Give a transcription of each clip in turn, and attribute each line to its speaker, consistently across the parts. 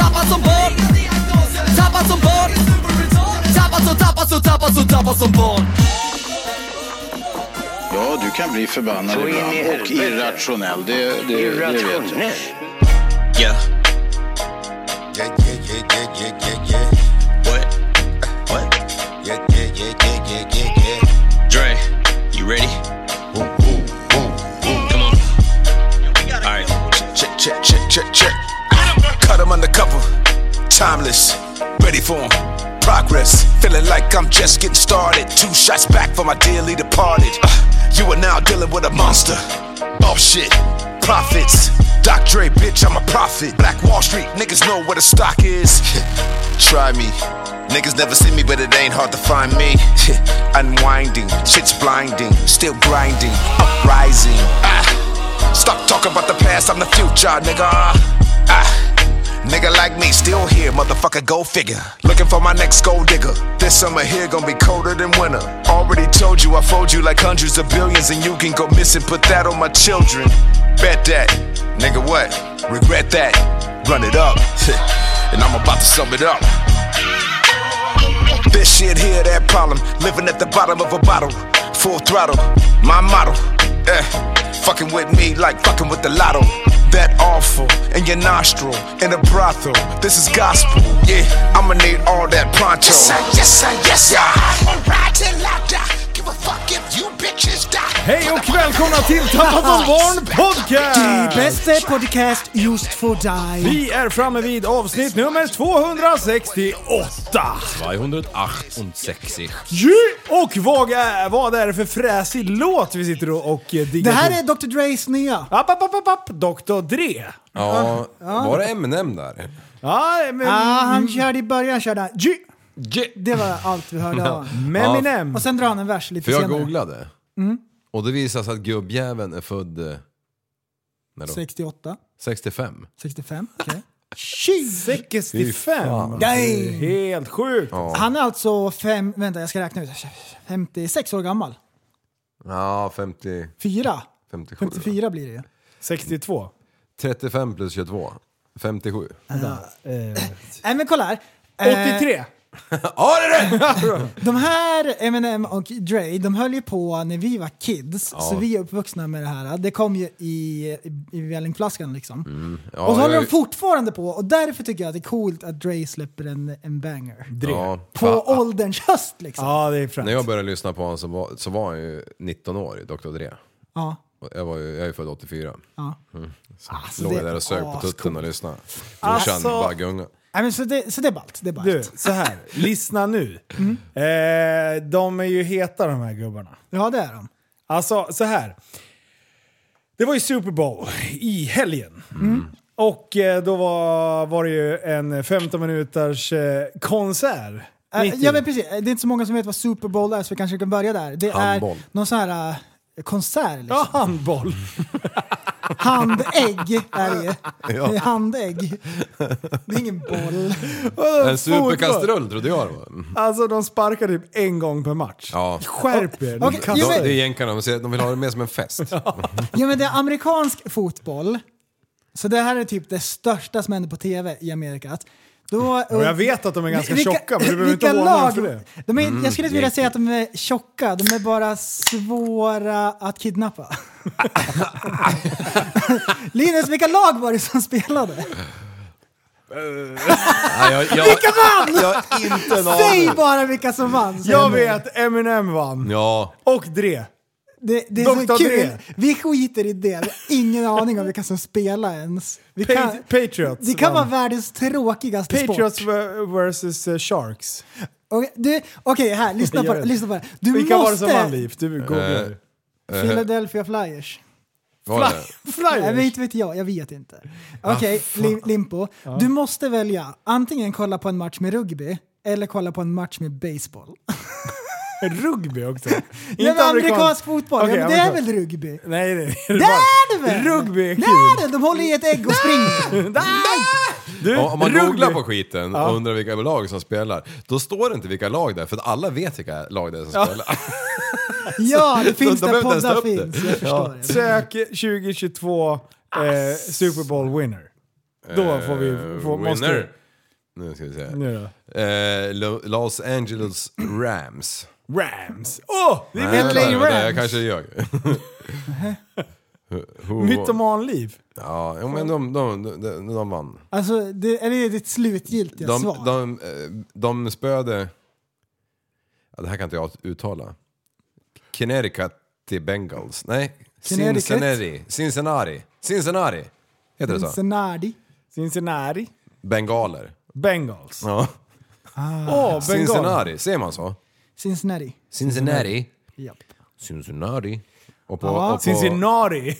Speaker 1: Tappad som barn Tappad som barn Tappad som, tappad som, tappad som, tappad som barn
Speaker 2: Ja, du kan bli förbannad
Speaker 3: Så in i
Speaker 2: ibland och
Speaker 3: helvete.
Speaker 2: irrationell. Det, det, det vet jag.
Speaker 3: Irrationell.
Speaker 1: Yeah,
Speaker 4: Yeah, yeah, yeah, yeah, yeah, yeah, yeah.
Speaker 1: what? What?
Speaker 4: Yeah, yeah, yeah, yeah, yeah, yeah, yeah.
Speaker 1: Dre, you ready?
Speaker 4: Ooh, ooh, ooh.
Speaker 1: Come on. Alright.
Speaker 5: Check, check, check, check, check. Cut him undercover. Timeless. Ready for him. Progress. Feeling like I'm just getting started. Two shots back for my dearly departed. Uh, you are now dealing with a monster. Oh shit. Profits. Doc Dre, bitch, I'm a prophet. Black Wall Street, niggas know where the stock is. Try me. Niggas never see me, but it ain't hard to find me. Unwinding, shit's blinding, still grinding, uprising. Ah. Stop talking about the past, I'm the future, nigga. Ah, nigga like me, still here, motherfucker, go figure. Looking for my next gold digger. This summer here gonna be colder than winter. Already told you I fold you like hundreds of billions, and you can go missing, put that on my children. Bet that, nigga, what? Regret that, run it up, and I'm about to sum it up. This shit here, that problem. Living at the bottom of a bottle. Full throttle, my motto. Eh, fucking with me like fucking with the lotto. That awful in your nostril, in a brothel. This is gospel. Yeah, I'ma need all that pronto.
Speaker 4: Yes, sir, yes, sir, yes, sir.
Speaker 5: Yeah.
Speaker 4: Alright till I die. Give a fuck if you bitches die.
Speaker 6: Hej och välkomna till Tappad som barn podcast!
Speaker 7: Bästa podcast just för dig.
Speaker 6: Vi är framme vid avsnitt nummer 268!
Speaker 8: 268.
Speaker 6: Yeah! Och vad är, vad är det för fräsig låt vi sitter och, och eh, diggar?
Speaker 7: Det här
Speaker 6: till?
Speaker 7: är Dr. Dres nya.
Speaker 6: App, app, app, app, app, Dr. Dre. Ah,
Speaker 8: Ja, var det Eminem där?
Speaker 6: Ja, M&M. men...
Speaker 7: Ah,
Speaker 8: Mm.
Speaker 7: han körde i början körde han, "Ju."
Speaker 8: Ge-
Speaker 7: Det var allt vi hörde av honom.
Speaker 6: Meminem.
Speaker 7: Och sen drar han en vers lite
Speaker 8: För jag
Speaker 7: senare.
Speaker 8: googlade. Och det visar sig att gubbjäveln är född... eh, När då?
Speaker 7: 68,
Speaker 8: 65.
Speaker 7: 65, okej. Okay.
Speaker 6: 65.
Speaker 7: Dang!
Speaker 6: Helt sjukt.
Speaker 7: Han är alltså fem, vänta jag ska räkna ut, 56 år gammal.
Speaker 8: Ja, 50...
Speaker 7: Fyra.
Speaker 8: 57.
Speaker 7: 54 blir det ju.
Speaker 6: 62.
Speaker 8: 35 plus 22. 57.
Speaker 7: Nej men kolla här. Eh,
Speaker 6: 83.
Speaker 8: Ja, det är det!
Speaker 7: De här Eminem och Dre, de höll ju på när vi var kids, så vi är uppvuxna med det här. Det kom ju i, i, i vällingflaskan liksom.
Speaker 8: Mm. Ja,
Speaker 7: och så håller
Speaker 8: jag-
Speaker 7: de fortfarande på, och därför tycker jag att det är coolt att Dre släpper en, en banger.
Speaker 8: Ja,
Speaker 7: På
Speaker 8: fan,
Speaker 7: ålderns höst liksom. Ja.
Speaker 6: Ja, det är
Speaker 8: När jag
Speaker 6: fränt.
Speaker 8: började lyssna på honom så var, så var han ju 19 år, Dr. Dre. Och Jag, var ju, jag är ju född 84.
Speaker 7: Ja.
Speaker 8: Mm. Så
Speaker 7: Alltså,
Speaker 8: låg
Speaker 7: det
Speaker 8: jag där och sög på
Speaker 7: är
Speaker 8: tutten
Speaker 7: ascoolt.
Speaker 8: och lyssnade.
Speaker 6: Alltså-
Speaker 8: Brorsan bara gunga.
Speaker 7: Nej, men så, det, så det är ballt. Det är ballt.
Speaker 6: Du, så här. Lyssna nu. Eh, de är ju heta de här gubbarna.
Speaker 7: Ja, det är de.
Speaker 6: Alltså, så här. Det var ju Super Bowl i helgen. Och eh, då var, var det ju en 15 minuters eh, konsert.
Speaker 7: Eh,
Speaker 6: Mitt i-
Speaker 7: Ja men precis, Eh, det är inte så många som vet vad Super Bowl är så vi kanske kan börja där. Det
Speaker 8: Handboll.
Speaker 7: är någon sån här eh, konsert liksom.
Speaker 6: Ja, handboll.
Speaker 7: Handägg är det ju.
Speaker 8: Ja.
Speaker 7: Det är handägg. Det är ingen boll.
Speaker 8: En superkastrull trodde jag det var.
Speaker 6: Äh, Alltså de sparkar typ en gång per match.
Speaker 8: Ja.
Speaker 6: Skärp er! ni
Speaker 7: Okej,
Speaker 6: kastar-
Speaker 7: jo,
Speaker 8: De,
Speaker 7: men-
Speaker 8: det är jänkarna, de, säger att de vill ha det mer som en fest.
Speaker 7: Jo men det är amerikansk fotboll. Så det här är typ det största som händer på tv i Amerika. Att Då,
Speaker 6: Och jag vet att de är ganska tjocka, men du behöver inte
Speaker 7: vilka
Speaker 6: håna dem
Speaker 7: lag-
Speaker 6: för det.
Speaker 7: De är, jag skulle inte vilja säga att de är tjocka, de är bara svåra att kidnappa. Linus, vilka lag var det som spelade?
Speaker 8: Nej, jag, jag, vilka
Speaker 7: vann?
Speaker 8: Jag har inte en
Speaker 7: Säg
Speaker 8: aning.
Speaker 7: bara vilka som vann! säger
Speaker 6: Jag
Speaker 7: de.
Speaker 6: vet, Eminem vann.
Speaker 8: Ja,
Speaker 6: Och Dre.
Speaker 7: Det, det är
Speaker 6: Dr.
Speaker 7: så kul.
Speaker 6: Dre.
Speaker 7: Vi skiter i det. Vi har ingen aning om vilka som spelar ens. Vi
Speaker 6: Pa-
Speaker 7: kan,
Speaker 6: Patriots
Speaker 7: det kan vara
Speaker 6: vann.
Speaker 7: världens tråkigaste
Speaker 6: Patriots
Speaker 7: sport.
Speaker 6: vs eh, Sharks.
Speaker 7: Okej, du- Okej, här. Lyssna på det. Lyssna på det. Du
Speaker 6: Vilka var det
Speaker 7: måste... Eh,
Speaker 6: som vann Liv? Du googlar.
Speaker 8: Eh,
Speaker 7: Philadelphia Flyers.
Speaker 8: Var det?
Speaker 7: Jag
Speaker 6: Flyers? Ah,
Speaker 7: vet, vet jag, jag vet inte. Okej, Lim- Limpo. Du måste välja antingen kolla på en match med rugby eller kolla på en match med baseball.
Speaker 6: Rugby också?
Speaker 7: Nej, men amerikansk fotboll,
Speaker 6: Okej,
Speaker 7: ja, men det är
Speaker 6: amerikansk.
Speaker 7: väl rugby?
Speaker 6: Nej, det är
Speaker 7: Det är det väl?
Speaker 6: Rugby är
Speaker 7: Det
Speaker 6: kul!
Speaker 7: är det! De håller i ett ägg och springer.
Speaker 6: Du,
Speaker 8: Ja, om man
Speaker 6: rugby-
Speaker 8: googlar på skiten och undrar vilka lag som spelar, då står det inte vilka lag det är, för att alla vet vilka lag det är som spelar.
Speaker 7: Ja, det finns
Speaker 8: de
Speaker 7: där
Speaker 8: behöver inte
Speaker 7: poddar
Speaker 8: ens ta upp det.
Speaker 7: finns. Jag förstår det.
Speaker 6: Sök 2022 eh, Super Bowl winner. Då får vi... Får,
Speaker 8: Eh,
Speaker 6: måste,
Speaker 8: winner. Nu ska vi se.
Speaker 6: Nu då.
Speaker 8: Eh, Lo- Los Angeles Rams.
Speaker 6: Rams. Åh! Oh, det är
Speaker 8: Nej, vänta,
Speaker 6: LA
Speaker 8: vänta, Jag
Speaker 6: Rams!
Speaker 8: kanske ljög. Who- who-
Speaker 6: Mytomanliv.
Speaker 8: Ja, jo, men de, de, de, de, de vann.
Speaker 7: Alltså, det, är det ditt slutgiltiga
Speaker 8: De,
Speaker 7: svar?
Speaker 8: de, eh, de spöade... Ja, det här kan inte jag uttala. Connecticut till Bengals. Nej,
Speaker 7: Connecticut?
Speaker 8: Cincinnati. Cincinnati. Cincinnati. Heter det så?
Speaker 7: Cincinnati.
Speaker 6: Cincinnati.
Speaker 8: Bengaler.
Speaker 6: Bengals.
Speaker 8: Ja.
Speaker 7: Ah,
Speaker 6: Åh, oh, Bengals.
Speaker 8: Cincinnati, säger man så?
Speaker 7: Cincinnati.
Speaker 8: Cincinnati.
Speaker 7: Japp.
Speaker 8: Cincinnati. Och på,
Speaker 7: Ja.
Speaker 8: och på,
Speaker 6: Cincinnati.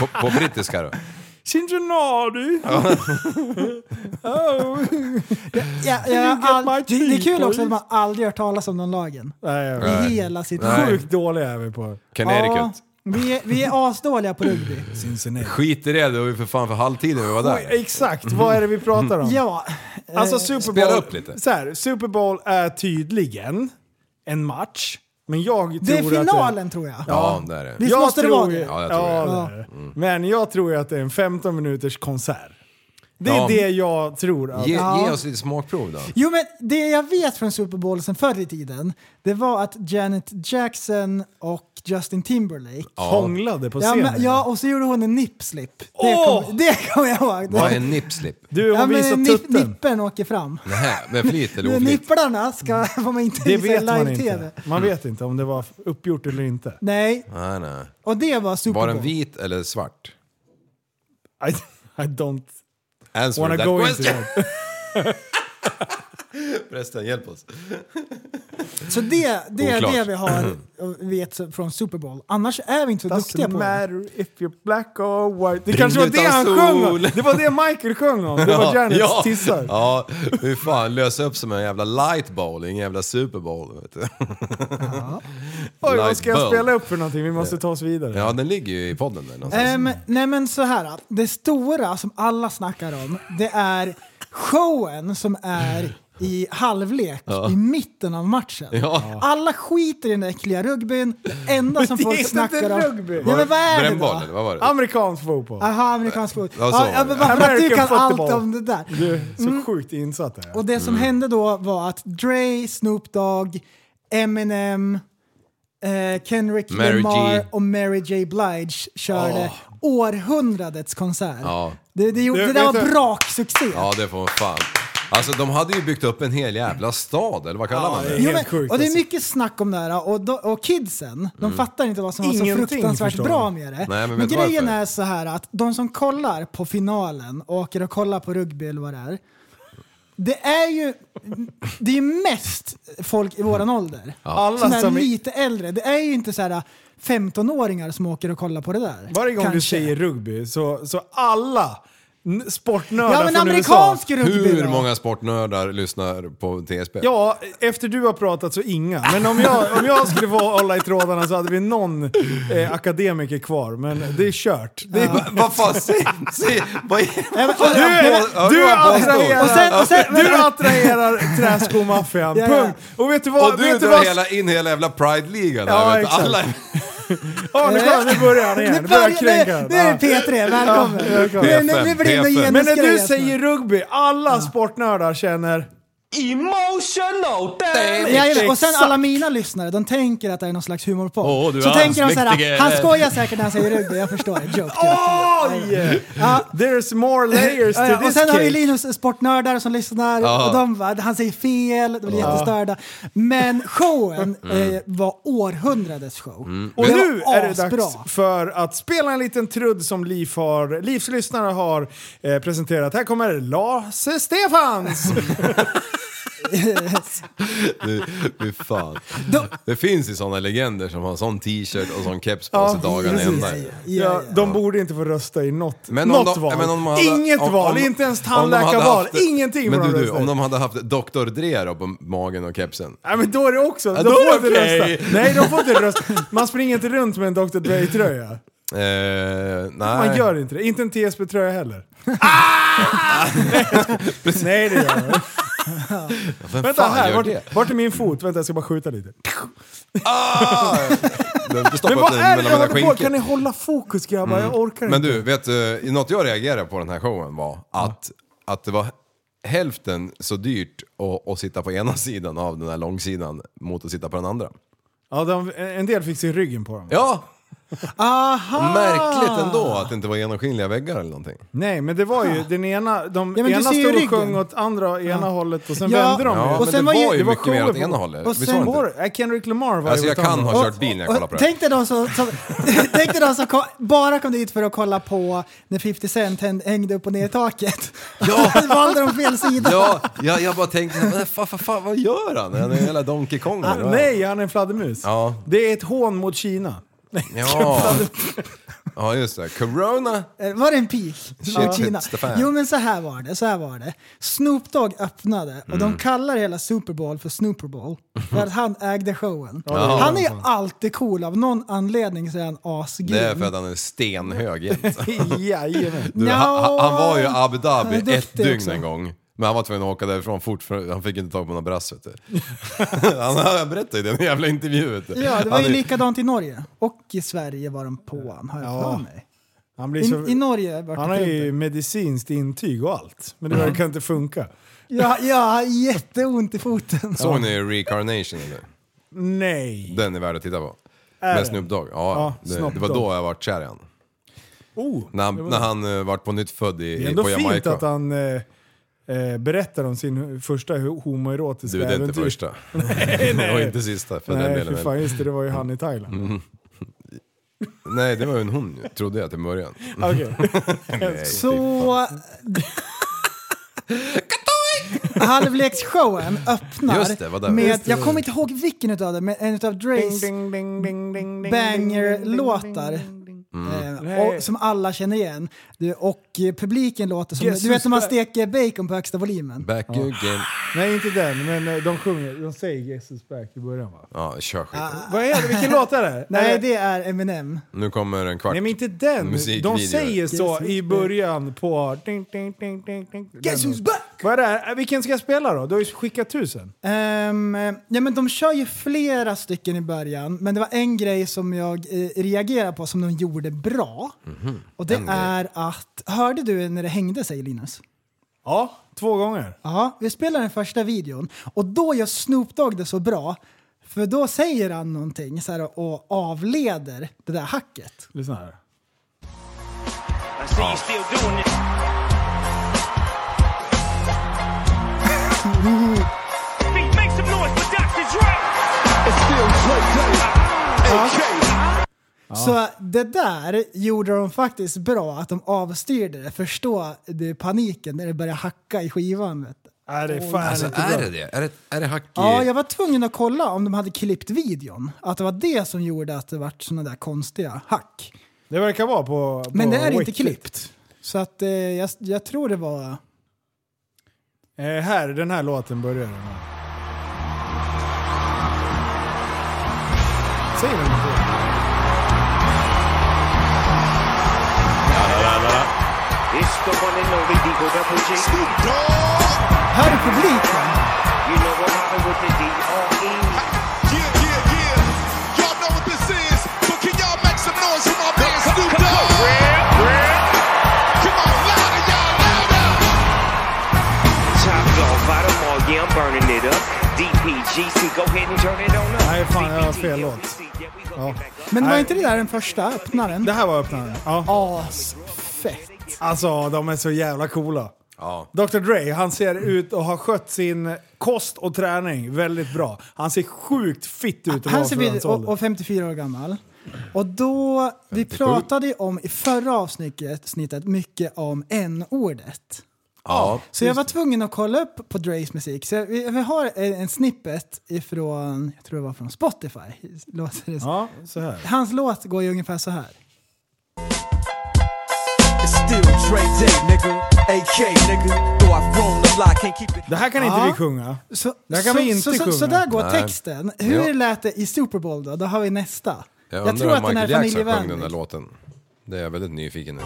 Speaker 8: på, på brittiska då?
Speaker 6: Cincinnati. oh.
Speaker 7: Ja, jag
Speaker 6: You
Speaker 7: har
Speaker 6: get
Speaker 7: all,
Speaker 6: my
Speaker 7: det, det är kul
Speaker 6: tea,
Speaker 7: också att man
Speaker 6: please.
Speaker 7: aldrig hört talas om den lagen.
Speaker 6: Nej, jag
Speaker 7: I
Speaker 6: vet.
Speaker 7: hela sitt
Speaker 8: Nej.
Speaker 6: Sjukt dåliga är vi på
Speaker 8: Connecticut.
Speaker 7: vi, är, vi är asdåliga på rugby.
Speaker 6: Cincinnati.
Speaker 8: Skit i det, det var ju för fan för halvtiden vi var
Speaker 6: Oj,
Speaker 8: där.
Speaker 6: exakt, vad är det vi pratar om?
Speaker 7: Ja,
Speaker 6: Alltså Super
Speaker 8: Spela
Speaker 6: Bowl,
Speaker 8: upp lite.
Speaker 6: Så här, Super Bowl är tydligen en match, men jag tror
Speaker 7: det är
Speaker 6: att
Speaker 7: finalen tror jag.
Speaker 8: Ja, det är det.
Speaker 7: Visst
Speaker 6: Jag
Speaker 7: måste det
Speaker 6: tror
Speaker 7: vara
Speaker 6: ju-
Speaker 7: det?
Speaker 8: Ja,
Speaker 6: Ja,
Speaker 8: jag tror det.
Speaker 6: det är det. Men jag tror ju att det är en 15 minuters konsert. Det är
Speaker 8: Ja.
Speaker 6: det jag tror. Att,
Speaker 8: Ge,
Speaker 7: Ja.
Speaker 8: ge oss lite smakprov då.
Speaker 7: Jo men det jag vet från Super Bowl sen förr i tiden, det var att Janet Jackson och Justin Timberlake
Speaker 6: Hånglade på
Speaker 7: Ja,
Speaker 6: scenen.
Speaker 7: men, ja, och så gjorde hon en nippslip. Det
Speaker 6: Åh!
Speaker 7: kommer det kom jag ihåg.
Speaker 8: Vad är en nipslip?
Speaker 6: Du, hon
Speaker 7: ja,
Speaker 6: visar
Speaker 7: men, nip,
Speaker 6: tutten.
Speaker 7: nippen åker fram.
Speaker 8: Nähä, med flit eller oflit?
Speaker 7: Nipplarna ska, får man inte
Speaker 6: det
Speaker 7: visa i
Speaker 6: vet man
Speaker 7: live-tv.
Speaker 6: inte. Man vet inte om det var uppgjort eller inte.
Speaker 7: Nej,
Speaker 8: Nej, nej.
Speaker 7: och det var Super
Speaker 8: Var
Speaker 7: Bowl.
Speaker 8: den vit eller svart?
Speaker 6: I, I don't
Speaker 8: Answer
Speaker 6: wanna
Speaker 8: that
Speaker 6: go into
Speaker 8: question!
Speaker 6: that.
Speaker 8: Förresten, hjälp oss.
Speaker 7: Så det, det är
Speaker 8: Oklart. Mm.
Speaker 7: det vi har och vet från Super Bowl. Annars är vi inte så duktiga
Speaker 6: Doesn't
Speaker 7: på det.
Speaker 6: matter if you're black or white. Det kanske var
Speaker 8: utan
Speaker 6: det han
Speaker 8: sol.
Speaker 6: sjöng om. Det var det Michael sjöng om. Det var Janets
Speaker 8: ja,
Speaker 6: tissar.
Speaker 8: Ja, hur fan lösa upp som en jävla light bowl, ingen jävla super bowl. Vet du.
Speaker 6: Oj,
Speaker 8: Light
Speaker 6: vad ska jag
Speaker 8: bulb.
Speaker 6: spela upp för någonting? Vi måste ta oss vidare.
Speaker 8: Ja, den ligger ju i podden där någonstans.
Speaker 7: Ehm, nej men så här. Det stora som alla snackar om, det är showen som är i halvlek i mitten av matchen.
Speaker 8: Ja.
Speaker 7: Alla skiter i den där äckliga rugbyn. Det enda som
Speaker 6: det är
Speaker 7: folk
Speaker 6: inte
Speaker 7: snackar om...
Speaker 6: rugby.
Speaker 7: Ja, men vad är det
Speaker 8: Brännboll,
Speaker 7: då?
Speaker 8: eller vad var det?
Speaker 6: Amerikansk fotboll.
Speaker 7: Aha, amerikansk fotboll.
Speaker 8: Ja, så var
Speaker 7: Ja, ja,
Speaker 8: det.
Speaker 7: men varför att du
Speaker 6: American
Speaker 7: kan allt
Speaker 6: football.
Speaker 7: om det där?
Speaker 6: Du är så sjukt insatt här.
Speaker 7: Mm. Och det som
Speaker 8: Mm.
Speaker 7: hände då var att Dre, Snoop Dogg, Eminem, eh, Kendrick
Speaker 8: Mary
Speaker 7: Lamar
Speaker 8: G. Ah.
Speaker 7: och Mary J. Blige körde århundradets konsert.
Speaker 8: Ja.
Speaker 7: Det, det, gjorde,
Speaker 6: Du,
Speaker 7: det där
Speaker 6: vet
Speaker 7: var
Speaker 6: du-
Speaker 7: braksuccé.
Speaker 8: Ja, det får man fan. Alltså de hade ju byggt upp en hel jävla stad, eller vad kallar man det?
Speaker 6: det-
Speaker 7: Jo,
Speaker 6: Helt
Speaker 7: men,
Speaker 6: sjukt
Speaker 7: och det är
Speaker 6: alltså.
Speaker 7: mycket snack om det här och, do, och kidsen, de fattar inte vad som var så
Speaker 6: Ingenting
Speaker 7: fruktansvärt
Speaker 6: förstår
Speaker 7: bra
Speaker 6: de.
Speaker 7: med det.
Speaker 8: Mm. men vet du
Speaker 7: grejen
Speaker 8: varför?
Speaker 7: är så här att de som kollar på finalen och åker och kollar på rugby eller vad det är. Det är ju det är ju mest folk i våran ålder.
Speaker 6: Alla
Speaker 7: Sådana här
Speaker 6: som är-
Speaker 7: lite äldre. Det är ju inte så här 15-åringar som åker och kollar på det där.
Speaker 6: Varje gång du
Speaker 7: Kanske.
Speaker 6: säger rugby så, så alla n- sportnördar
Speaker 7: Ja men
Speaker 6: från
Speaker 7: amerikansk
Speaker 6: USA.
Speaker 7: rugby
Speaker 8: Hur
Speaker 7: då?
Speaker 8: många sportnördar lyssnar på TSP?
Speaker 6: Ja, efter du har pratat så inga. Men om jag, om jag skulle få hålla i trådarna så hade vi någon eh, akademiker kvar. Men det är kört. Det är,
Speaker 8: Va- Vad fan, säg, säg, vad är
Speaker 7: Ja, men- och-
Speaker 6: Du,
Speaker 7: nej, men-
Speaker 8: Ja,
Speaker 6: är,
Speaker 8: det
Speaker 6: du,
Speaker 8: var påstått.
Speaker 6: attraherar,
Speaker 7: Och sen- och sen-
Speaker 6: du attraherar träskomaffian,
Speaker 7: Ja, ja.
Speaker 6: punkt. Och vet du vad?
Speaker 8: Och du
Speaker 6: vet du
Speaker 8: drar
Speaker 6: vad?
Speaker 8: hela, in hela jävla Pride-ligan
Speaker 6: Ja,
Speaker 8: här, vet du.
Speaker 6: exakt.
Speaker 8: Alla,
Speaker 6: Ja, nu, kommer- nu börjar han igen. Nu börjar jag kränka
Speaker 7: nu, nu är det P3, välkommen.
Speaker 6: Ja, välkommen.
Speaker 7: Nu- nu, nu blir det
Speaker 8: P5.
Speaker 7: någon
Speaker 6: Men när du
Speaker 7: genusgrej,
Speaker 6: säger rugby, alla sportnördar känner...
Speaker 1: Emotional damage!
Speaker 7: Ja, ja, och sen
Speaker 6: Exakt.
Speaker 7: alla mina lyssnare, de tänker att det är någon slags humorpodd.
Speaker 8: Åh, du
Speaker 7: så
Speaker 8: är
Speaker 7: tänker de såhär,
Speaker 8: allsmäktige.
Speaker 7: han skojar säkert när han säger rugby, jag förstår. Joke, joke.
Speaker 6: Oj! There's more layers to
Speaker 7: Ja, ja, och
Speaker 6: this
Speaker 7: sen har vi
Speaker 6: cake.
Speaker 7: Linus sportnördar som lyssnar
Speaker 8: Ja.
Speaker 7: och de bara, han säger fel, de blir jättestörda. Men showen eh, var århundradets show.
Speaker 6: Och
Speaker 7: det
Speaker 6: nu
Speaker 7: var
Speaker 6: är det
Speaker 7: asbra.
Speaker 6: dags för att spela en liten trudd som Liv har, Livs lyssnare har eh, presenterat. Här kommer Lasse Stefans!
Speaker 8: Du, fy fan.
Speaker 7: De-
Speaker 8: Det finns ju såna legender som har sån t-shirt och sån keps på
Speaker 6: Ja,
Speaker 8: sig dagarna i
Speaker 6: precis.
Speaker 8: ända.
Speaker 6: Ja,
Speaker 7: Ja,
Speaker 6: de borde inte få rösta i något,
Speaker 8: Men om
Speaker 6: något
Speaker 8: de-
Speaker 6: val.
Speaker 8: men om de hade-
Speaker 6: Inget
Speaker 8: om-
Speaker 6: val,
Speaker 8: om-
Speaker 6: inte ens
Speaker 8: om de hade
Speaker 6: tandläkarval.
Speaker 8: haft-
Speaker 6: Ingenting
Speaker 8: Men
Speaker 6: får
Speaker 8: du,
Speaker 6: de
Speaker 8: du,
Speaker 6: rösta
Speaker 8: om
Speaker 6: i.
Speaker 8: de hade haft Dr. Dre då på magen och kepsen.
Speaker 6: Nej men då är det också,
Speaker 8: Ja,
Speaker 6: de
Speaker 8: då
Speaker 6: får
Speaker 8: är
Speaker 6: inte
Speaker 8: okej.
Speaker 6: rösta. Nej de får inte rösta. Man springer inte runt med en Dr. Dre-tröja.
Speaker 8: Eh, nej.
Speaker 6: Man gör inte det. Inte en TSB-tröja heller.
Speaker 8: Ah!
Speaker 6: Nej det gör man inte.
Speaker 8: Vem
Speaker 6: Vänta
Speaker 8: fan
Speaker 6: här,
Speaker 8: gör
Speaker 6: vart,
Speaker 8: det?
Speaker 6: vart är min fot? Vänta jag ska bara skjuta lite.
Speaker 8: Ah! Du behöver inte stoppa
Speaker 6: Men
Speaker 8: upp
Speaker 6: vad
Speaker 8: den
Speaker 6: är det
Speaker 8: mellan
Speaker 6: Äh, jag
Speaker 8: mina
Speaker 6: håller på? Kan ni
Speaker 8: skinkor.
Speaker 6: hålla fokus grabbar? Jag orkar
Speaker 8: Mm. Men
Speaker 6: inte.
Speaker 8: du, vet du, något jag reagerade på den här showen var att, att det var hälften så dyrt att, att sitta på ena sidan av den här långsidan mot att sitta på den andra.
Speaker 6: Ja, de, en del fick sig ryggen på dem.
Speaker 8: Ja!
Speaker 7: Aha!
Speaker 8: Märkligt ändå att det inte var genomskinliga väggar eller någonting.
Speaker 6: Nej men det var ju den ena, de
Speaker 7: Ah. Ja, men du
Speaker 6: ena
Speaker 7: ser ju
Speaker 6: stod och
Speaker 7: ryggen. Ah.
Speaker 6: sjöng åt andra ena hållet och sen
Speaker 7: Ja.
Speaker 6: vände de
Speaker 8: Ja,
Speaker 6: ju.
Speaker 8: och men
Speaker 7: sen var
Speaker 8: det
Speaker 7: ju-
Speaker 8: var ju
Speaker 6: det var
Speaker 8: mycket mer åt
Speaker 6: shower på-
Speaker 8: ena hållet.
Speaker 7: och
Speaker 8: Vi
Speaker 7: sen
Speaker 8: såg inte.
Speaker 6: Var det? Nej, Kendrick Lamar var
Speaker 8: Alltså
Speaker 6: ju
Speaker 8: jag
Speaker 6: åt andra
Speaker 8: kan ha
Speaker 6: hållet.
Speaker 8: kört bil när jag
Speaker 7: Och-
Speaker 8: kollar på det.
Speaker 7: Tänk dig de som, som, tänk dig de som kom, bara kom dit för att kolla på när 50 Cent häng- hängde upp och ner i taket. Ja. valde de fel sida.
Speaker 8: Ja, jag, jag bara tänkte, men fan, fan, fan, vad gör han? Han är en jävla Donkey Kong.
Speaker 6: Ah,
Speaker 8: eller vad?
Speaker 6: nej, han är en fladdermus.
Speaker 8: Ja.
Speaker 6: Det är ett hån mot Kina.
Speaker 8: Ja. ja, just det. Corona.
Speaker 7: Eh, Var det en peak?
Speaker 8: hits the fan.
Speaker 7: Jo men så här var det, så här var det. Snoop Dogg öppnade och
Speaker 8: Mm.
Speaker 7: de kallar hela Super Bowl för Snooper Bowl. För att han ägde showen. Han är ju alltid cool, av någon anledning så är han asgrym.
Speaker 8: Det är för att han är stenhög jämt.
Speaker 6: Jajamän.
Speaker 8: Du, han, han- han var ju i
Speaker 7: Nja,
Speaker 8: Abu
Speaker 7: han är
Speaker 8: Dhabi ett
Speaker 7: duktig
Speaker 8: dygn
Speaker 7: också.
Speaker 8: en gång. Men han var tvungen att åka därifrån fort för han fick inte tag på några brass vet du. Han han berättade ju det i den jävla intervjun vet du.
Speaker 7: Ja, det var
Speaker 8: Han är-
Speaker 7: ju likadant i Norge. Och i Sverige var de på han, har jag
Speaker 6: Ja.
Speaker 7: för mig.
Speaker 6: Han, blir så,
Speaker 7: I, I Norge vart
Speaker 6: han
Speaker 7: det
Speaker 6: har
Speaker 7: förbjudet.
Speaker 6: ju medicinskt intyg och allt. Men det verkar inte funka.
Speaker 7: Ja, ja, jätteont i foten.
Speaker 8: Såg ni Reincarnation eller?
Speaker 6: Nej.
Speaker 8: Den är värd att titta på.
Speaker 6: Är
Speaker 8: Med
Speaker 6: det?
Speaker 8: Snoop Dogg. Ja, det,
Speaker 6: Snoop
Speaker 8: det var
Speaker 6: Dogg.
Speaker 8: då jag vart kär i han.
Speaker 6: Oh,
Speaker 8: När han, när han eh, vart på nytt född i,
Speaker 6: det är
Speaker 8: i,
Speaker 6: ändå
Speaker 8: på
Speaker 6: fint
Speaker 8: Jamaica.
Speaker 6: att han eh, eh, berättar om sin första ho- homoerotiska
Speaker 8: Du, det är inte
Speaker 6: äventyr.
Speaker 8: första. nej, nej. Och inte sista för den
Speaker 6: Nej,
Speaker 8: delen. Mm.
Speaker 6: fy
Speaker 8: heller.
Speaker 6: fan, just det, det var ju han i Thailand.
Speaker 8: Nej, det var ju en hon ju, trodde jag till början.
Speaker 6: Okej.
Speaker 8: Nej,
Speaker 7: Så... Halvleksshowen öppnar
Speaker 8: Just det, vad där.
Speaker 7: med,
Speaker 8: Just
Speaker 7: jag kommer inte ihåg vilken utav det, men en utav Dres banger-låtar.
Speaker 6: Mm.
Speaker 7: Eh, och, som alla känner igen. Du, och eh, publiken låter som...
Speaker 6: Jesus
Speaker 7: du vet när man
Speaker 6: Christ.
Speaker 7: steker bacon på högsta volymen?
Speaker 8: Back again.
Speaker 6: Nej, inte den, men eh, de sjunger, de säger Jesus back i början va?
Speaker 8: Ja, kör skiten.
Speaker 6: Vad är det? Vilken låt är det?
Speaker 7: Ah. Nej,
Speaker 6: Är
Speaker 7: det är Eminem.
Speaker 8: Nu kommer en kvart.
Speaker 6: Nej men inte den.
Speaker 8: Musikvideo.
Speaker 6: De säger så i början på... Ding, ding, ding, ding, ding. Den. Vad är det? här? Vilken ska jag spela då? Du har ju skickat tusen.
Speaker 7: Ehm, ja, men de kör ju flera stycken i början, men det var en grej som jag eh, reagerade på som de gjorde bra.
Speaker 6: Mhm.
Speaker 7: Och det är att, hörde du när det hängde sig Linus?
Speaker 6: Ja, två gånger.
Speaker 7: Ja, vi spelar den första videon och då gör Snoop Dogg det så bra, för då säger han någonting så här, och avleder det där hacket.
Speaker 6: Lyssna här.
Speaker 9: I see you still doing it. Make- Make some noise for Dr. Dre.
Speaker 7: Så det där gjorde de faktiskt bra, att de avstyrde det. Förstå det paniken när det börjar hacka i skivan. Vet du.
Speaker 6: Nej, det är fan
Speaker 8: alltså,
Speaker 6: inte
Speaker 8: är
Speaker 6: bra.
Speaker 8: det det? Är det, är det hack i...
Speaker 7: Ja, jag var tvungen att kolla om de hade klippt videon. Att det var det som gjorde att det vart sådana där konstiga hack.
Speaker 6: Det verkar vara på... på
Speaker 7: Men det är inte
Speaker 6: Wicked.
Speaker 7: klippt. Så att eh, jag, jag tror det var...
Speaker 6: Eh, här, den här låten börjar den med. Säg den inte.
Speaker 9: It's the one and only Devo Double G.
Speaker 7: Hör du publiken?
Speaker 9: You know what happened with the E? DRE. Top dog, bottom all, yeah, I'm burning it up. DPGC, go ahead and turn it on up.
Speaker 6: Nej, fan, jag har fel
Speaker 9: DPG,
Speaker 6: låt.
Speaker 9: yeah, we gonna get back up.
Speaker 7: Men var inte det där den första öppnaren?
Speaker 6: Det här var öppnaren. Ja.
Speaker 7: Asfett.
Speaker 6: Alltså, de är så jävla coola.
Speaker 8: Ja.
Speaker 6: Dr Dre, han ser ut och har skött sin kost och träning väldigt bra. Han ser sjukt fit ut att vara
Speaker 7: Han ser
Speaker 6: för hans
Speaker 7: vid, och,
Speaker 6: ålder.
Speaker 7: och 54 år gammal. Och då, vi pratade ju om i förra avsnittet snittet mycket om n-ordet.
Speaker 8: Ja.
Speaker 7: Så jag var tvungen att kolla upp på Dreys musik. Så jag, vi, vi har en, en snippet ifrån, jag tror det var från Spotify. Låter det så.
Speaker 6: Ja, så här.
Speaker 7: Hans låt går ju ungefär så här.
Speaker 10: It's still Dre Day, nigga. AK, nigga. Though I've grown a lot, can't keep it.
Speaker 6: Det här kan inte
Speaker 7: Ja.
Speaker 6: vi sjunga.
Speaker 7: Så,
Speaker 6: Där kan
Speaker 7: så,
Speaker 6: vi inte
Speaker 7: så, så,
Speaker 6: sjunga.
Speaker 7: så där går
Speaker 8: Nej.
Speaker 7: texten. Hur
Speaker 8: Ja.
Speaker 7: lät det i Super Bowl då? Då har vi nästa.
Speaker 8: Jag undrar om Michael Jackson sjöng den där
Speaker 7: familjevänlig.
Speaker 8: låten. Det är jag väldigt nyfiken på.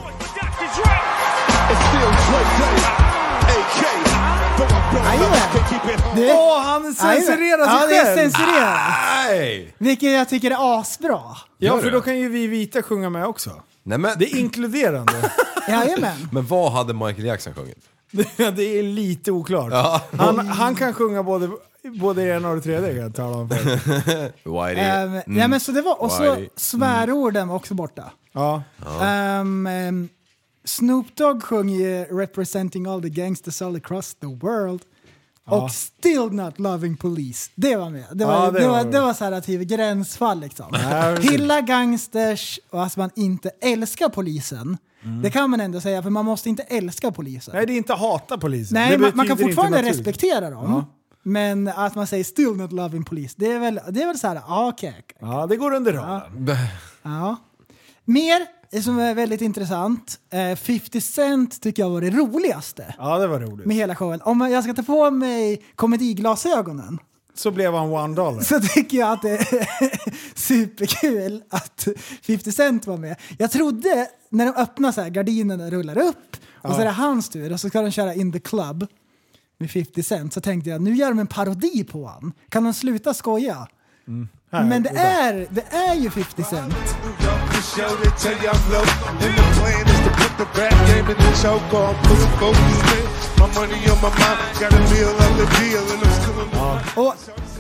Speaker 7: Jajamän. Det-
Speaker 6: Åh, han censurerar
Speaker 7: Ja,
Speaker 6: sig
Speaker 7: det är
Speaker 6: själv!
Speaker 7: censurerat.
Speaker 8: Nej!
Speaker 7: Vilket jag tycker är asbra.
Speaker 6: Ja,
Speaker 8: Gör
Speaker 6: för
Speaker 8: det.
Speaker 6: då kan ju vi vita sjunga med också.
Speaker 8: Nej men,
Speaker 6: Det är inkluderande.
Speaker 7: Jajamän.
Speaker 8: men vad hade Michael Jackson sjungit?
Speaker 6: Det- det är lite oklart. Han, han kan sjunga både, både det ena och det tredje kan jag tala om för dig.
Speaker 8: Whitey.
Speaker 7: Ehm,
Speaker 6: Mm.
Speaker 7: Ja men så det var, och så
Speaker 8: Why?
Speaker 7: svärorden var också borta.
Speaker 6: Ja.
Speaker 7: Ehm, ehm, Snoop Dogg sjöng ju “Representing all the gangsters all across the world” och “Still not loving police”. Det var med. Det var,
Speaker 6: Ja,
Speaker 7: det
Speaker 6: det
Speaker 7: var,
Speaker 6: var
Speaker 7: det
Speaker 6: med.
Speaker 7: var så här att det är gränsfall liksom.
Speaker 6: Ja, precis.
Speaker 7: Hylla gangsters och att man inte älskar polisen. Det kan man ändå säga, för man måste inte älska polisen.
Speaker 6: Mm. Nej, det är inte hata polisen.
Speaker 7: Nej,
Speaker 6: det
Speaker 7: man, man kan
Speaker 6: betyder inte
Speaker 7: fortfarande
Speaker 6: natur.
Speaker 7: respektera dem. Men att man säger “still not loving police”, det är väl, det är väl så här, ah, okej.
Speaker 6: Ja, det går under raden.
Speaker 7: Ja. Mer eh, som är väldigt intressant. Eh, 50 Cent tycker jag var det roligaste
Speaker 6: Ja, det var roligt.
Speaker 7: med hela showen. Om jag ska ta på mig komediglasögonen
Speaker 6: Så blev han one dollar.
Speaker 7: så tycker jag att det är superkul att 50 Cent var med. Jag trodde när de öppnar så här, gardinerna rullar upp och så är det hans tur och så ska de köra In the Club med 50 Cent så tänkte jag nu gör de en parodi på han. Kan de sluta skoja?
Speaker 6: Här,
Speaker 7: Men det
Speaker 6: goda.
Speaker 7: är, det är ju 50 Cent. Och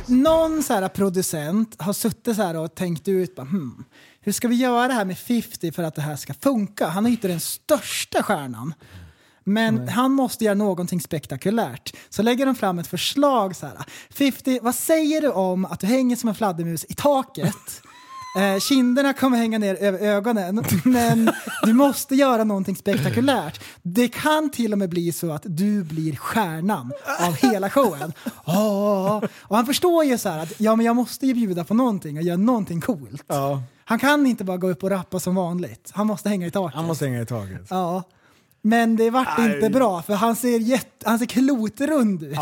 Speaker 7: någon så här producent har suttit så här och tänkt ut bara, hmm, hur ska vi göra det här med 50 för att det här ska funka? Han är ju inte den största stjärnan. Men han måste göra någonting spektakulärt. Så lägger de fram ett förslag så här. 50, vad säger du om att du hänger som en fladdermus i taket? Eh, kinderna kommer hänga ner över ögonen, men du måste göra någonting spektakulärt. Det kan till och med bli så att du blir stjärnan av hela showen. Åh. Och han förstår ju så här att ja, men jag måste ju bjuda på någonting och göra någonting coolt.
Speaker 6: Ja,
Speaker 7: Han kan inte bara gå upp och rappa som vanligt. Han måste hänga i taket.
Speaker 6: han måste hänga i taget.
Speaker 7: Ja. Men det vart inte bra för han ser, jätte, han ser klotrund ut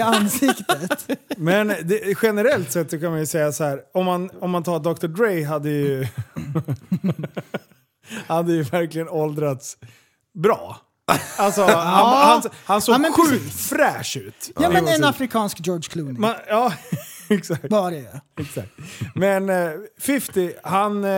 Speaker 7: ansiktet.
Speaker 6: Men det, generellt sett så kan man ju säga så här, om man, om man tar Dr. Dre hade ju... hade ju verkligen åldrats bra. Alltså, han, han, han såg
Speaker 7: Ja, men
Speaker 6: sjukt
Speaker 7: precis.
Speaker 6: fräsch ut.
Speaker 7: Ja men
Speaker 6: Det var
Speaker 7: en
Speaker 6: så-
Speaker 7: afrikansk George Clooney
Speaker 6: man, ja, exakt.
Speaker 7: var det ju.
Speaker 6: exakt. Men eh, 50, han eh,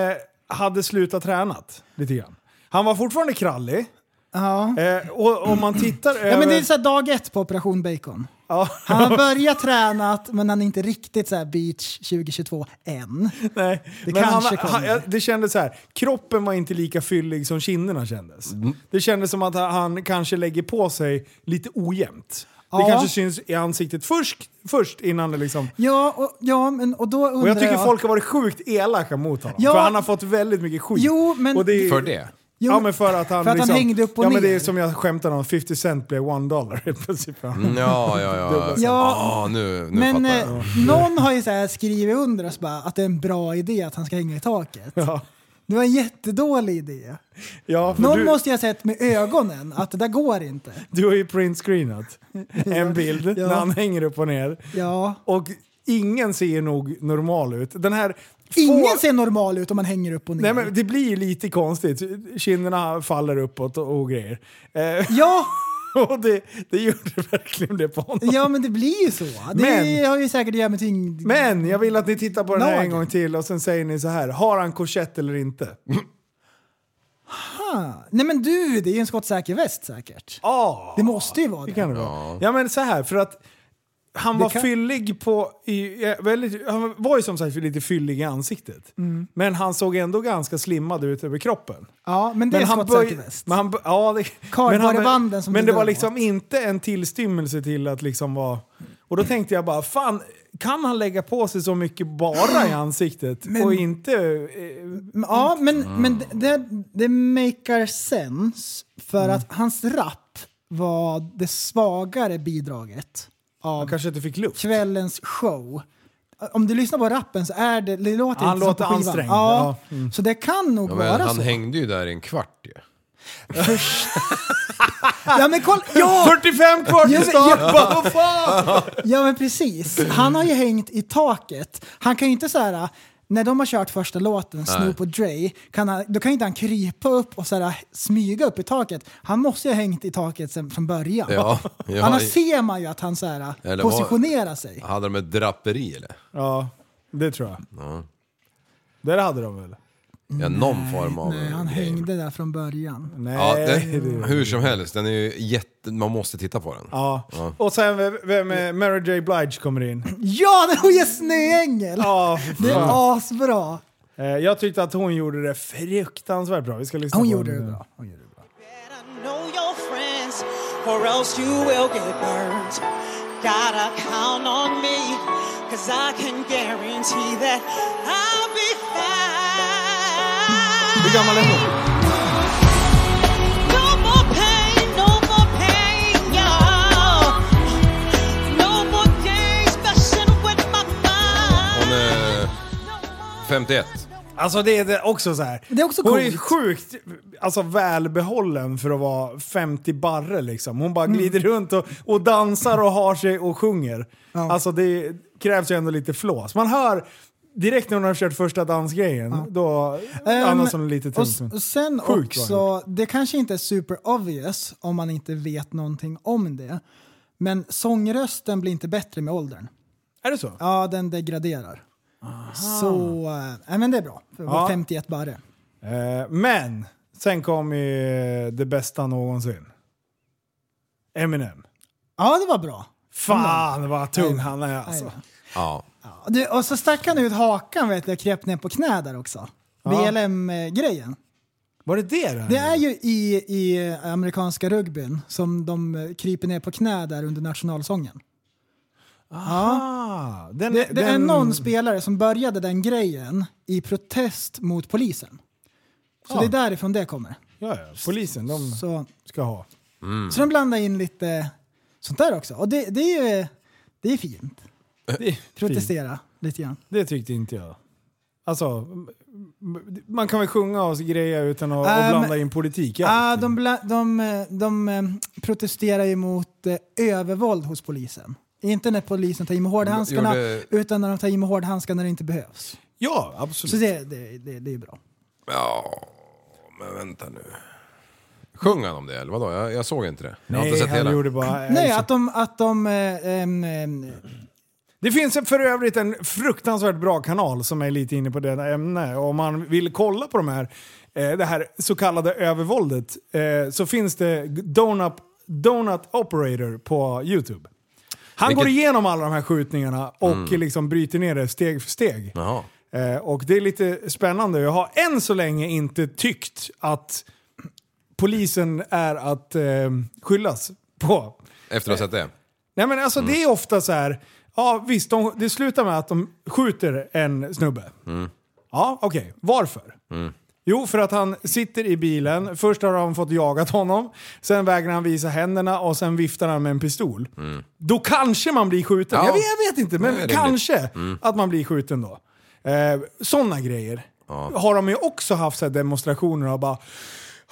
Speaker 6: hade slutat tränat lite grann. Han var fortfarande krallig.
Speaker 7: Ja.
Speaker 6: Eh, och om man tittar över...
Speaker 7: Ja men det är så här dag ett på Operation Bacon.
Speaker 6: Ja,
Speaker 7: Han har börjat tränat men han är inte riktigt så här beach 2022 än.
Speaker 6: nej.
Speaker 7: Det
Speaker 6: Men han,
Speaker 7: kanske
Speaker 6: han,
Speaker 7: kommer.
Speaker 6: ja, det kändes så här, kroppen var inte lika fyllig som kinderna kändes.
Speaker 7: Mm.
Speaker 6: Det kändes som att han kanske lägger på sig lite ojämnt.
Speaker 7: Ja.
Speaker 6: Det kanske syns i ansiktet först, först innan det liksom...
Speaker 7: Ja, och, ja men, och då undrar
Speaker 6: Och jag tycker folk har varit sjukt elaka mot honom.
Speaker 7: Ja.
Speaker 6: För han har fått väldigt mycket skit.
Speaker 7: Jo, men-
Speaker 6: och är-
Speaker 8: För det?
Speaker 7: Jo,
Speaker 6: ja men för att han,
Speaker 7: för att han
Speaker 6: liksom,
Speaker 7: hängde upp och
Speaker 6: ja, Men det
Speaker 7: ner.
Speaker 6: är som jag skämtade om, 50 cent blev one dollar i princip.
Speaker 8: Mm. Ja, ja, ja.
Speaker 7: Ja.
Speaker 8: Ah, nu, nu
Speaker 7: men
Speaker 8: fattar
Speaker 7: eh,
Speaker 8: jag.
Speaker 7: någon har ju så här skrivit under oss bara att det är en bra idé att han ska hänga i taket.
Speaker 6: Ja.
Speaker 7: Det var en jättedålig idé.
Speaker 6: Ja, för
Speaker 7: Någon
Speaker 6: du,
Speaker 7: måste ju ha sett med ögonen att det där går inte.
Speaker 6: du har ju printscreenat en bild
Speaker 7: Ja.
Speaker 6: när han hänger upp och ner.
Speaker 7: Ja.
Speaker 6: Och ingen ser nog normal ut. Den här...
Speaker 7: Ingen
Speaker 6: få-
Speaker 7: ser normal ut om man hänger upp och ner.
Speaker 6: Nej men det blir ju lite konstigt. Kinderna faller uppåt och, och grejer. Eh,
Speaker 7: Ja,
Speaker 6: och det, det gjorde verkligen det på honom.
Speaker 7: ja, men det blir ju så. Det
Speaker 6: Men-
Speaker 7: har ju säkert att göra med tyngd.
Speaker 6: Men jag vill att ni tittar på den här
Speaker 7: Lagen.
Speaker 6: en gång till och sen säger ni så här. Har han korsett eller inte?
Speaker 7: Mm. Nej men du, det är ju en skottsäker väst säkert.
Speaker 6: Ja,
Speaker 7: Det måste ju vara
Speaker 6: det
Speaker 7: det.
Speaker 6: kan det vara. Ja men så här, för att han var
Speaker 7: kan-
Speaker 6: fyllig på... I, eh, väldigt, han var ju som sagt lite fyllig i ansiktet.
Speaker 7: Mm.
Speaker 6: Men han såg ändå ganska slimmad ut över kroppen.
Speaker 7: Ja, men det är
Speaker 6: han
Speaker 7: skottsäker
Speaker 6: böj-
Speaker 7: väst.
Speaker 6: men han bö- ja, det, men
Speaker 7: Kardborrebanden som
Speaker 6: men
Speaker 7: du
Speaker 6: det var
Speaker 7: drar
Speaker 6: liksom inte en tillstymmelse till att liksom vara... Och då tänkte jag bara, fan, kan han lägga på sig så mycket bara i ansiktet och inte... Eh,
Speaker 7: Ja,
Speaker 6: Mm.
Speaker 7: men, men det, det, det makar sense för att hans rap var det svagare bidraget av
Speaker 6: Han kanske inte fick luft.
Speaker 7: kvällens show. Om du lyssnar på rappen så är det, det låter
Speaker 6: Han
Speaker 7: inte som
Speaker 6: låter
Speaker 7: på skivan.
Speaker 6: ansträngd,
Speaker 7: Ja,
Speaker 6: ja. Mm.
Speaker 7: Så det kan nog
Speaker 8: Ja, men
Speaker 7: vara
Speaker 8: han
Speaker 7: så.
Speaker 8: hängde ju där i en kvart ju.
Speaker 7: Ja men kolla! Ja!
Speaker 6: 45 kvar till start! Vad fan!
Speaker 7: ja men precis. Han har ju hängt i taket. Han kan ju inte så här. När de har kört första låten, Snoop och Dre, kan han, då kan ju inte han krypa upp och så här, smyga upp i taket. Han måste ju ha hängt i taket sen, från början.
Speaker 8: Ja, ja.
Speaker 7: Annars ser man ju att han så här,
Speaker 8: Eller vad-
Speaker 7: positionerar sig.
Speaker 8: Hade de ett draperi eller?
Speaker 6: Ja, det tror jag. Där hade de väl?
Speaker 8: Ja, någon form av...
Speaker 7: Nej, han
Speaker 8: grej.
Speaker 7: hängde där från början.
Speaker 6: Nej.
Speaker 8: Ja, det,
Speaker 6: det-
Speaker 8: hur som helst, den är ju jätte... Man måste titta på den.
Speaker 6: Ja. Och sen vem- vem är Mary J Blige kommer in.
Speaker 7: Ja, när hon gör snöängel!
Speaker 6: Ja,
Speaker 7: Det är
Speaker 6: fan.
Speaker 7: asbra!
Speaker 6: Eh, Jag tyckte att hon gjorde det fruktansvärt bra. Vi ska lyssna
Speaker 7: Hon
Speaker 6: på
Speaker 7: gjorde
Speaker 6: den
Speaker 7: det
Speaker 6: nu.
Speaker 7: bra. Hon gjorde det bra.
Speaker 10: Know your friends, or else you will get burned. Gotta count on me, cause I can guarantee that I'll be fine.
Speaker 6: Hur gammal är hon?
Speaker 10: No more pain, no more pain, y'all. No more games, messing with my
Speaker 8: Hon
Speaker 10: mind.
Speaker 8: är 51.
Speaker 6: Alltså det är det också så här.
Speaker 7: Det är också
Speaker 6: hon är
Speaker 7: coolt.
Speaker 6: sjukt alltså, välbehållen för att vara 50 barre liksom. Hon
Speaker 7: Mm.
Speaker 6: bara glider runt och, och dansar och har sig och sjunger. Alltså det krävs ju ändå lite flås. Man hör direkt när hon har kört första dansgrejen, då annars som lite
Speaker 7: Ehm, och,
Speaker 6: tungt. men-
Speaker 7: och sen
Speaker 6: Sjukt vad
Speaker 7: också, det kanske inte är super obvious om man inte vet någonting om det. Men sångrösten blir inte bättre med åldern.
Speaker 6: Är det så?
Speaker 7: Ja, den degraderar. Så, eh, nej men det är bra. För att vara
Speaker 6: Ja.
Speaker 7: 51 barre.
Speaker 6: Eh, men sen kom ju eh, det bästa någonsin. Eminem.
Speaker 7: Ja, det var bra.
Speaker 6: Fan vad tung han är alltså.
Speaker 7: Aj,
Speaker 8: Ja.
Speaker 7: ja. Du, och så stack han ut hakan vet jag, kröp ner på knä där också. BLM-grejen.
Speaker 6: Var det det där?
Speaker 7: Det är ju i, i amerikanska rugbyn som de eh, kryper ner på knä där under nationalsången.
Speaker 6: Ah, den,
Speaker 7: Det, det är
Speaker 6: den-
Speaker 7: någon spelare som började den grejen i protest mot polisen. Så
Speaker 6: Ja.
Speaker 7: det är därifrån det kommer.
Speaker 6: Ja, ja, polisen de
Speaker 7: Så, Eh,
Speaker 6: ska ha.
Speaker 7: så de blandar in lite sånt där också. Och det, det är ju det är fint.
Speaker 6: Det,
Speaker 7: Protestera lite grann.
Speaker 6: det tyckte inte jag. Alltså, m- m- man kan väl sjunga och grejer utan att
Speaker 7: Ähm,
Speaker 6: och blanda in politik? i
Speaker 7: Ah,
Speaker 6: allt.
Speaker 7: de, bla, de, eh, de eh, protesterar ju mot eh, övervåld hos polisen. Inte när polisen tar i med hårdhandskarna,
Speaker 8: Gjorde-
Speaker 7: utan när de tar i med hårdhandskarna när det inte behövs.
Speaker 6: Ja,
Speaker 7: Så
Speaker 6: absolut.
Speaker 7: det, det, det, det är bra.
Speaker 8: Ja, men vänta nu. Sjöng han om det eller vadå? Jag, jag såg inte det. Jag har inte
Speaker 6: Nej,
Speaker 8: sett
Speaker 6: han
Speaker 8: hela.
Speaker 6: gjorde bara...
Speaker 7: Nej, att de... Att de eh, ehm, ehm,
Speaker 6: Det finns en- för övrigt en fruktansvärt bra kanal som är lite inne på det här ämnet. Om man vill kolla på de här, eh, det här så kallade övervåldet eh, så finns det Donut, Donut Operator på YouTube. Han
Speaker 8: Vilket- Mm.
Speaker 6: går igenom alla de här skjutningarna och liksom bryter ner det steg för steg.
Speaker 8: Jaha.
Speaker 6: Eh, och det är lite spännande. Jag har än så länge inte tyckt att polisen är att eh, skyllas på.
Speaker 8: Efter att ha sett det.
Speaker 6: Nej men alltså
Speaker 8: Mm.
Speaker 6: det är ofta så här. Ja visst, de, det slutar med att de skjuter en snubbe.
Speaker 8: Mm.
Speaker 6: Ja, okej. Varför? Jo, för att han sitter i bilen. Först har han fått jagat honom. Sen vägrar han visa händerna och sen viftar han med en pistol. Då kanske man blir skjuten.
Speaker 8: Mm. Ja.
Speaker 6: Jag, vet, jag vet inte, men
Speaker 8: Nej, det är Mm.
Speaker 6: kanske att man blir skjuten då. Eh, Sådana grejer. Har de ju också haft så här demonstrationer och bara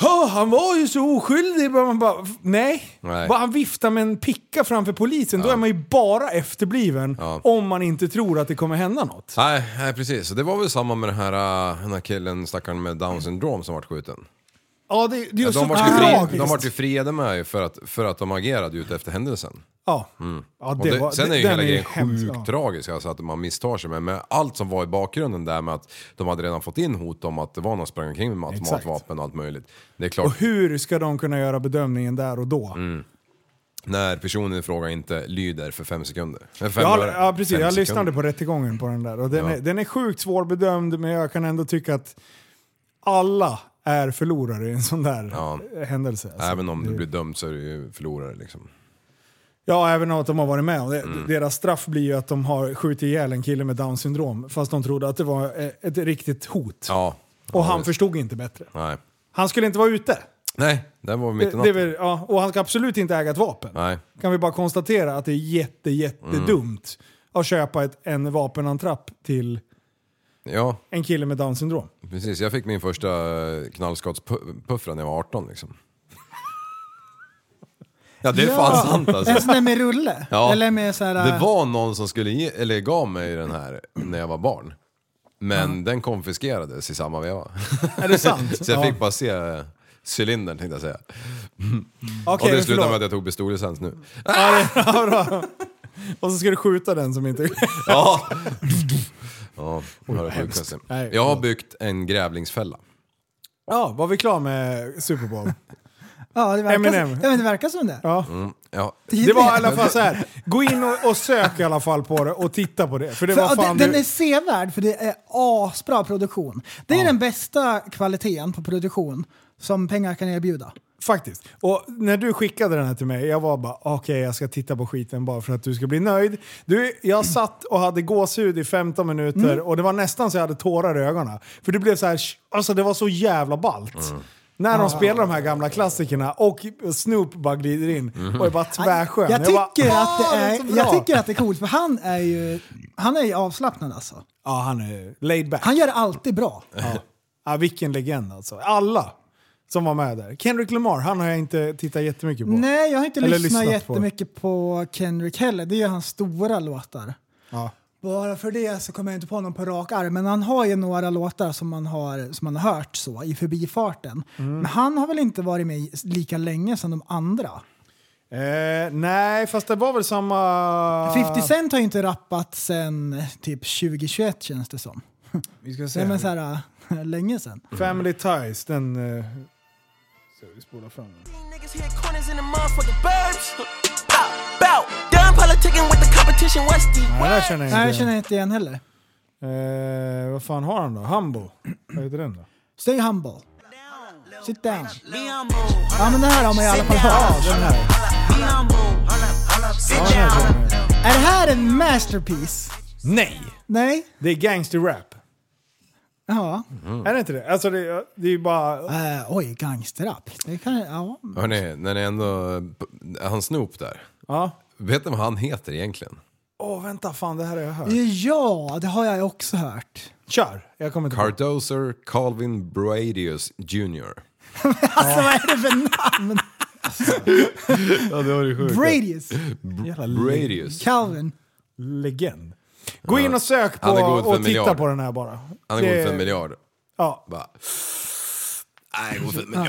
Speaker 6: "Hå, han var ju så oskyldig. Man bara, "F- nej.
Speaker 8: Nej.
Speaker 6: Bara han viftar med en picka framför polisen, då är man ju bara efterbliven
Speaker 8: Ja.
Speaker 6: om man inte tror att det kommer hända något.
Speaker 8: Nej, nej, precis. Så det var väl samma med den här, äh, den här killen, stackaren med Downs syndrom som vart skjuten.
Speaker 6: Ja, det, det är ju
Speaker 8: De
Speaker 6: så Ah,
Speaker 8: vart ju, fri,
Speaker 6: tragiskt.
Speaker 8: de vart ju friade med ju för att, för att de agerade ju ute efter händelsen.
Speaker 6: Ja. ja
Speaker 8: Mm. Och det,
Speaker 6: var-
Speaker 8: sen är ju
Speaker 6: den
Speaker 8: hela grejen
Speaker 6: hemsk,
Speaker 8: sjukt
Speaker 6: ja.
Speaker 8: tragisk, alltså att man misstar sig. Men med allt som var i bakgrunden där med att de hade redan fått in hot om att det var någon som sprang omkring med
Speaker 6: Exakt.
Speaker 8: automatvapen och allt möjligt. Det är klart,
Speaker 6: Och hur ska de kunna göra bedömningen där och då?
Speaker 8: Mm. när personen i fråga inte lyder för fem sekunder. För fem
Speaker 6: Jag,
Speaker 8: öre.
Speaker 6: ja, precis.
Speaker 8: Fem
Speaker 6: Jag
Speaker 8: sekunder.
Speaker 6: lyssnade på rättegången på den där och den,
Speaker 8: Ja.
Speaker 6: är, den är sjukt svårbedömd men jag kan ändå tycka att alla är förlorare i en sån där
Speaker 8: Ja.
Speaker 6: eh, händelse. alltså.
Speaker 8: Även om du blir dömd så är du ju förlorare liksom.
Speaker 6: Ja, även om de har varit med om det.
Speaker 8: Mm.
Speaker 6: Deras straff blir ju att de har skjutit ihjäl en kille med down syndrom fast de trodde att det var eh, ett riktigt hot.
Speaker 8: Ja.
Speaker 6: Och
Speaker 8: ja,
Speaker 6: han
Speaker 8: visst.
Speaker 6: förstod inte bättre.
Speaker 8: Nej.
Speaker 6: Han skulle inte vara ute.
Speaker 8: Nej, det var mitt i
Speaker 6: Det, det är
Speaker 8: natten.
Speaker 6: väl, ja, och han ska absolut inte äga ett vapen.
Speaker 8: Nej.
Speaker 6: Kan vi bara konstatera att det är jätte,
Speaker 8: Mm.
Speaker 6: jättedumt att köpa ett, en vapenantrapp till
Speaker 8: Ja,
Speaker 6: en kille med Downs syndrom.
Speaker 8: precis. Jag fick min första eh, knallskottspuffra när jag var 18 liksom. Ja, det är fan sant alltså.
Speaker 7: En sån där med rulle?
Speaker 8: Ja.
Speaker 7: Eller med så här...
Speaker 8: Det var någon som skulle ge, eller gav mig den här när jag var barn. Men den konfiskerades i samma veva.
Speaker 6: Är det sant?
Speaker 8: Så jag
Speaker 6: Ja.
Speaker 8: fick bara se eh, cylindern tänkte jag säga.
Speaker 6: Okej,
Speaker 8: och det slutade med
Speaker 6: förlåt.
Speaker 8: att jag tog pistollicens nu.
Speaker 6: Ja, bra. Och så ska du skjuta den som inte...
Speaker 8: Ja! ja, det var det
Speaker 6: hemskt.
Speaker 8: sjukaste.
Speaker 6: Nej.
Speaker 8: Jag har byggt en grävlingsfälla.
Speaker 6: Ja, var vi klara med Super Bowl?
Speaker 7: Ja, det verkar,
Speaker 6: Eminem.
Speaker 7: ja, men det verkar som det.
Speaker 6: Ja.
Speaker 8: Ja,
Speaker 6: Det var i alla fall så här. gå in och, och sök i alla fall på det och titta på det. För det
Speaker 7: För,
Speaker 6: var
Speaker 7: ja,
Speaker 6: fan...
Speaker 7: den,
Speaker 6: du-
Speaker 7: den är sevärd för det är asbra produktion. Det är den bästa kvaliteten på produktion som pengar kan erbjuda.
Speaker 6: Faktiskt. Och när du skickade den här till mig, jag var bara okej jag ska titta på skiten bara för att du ska bli nöjd. Du, jag satt och hade gåshud i 15 minuter
Speaker 7: Mm.
Speaker 6: och det var nästan så jag hade tårar i ögonen. För det blev så här, sh- alltså det var så jävla ballt. När
Speaker 7: Ah.
Speaker 6: de spelar de här gamla klassikerna och Snoop bara glider in och är bara tvärskön.
Speaker 7: Jag tycker,
Speaker 6: bara,
Speaker 7: att det
Speaker 6: "Ah,
Speaker 7: är,
Speaker 6: så bra."
Speaker 7: jag tycker att det är coolt för han är ju, han är ju avslappnad alltså.
Speaker 6: Ja, han är laid back.
Speaker 7: Han gör det alltid bra.
Speaker 6: Ja. Ja, vilken legend alltså. Alla som var med där. Kendrick Lamar, han har jag inte tittat jättemycket på.
Speaker 7: Nej, jag har inte
Speaker 6: Eller
Speaker 7: lyssnat,
Speaker 6: lyssnat på.
Speaker 7: jättemycket på Kendrick heller. Det är ju hans stora låtar.
Speaker 6: Ja.
Speaker 7: Bara för det så kommer jag inte på någon på rak arm, men han har ju några låtar som man har, som man har hört så i förbifarten.
Speaker 6: Mm.
Speaker 7: Men han har väl inte varit med i- lika länge som de andra?
Speaker 6: Eh, nej, fast det var väl samma...
Speaker 7: 50 Cent har ju inte rappat sen typ 2021 känns det som.
Speaker 6: Vi ska
Speaker 7: Nej,
Speaker 6: se.
Speaker 7: men så här, äh, länge sen.
Speaker 6: Family Ties, den... Eh... Så vi spolar fram den.
Speaker 11: Niggas hit corners in the motherfucking burbs. Pop, bout. Done politicking with the competition. What's the
Speaker 6: Nej, det här känner jag
Speaker 7: Nej, jag
Speaker 6: inte
Speaker 7: känner
Speaker 6: igen.
Speaker 7: inte igen heller.
Speaker 6: Eh, vad fan har han då? Humble? Vad heter den då?
Speaker 7: Stay humble. Sit down.
Speaker 11: Me on move.
Speaker 7: Ja, men det här har man i alla fall hört.
Speaker 6: Den här.
Speaker 11: Me on move. Sit
Speaker 6: Den här
Speaker 11: down.
Speaker 6: känner jag.
Speaker 7: Är det här en masterpiece?
Speaker 6: Nej!
Speaker 7: Nej?
Speaker 6: Det är gangsterrap.
Speaker 7: Ja.
Speaker 6: Är det inte det? Alltså det, det är ju bara...
Speaker 7: Eh, oj, gangsterrap. Det kan, ja.
Speaker 8: hörni, när det ändå... eh, Han Snoop där.
Speaker 6: Ja.
Speaker 8: Vet ni vad han heter egentligen?
Speaker 6: Åh, vänta fan, det här har jag hört.
Speaker 7: ja, det har jag också hört.
Speaker 6: Kör! Jag kommer inte på.
Speaker 8: Cardoser Calvin Bradius Jr.
Speaker 7: Alltså vad är det för namn?
Speaker 6: Ja, det var ju sjukt.
Speaker 7: Bradius,
Speaker 8: Bradius.
Speaker 7: Calvin.
Speaker 6: Legend. Gå in och sök på
Speaker 8: Han är god för
Speaker 6: och
Speaker 8: en
Speaker 6: titta
Speaker 8: miljard.
Speaker 6: på den här bara.
Speaker 8: Han är god för
Speaker 6: Det-
Speaker 8: en miljard.
Speaker 6: Ja,
Speaker 8: Bara... Nej, god för en miljard.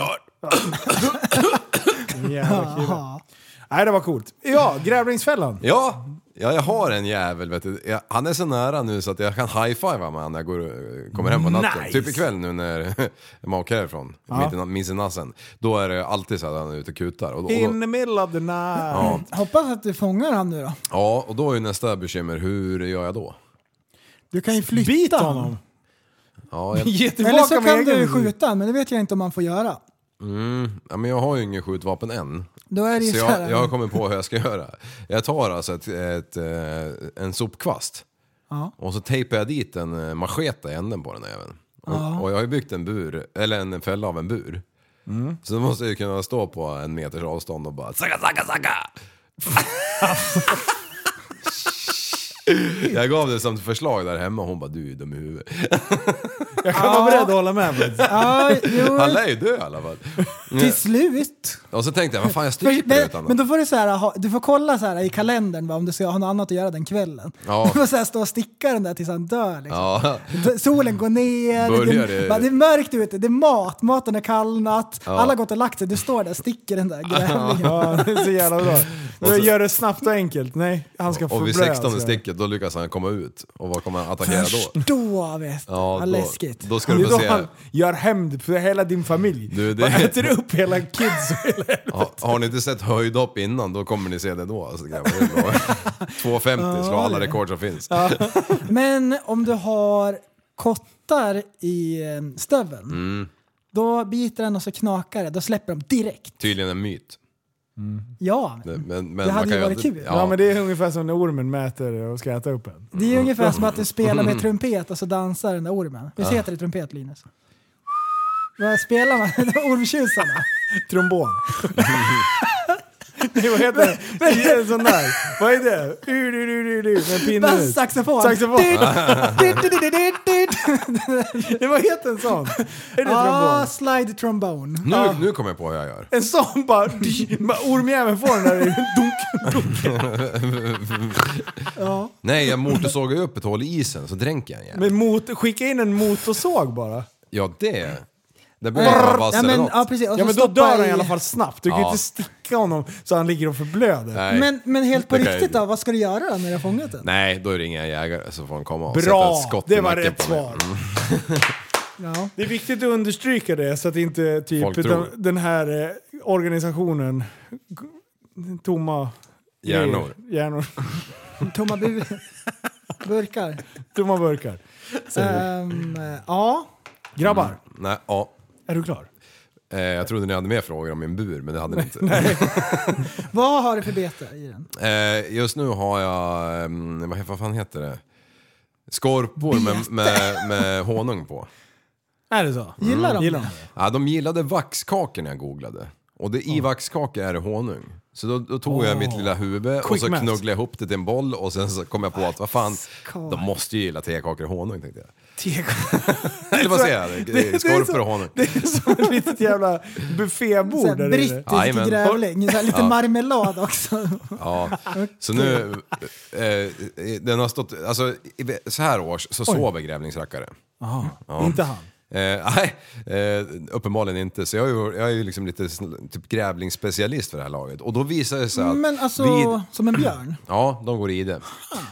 Speaker 6: jävla kille. Nej, det var coolt. Ja, Grävlingsfällan.
Speaker 8: Ja, ja, jag har en jävel vet du. Jag, han är så nära nu så att jag kan high-fiva med honom när jag går, och- kommer hem på natten.
Speaker 6: Nice.
Speaker 8: Typ ikväll nu när jag makar härifrån, mitt i na- minst i nassen. Då är det alltid så att han är ute och kutar. Och, då- och,
Speaker 6: In
Speaker 8: då-
Speaker 6: the middle of the night.
Speaker 7: Hoppas att du fångar han nu då.
Speaker 8: ja, och då är ju nästa bekymmer, hur gör jag då?
Speaker 7: Du kan ju flytta
Speaker 6: Bit
Speaker 7: han.
Speaker 6: honom.
Speaker 8: Ja, jag,
Speaker 6: Ge tillbaka
Speaker 7: Eller så
Speaker 6: med
Speaker 7: kan
Speaker 6: egen
Speaker 7: du
Speaker 6: huvud.
Speaker 7: skjuta han, men det vet jag inte om man får göra.
Speaker 8: ja, men jag har ju ingen skjutvapen än.
Speaker 7: Då är det ju
Speaker 8: Så
Speaker 7: så
Speaker 8: jag,
Speaker 7: här,
Speaker 8: jag har kommit på hur jag ska göra. Jag tar alltså ett, ett, eh, en sopkvast och så tejpar jag dit en eh, machete i änden på den även. Och, och jag har ju byggt en bur, eller en fälla av en bur.
Speaker 7: Mm.
Speaker 8: Så då måste jag ju kunna stå på en meters avstånd och bara sacka, sacka, sacka! jag gav det som ett förslag där hemma och hon bara du är ju dum i huvudet.
Speaker 6: Jag kan vara beredd att hålla med. men-
Speaker 7: Ja, jo,
Speaker 8: Han lär ju dö i alla fall.
Speaker 7: till slut.
Speaker 8: Och så tänkte jag, vad fan jag
Speaker 7: Men,
Speaker 8: stryper utan
Speaker 7: men
Speaker 8: den.
Speaker 7: då får du så här, ha, du får kolla så här i kalendern va, om du ska ha något annat att göra den kvällen.
Speaker 8: Ja.
Speaker 7: Du får så här stå och sticka den där tills han dör. Liksom.
Speaker 8: Ja,
Speaker 7: D- Solen går ner,
Speaker 8: Börjar
Speaker 7: det,
Speaker 8: det-
Speaker 7: va, det är mörkt ute, det är mat, maten har kallnat, alla har gått och lagt sig, du står där och sticker den där grävlingen.
Speaker 6: Ja, det är så jävla bra.
Speaker 8: så-
Speaker 6: Jag gör det snabbt och enkelt. Nej, han ska alltså.
Speaker 8: och vid
Speaker 6: förbröda
Speaker 8: 16
Speaker 6: sig.
Speaker 8: sticket då lyckas han komma ut. Och vad kommer han attackera då?
Speaker 7: Förstå vet du,
Speaker 8: Ja,
Speaker 7: vad
Speaker 8: då,
Speaker 7: läskigt.
Speaker 8: Då ska
Speaker 6: Det
Speaker 8: du
Speaker 6: är
Speaker 8: få
Speaker 6: då han
Speaker 8: se.
Speaker 6: gör hämnd för hela din familj.
Speaker 8: Du, det-
Speaker 6: Bara äter upp hela kids och hela
Speaker 8: Ha, har ni inte sett höjdhopp innan, då kommer ni se det då. Alltså, grabbar, det är bra. 2,50 slår alla rekord som finns.
Speaker 7: Men om du har kottar i eh, stöveln,
Speaker 6: Mm.
Speaker 7: då biter den och så knakar det, då släpper de direkt.
Speaker 8: Tydligen en myt.
Speaker 7: Ja,
Speaker 8: Det- Men, men
Speaker 7: hade
Speaker 8: man
Speaker 7: ju
Speaker 8: kan
Speaker 7: varit
Speaker 8: inte-
Speaker 7: kul.
Speaker 6: Ja. men det är ungefär som när ormen mäter och ska äta upp en.
Speaker 7: det är ju
Speaker 6: Ah.
Speaker 7: ungefär som att du spelar med trumpet och så dansar den där ormen. Visst heter det trumpet Linus? Vad spelar man? Ormtjusarna?
Speaker 6: Trombon. Nej, vad heter det? Det är en sån där. Vad är det? Ur, ur, ur, ur, ur, med pinnen
Speaker 7: Bass,
Speaker 6: ut.
Speaker 7: saxofon.
Speaker 6: Saxofon.
Speaker 7: Dyrt, dyrt, dyrt, dyrt, dyrt, dyrt.
Speaker 6: Det var heter en sån? Är det
Speaker 7: Ah,
Speaker 6: trombon?
Speaker 7: slide trombone.
Speaker 8: Nu, nu kommer jag på hur jag gör.
Speaker 6: En sån bara... bara Ormjäveln får den där. Dunk, dunk. Ja.
Speaker 8: Nej, jag motorsågar ju upp ett hål i isen så dränker jag en jävel.
Speaker 6: Men mot, skicka in en motorsåg bara.
Speaker 8: Ja, det... Det behöver jag vara vass eller något.
Speaker 7: precis. Och
Speaker 6: Ja
Speaker 7: så
Speaker 6: men då
Speaker 7: stoppa
Speaker 6: dör han i alla fall snabbt. Du kan ju
Speaker 8: Ja.
Speaker 6: inte sticka honom så han ligger och förblöder.
Speaker 8: Nej.
Speaker 7: Men, men helt på
Speaker 8: Det kan jag
Speaker 7: riktigt
Speaker 8: inte.
Speaker 7: då, vad ska du göra då när du har fångat den?
Speaker 8: Nej, då ringer jag jägare så får han komma och sätta ett
Speaker 6: Bra!
Speaker 8: skott i
Speaker 6: Det var
Speaker 8: nacken
Speaker 6: rätt
Speaker 8: på mig.
Speaker 6: svar.
Speaker 8: Mm.
Speaker 7: Ja.
Speaker 6: Det är viktigt att understryka det så att inte typ
Speaker 8: Folk
Speaker 6: den,
Speaker 8: tror.
Speaker 6: den här eh, organisationen g- tomma
Speaker 8: Hjärnor.
Speaker 6: hjärnor.
Speaker 7: Tomma bu burkar.
Speaker 6: Tomma burkar.
Speaker 7: Ehm, ja.
Speaker 6: Grabbar,
Speaker 8: Nej, ja.
Speaker 6: är du klar?
Speaker 8: Eh, Jag trodde ni hade mer frågor om min bur, men det hade ni inte.
Speaker 7: Vad har du för bete i
Speaker 6: Mm,
Speaker 7: den?
Speaker 8: Eh, just nu har jag, ehm, vad, he- vad fan heter det? Skorpor med, med, med honung på.
Speaker 6: Är det så?
Speaker 7: Gillar de
Speaker 6: Gillar
Speaker 7: det?
Speaker 6: de
Speaker 8: Ja, de gillade vaxkakor när jag googlade. Och det, i vaxkakor är det honung. Så då, då tog jag mitt lilla huvud och
Speaker 6: Quick
Speaker 8: så
Speaker 6: math.
Speaker 8: knugglade jag ihop det till en boll och sen så kom jag på att vad fan, de måste ju gilla tekakor och honung tänkte jag. Eller vad säger jag?
Speaker 6: det är så-
Speaker 8: Skorpor och honung.
Speaker 6: Det är som ett litet jävla
Speaker 7: Såhär
Speaker 6: buffébord där inne.
Speaker 7: brittisk
Speaker 8: Jajamän.
Speaker 7: grävling, såhär lite
Speaker 8: Ja.
Speaker 7: marmelad också.
Speaker 8: Ja. Så nu, eh, den har stått, alltså i- så här års så sover grävlingsrackare. Ja.
Speaker 6: Inte han.
Speaker 8: Eh, nej, eh, uppenbarligen inte. Så jag är ju, jag är ju liksom lite sn- typ grävlingsspecialist för det här laget. Och då visar det sig att...
Speaker 7: Men alltså,
Speaker 8: vid,
Speaker 7: som en björn.
Speaker 8: ja, de går i det.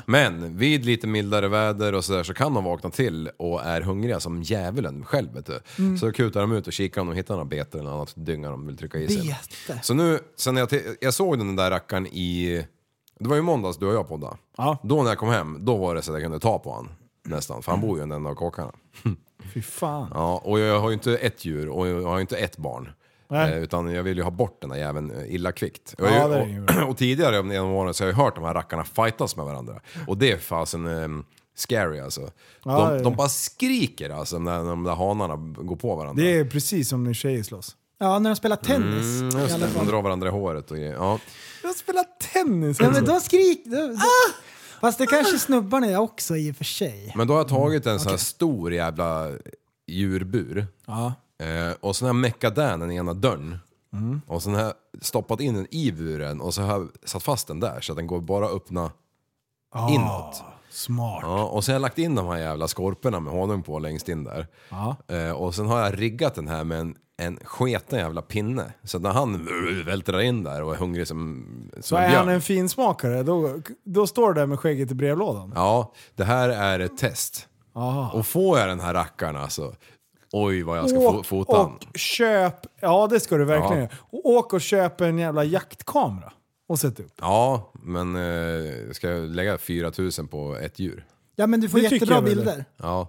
Speaker 8: Men vid lite mildare väder och sådär så kan de vakna till och är hungriga som djävulen själv. Vet du.
Speaker 7: Mm.
Speaker 8: Så kutar de ut och kikar om de hittar några bete eller något annat dynga de vill trycka i sig.
Speaker 7: Bete.
Speaker 8: Så nu, sen jag, te- jag såg den där rackaren i... Det var ju måndags du och jag poddade.
Speaker 6: Ja.
Speaker 8: Då när jag kom hem, då var det så att jag kunde ta på han. Nästan, för han
Speaker 7: Mm.
Speaker 8: bor ju i den av kåkarna.
Speaker 6: Fy fan.
Speaker 8: Ja, och jag har ju inte ett djur och jag har ju inte ett barn.
Speaker 6: Nej.
Speaker 8: Eh, utan jag vill ju ha bort den där jäveln eh, illa kvickt. Jag
Speaker 6: Ja,
Speaker 8: har ju-
Speaker 6: det är ju
Speaker 8: och, och tidigare genom åren så har jag hört de här rackarna fightas med varandra. Och det är fasen eh, scary alltså.
Speaker 6: Ja, det är
Speaker 8: de,
Speaker 6: det.
Speaker 8: de bara skriker alltså när de där hanarna går på varandra.
Speaker 6: Det är precis som när tjejer slåss.
Speaker 7: Ja, när de spelar tennis.
Speaker 8: Mm,
Speaker 7: i
Speaker 8: Just
Speaker 7: alla
Speaker 8: det,
Speaker 7: fall.
Speaker 8: de drar varandra i håret och grejer. ja.
Speaker 6: Jag spelar tennis alltså.
Speaker 7: Ja men då skriker... Då,
Speaker 8: Ah!
Speaker 7: då. Fast det kanske snubbarna är också i och för sig.
Speaker 8: Men då har jag
Speaker 6: Mm.
Speaker 8: tagit en sån här stor jävla djurbur. Eh, och sen har jag meckat där den ena dörren.
Speaker 6: Mm.
Speaker 8: Och sen har jag stoppat in den i buren och så har jag satt fast den där så att den går bara att öppna
Speaker 6: Ah.
Speaker 8: inåt.
Speaker 6: Smart.
Speaker 8: Ja, och sen har jag lagt in de här jävla skorporna med honung på längst in där. Eh, och sen har jag riggat den här med en, en sketen jävla pinne. Så att när han vältrar in där och är hungrig som,
Speaker 6: Så
Speaker 8: som en
Speaker 6: är
Speaker 8: björn.
Speaker 6: han en finsmakare, då, då står du där med skägget i brevlådan.
Speaker 8: Ja, det här är ett test.
Speaker 6: Aha.
Speaker 8: Och får jag den här rackaren alltså, oj vad jag ska
Speaker 6: Åk
Speaker 8: få fota han.
Speaker 6: och köp, ja det ska du verkligen
Speaker 8: Ja.
Speaker 6: göra. Och Åk och köp en jävla jaktkamera och sätt upp.
Speaker 8: Ja, men eh, ska jag lägga 4000 på ett djur?
Speaker 7: Ja men du får
Speaker 6: Det tycker
Speaker 7: jättebra
Speaker 6: jag väl.
Speaker 7: bilder.
Speaker 8: Ja.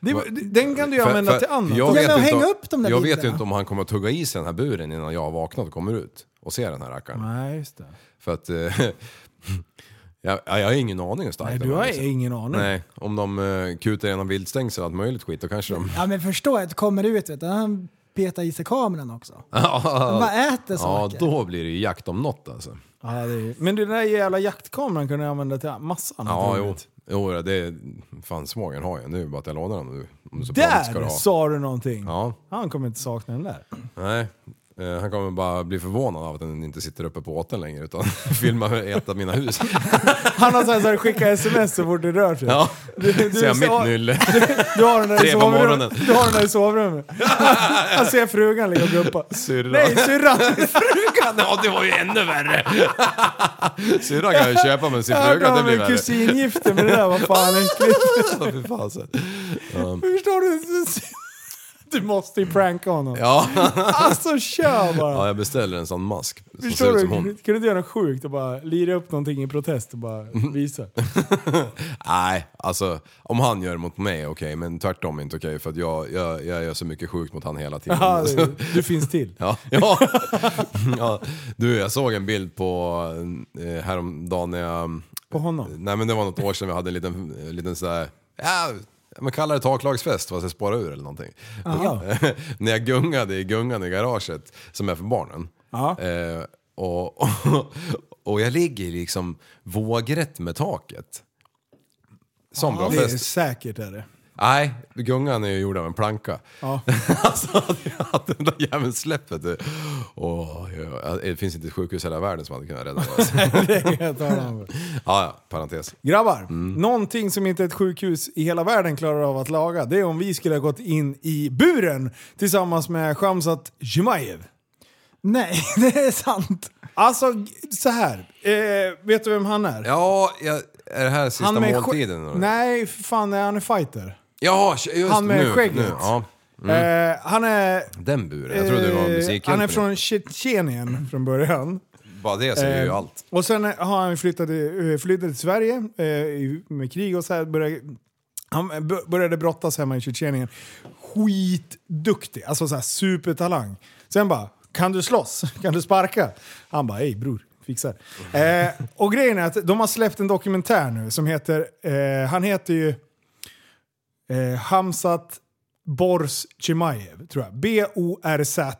Speaker 6: Det,
Speaker 8: Va-
Speaker 6: den kan du ju
Speaker 8: För-
Speaker 6: använda
Speaker 8: för
Speaker 6: till annat.
Speaker 8: Jag,
Speaker 7: Ja,
Speaker 8: vet,
Speaker 7: men
Speaker 8: inte,
Speaker 7: häng
Speaker 8: om-
Speaker 7: upp de där
Speaker 8: jag vet ju
Speaker 7: bilderna.
Speaker 8: inte om han kommer att tugga i sig den här buren innan jag har vaknat och kommer ut och ser den här rackaren.
Speaker 6: Nej, just det.
Speaker 8: För att... eh, jag, jag har ingen aning hur stark
Speaker 6: Nej,
Speaker 8: den
Speaker 6: du
Speaker 8: är,
Speaker 6: har
Speaker 8: liksom.
Speaker 6: ingen aning.
Speaker 8: Nej, om de eh, kutar genom viltstängsel och allt möjligt skit, då kanske de...
Speaker 7: Ja men förstå att det kommer ut vet du. Han petar i sig kameran också. Han
Speaker 8: ja,
Speaker 7: bara äter saker.
Speaker 8: då blir det ju jakt om något alltså.
Speaker 6: Ja, det är, men den där jävla jaktkameran kan du använda till massa annat.
Speaker 8: Ja, jo.
Speaker 6: roligt.
Speaker 8: Jo, det är... Fan, svågern har jag nu. Bara att jag lånar den nu. Om du så prompt ska du
Speaker 6: Där
Speaker 8: ha.
Speaker 6: sa du någonting!
Speaker 8: Ja,
Speaker 6: Han kommer inte sakna den där.
Speaker 8: nej. Eh, Han kommer bara bli förvånad av att den inte sitter uppe på åten längre utan filmar ett av mina hus.
Speaker 6: Han har såhär, såhär, skicka sms så fort det rör sig.
Speaker 8: Ja.
Speaker 6: Du, du,
Speaker 8: Ser jag
Speaker 6: sa-
Speaker 8: mitt nylle.
Speaker 6: Du har den där i
Speaker 8: Tre på
Speaker 6: sovrummet.
Speaker 8: morgonen.
Speaker 6: Du har den där i sovrummet. Han ser frugan ligga och guppa.
Speaker 8: Syrran.
Speaker 6: Nej, syrran!
Speaker 8: Frugan! Ja, det var ju ännu värre! Syrran kan ju köpa men sin
Speaker 6: Jag hörde
Speaker 8: fruga det
Speaker 6: av
Speaker 8: blir
Speaker 6: mig
Speaker 8: värre.
Speaker 6: kusingifte men det där var fan äckligt.
Speaker 8: Ja, fy fasen.
Speaker 6: Förstår du? Du måste ju pranka honom.
Speaker 8: Ja.
Speaker 6: Alltså kör
Speaker 8: ja,
Speaker 6: bara!
Speaker 8: jag beställer en sån mask som
Speaker 6: Förstår
Speaker 8: ser ut
Speaker 6: du?
Speaker 8: som
Speaker 6: Kan du
Speaker 8: hon.
Speaker 6: inte göra något sjukt och bara lira upp någonting i protest och bara
Speaker 8: Mm.
Speaker 6: visa?
Speaker 8: Nej, alltså om han gör det mot mig okej, men tvärtom inte okej för att jag, jag, jag gör så mycket sjukt mot han hela tiden.
Speaker 6: Ja, du, du finns till.
Speaker 8: Ja. Ja. ja. Du, jag såg en bild på eh, häromdagen när jag...
Speaker 6: På honom?
Speaker 8: Nej men det var något år sedan vi hade en liten, en liten sådär... Ja, men kallar det taklagsfest fast jag sparar ur eller någonting.
Speaker 6: Ja.
Speaker 8: när jag gungade i gungan i garaget som är för barnen. Eh, och, och, och jag ligger liksom vågrätt med taket. Som bra
Speaker 6: Det är
Speaker 8: fest.
Speaker 6: säkert är det.
Speaker 8: Nej, gungan är ju gjord av en planka.
Speaker 6: Ja.
Speaker 8: alltså att den där jäveln släpper du. Åh, ja, det finns inte ett sjukhus i hela världen som hade kunnat rädda mig. Alltså.
Speaker 6: Det är helt annorlunda.
Speaker 8: ja, ja, parentes.
Speaker 6: Grabbar,
Speaker 8: Mm.
Speaker 6: någonting som inte ett sjukhus i hela världen klarar av att laga, det är om vi skulle ha gått in i buren tillsammans med Shamsat Jimaev.
Speaker 7: Nej, det är sant.
Speaker 6: Alltså, g- så här. Eh, vet du vem han är?
Speaker 8: Ja, jag, är det här sista
Speaker 6: han med skä-
Speaker 8: måltiden? eller?
Speaker 6: Nej, för fan, nej, han är fighter.
Speaker 8: Ja, just
Speaker 6: Han med
Speaker 8: nu,
Speaker 6: skägget.
Speaker 8: Nu, ja.
Speaker 6: Eh, han är...
Speaker 8: Den buren, Mm. jag trodde det var
Speaker 6: eh,
Speaker 8: musikhjälpen.
Speaker 6: Han är från Tjetjenien från början.
Speaker 8: Bara Alltså, det säger ju
Speaker 6: Eh,
Speaker 8: allt.
Speaker 6: Och sen eh, har han flyttat, i- eh, flyttat till Sverige eh, i- med krig och så här. Började, han eh, bör- började brottas hemma i Tjetjenien. Skitduktig, alltså så här supertalang. Sen bara, kan du slåss? Kan du sparka? Han bara, ej bror. Fixar. Eh, och grejen är att de har släppt en dokumentär nu som heter, eh, han heter ju eh, Hamzat Bors Chimaev, tror jag. B-O-R-Z.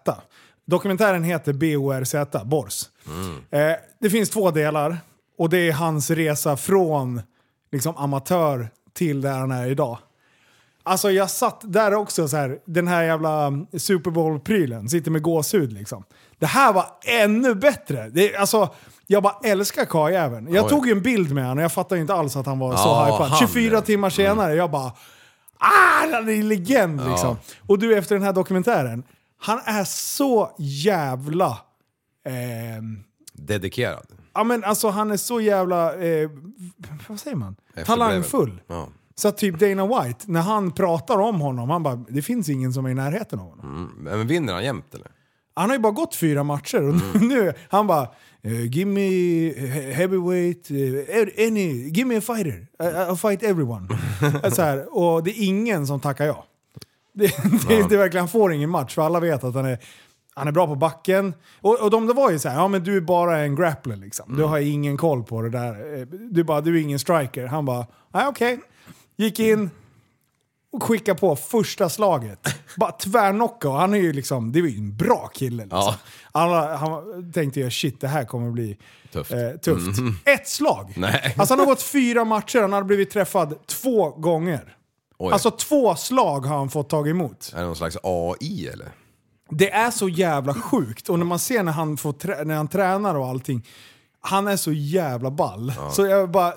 Speaker 6: Dokumentären heter B-O-R-Z, Bors. Eh, det finns två delar och det är hans resa från liksom, amatör till där han är idag. Alltså jag satt där också så här, den här jävla mm, Super Bowl-prylen, sitter med gåshud liksom. Det här var ännu bättre! Det, alltså, jag bara älskar karljäveln. Jag
Speaker 8: Oj.
Speaker 6: tog ju en bild med honom och jag fattade inte alls att han var så
Speaker 8: Ja,
Speaker 6: hypad.
Speaker 8: han,
Speaker 6: 24
Speaker 8: ja. Mm.
Speaker 6: timmar senare, jag bara ah, han är en legend liksom. Och du, efter den här dokumentären, han är så jävla... ehm,
Speaker 8: Dedikerad.
Speaker 6: ja men alltså han är så jävla... Eh, vad säger man?
Speaker 8: Efterbleven.
Speaker 6: Talangfull.
Speaker 8: Ja.
Speaker 6: Så att typ Dana White, när han pratar om honom, han bara “det finns ingen som är i närheten av honom”.
Speaker 8: Mm. Men vinner han jämt eller?
Speaker 6: Han har ju bara gått fyra matcher och nu, han bara eh, “give me he- heavyweight, eh, any, give me a fighter, I, I'll fight everyone”. Alltså så här, och det är ingen som tackar ja. Det, det, det är verkligen, han får ingen match för alla vet att han är, han är bra på backen. Och, och de där var ju så här, ja men du är bara en grappler liksom. Du
Speaker 8: Mm.
Speaker 6: har ingen koll på det där. Eh, Du bara, du är ingen striker. Han bara, nej okej. Gick in och skickade på första slaget. Bara tvärnocka och han är ju liksom, det är ju en bra kille liksom.
Speaker 8: Ja.
Speaker 6: Alla, han tänkte ju shit det här kommer bli
Speaker 8: Tufft.
Speaker 6: eh, tufft. Ett slag!
Speaker 8: Mm. Nej.
Speaker 6: Alltså han har gått fyra matcher, han har blivit träffad två gånger.
Speaker 8: Oj.
Speaker 6: Alltså två slag har han fått tag emot.
Speaker 8: Är det någon slags AI eller?
Speaker 6: Det är så jävla sjukt och när man ser när han, får trä- när han tränar och allting. Han är så jävla ball. Så jag bara,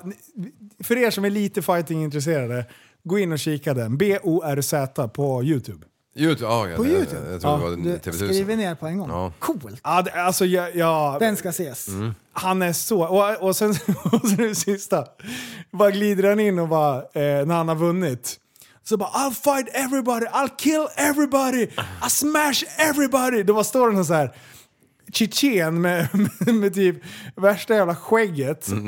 Speaker 6: för er som är lite fighting-intresserade, gå in och kika den. B-O-R-Z på YouTube.
Speaker 8: YouTube? ah, Ja, jag,
Speaker 7: På
Speaker 8: Jag,
Speaker 7: YouTube?
Speaker 8: jag, jag tror det var
Speaker 7: Du, skriver
Speaker 8: TV1000.
Speaker 7: ner på en gång.
Speaker 8: Ja.
Speaker 7: Coolt.
Speaker 6: Ja, det, alltså jag, jag,
Speaker 7: Den ska ses.
Speaker 6: Han är så... Och, och sen och sen det sista. Bara glider han in och bara, eh, när han har vunnit. Så bara I'll fight everybody, I'll kill everybody, I smash everybody. Då bara står den så här tjetjen med, med, med typ värsta jävla skägget. Eh,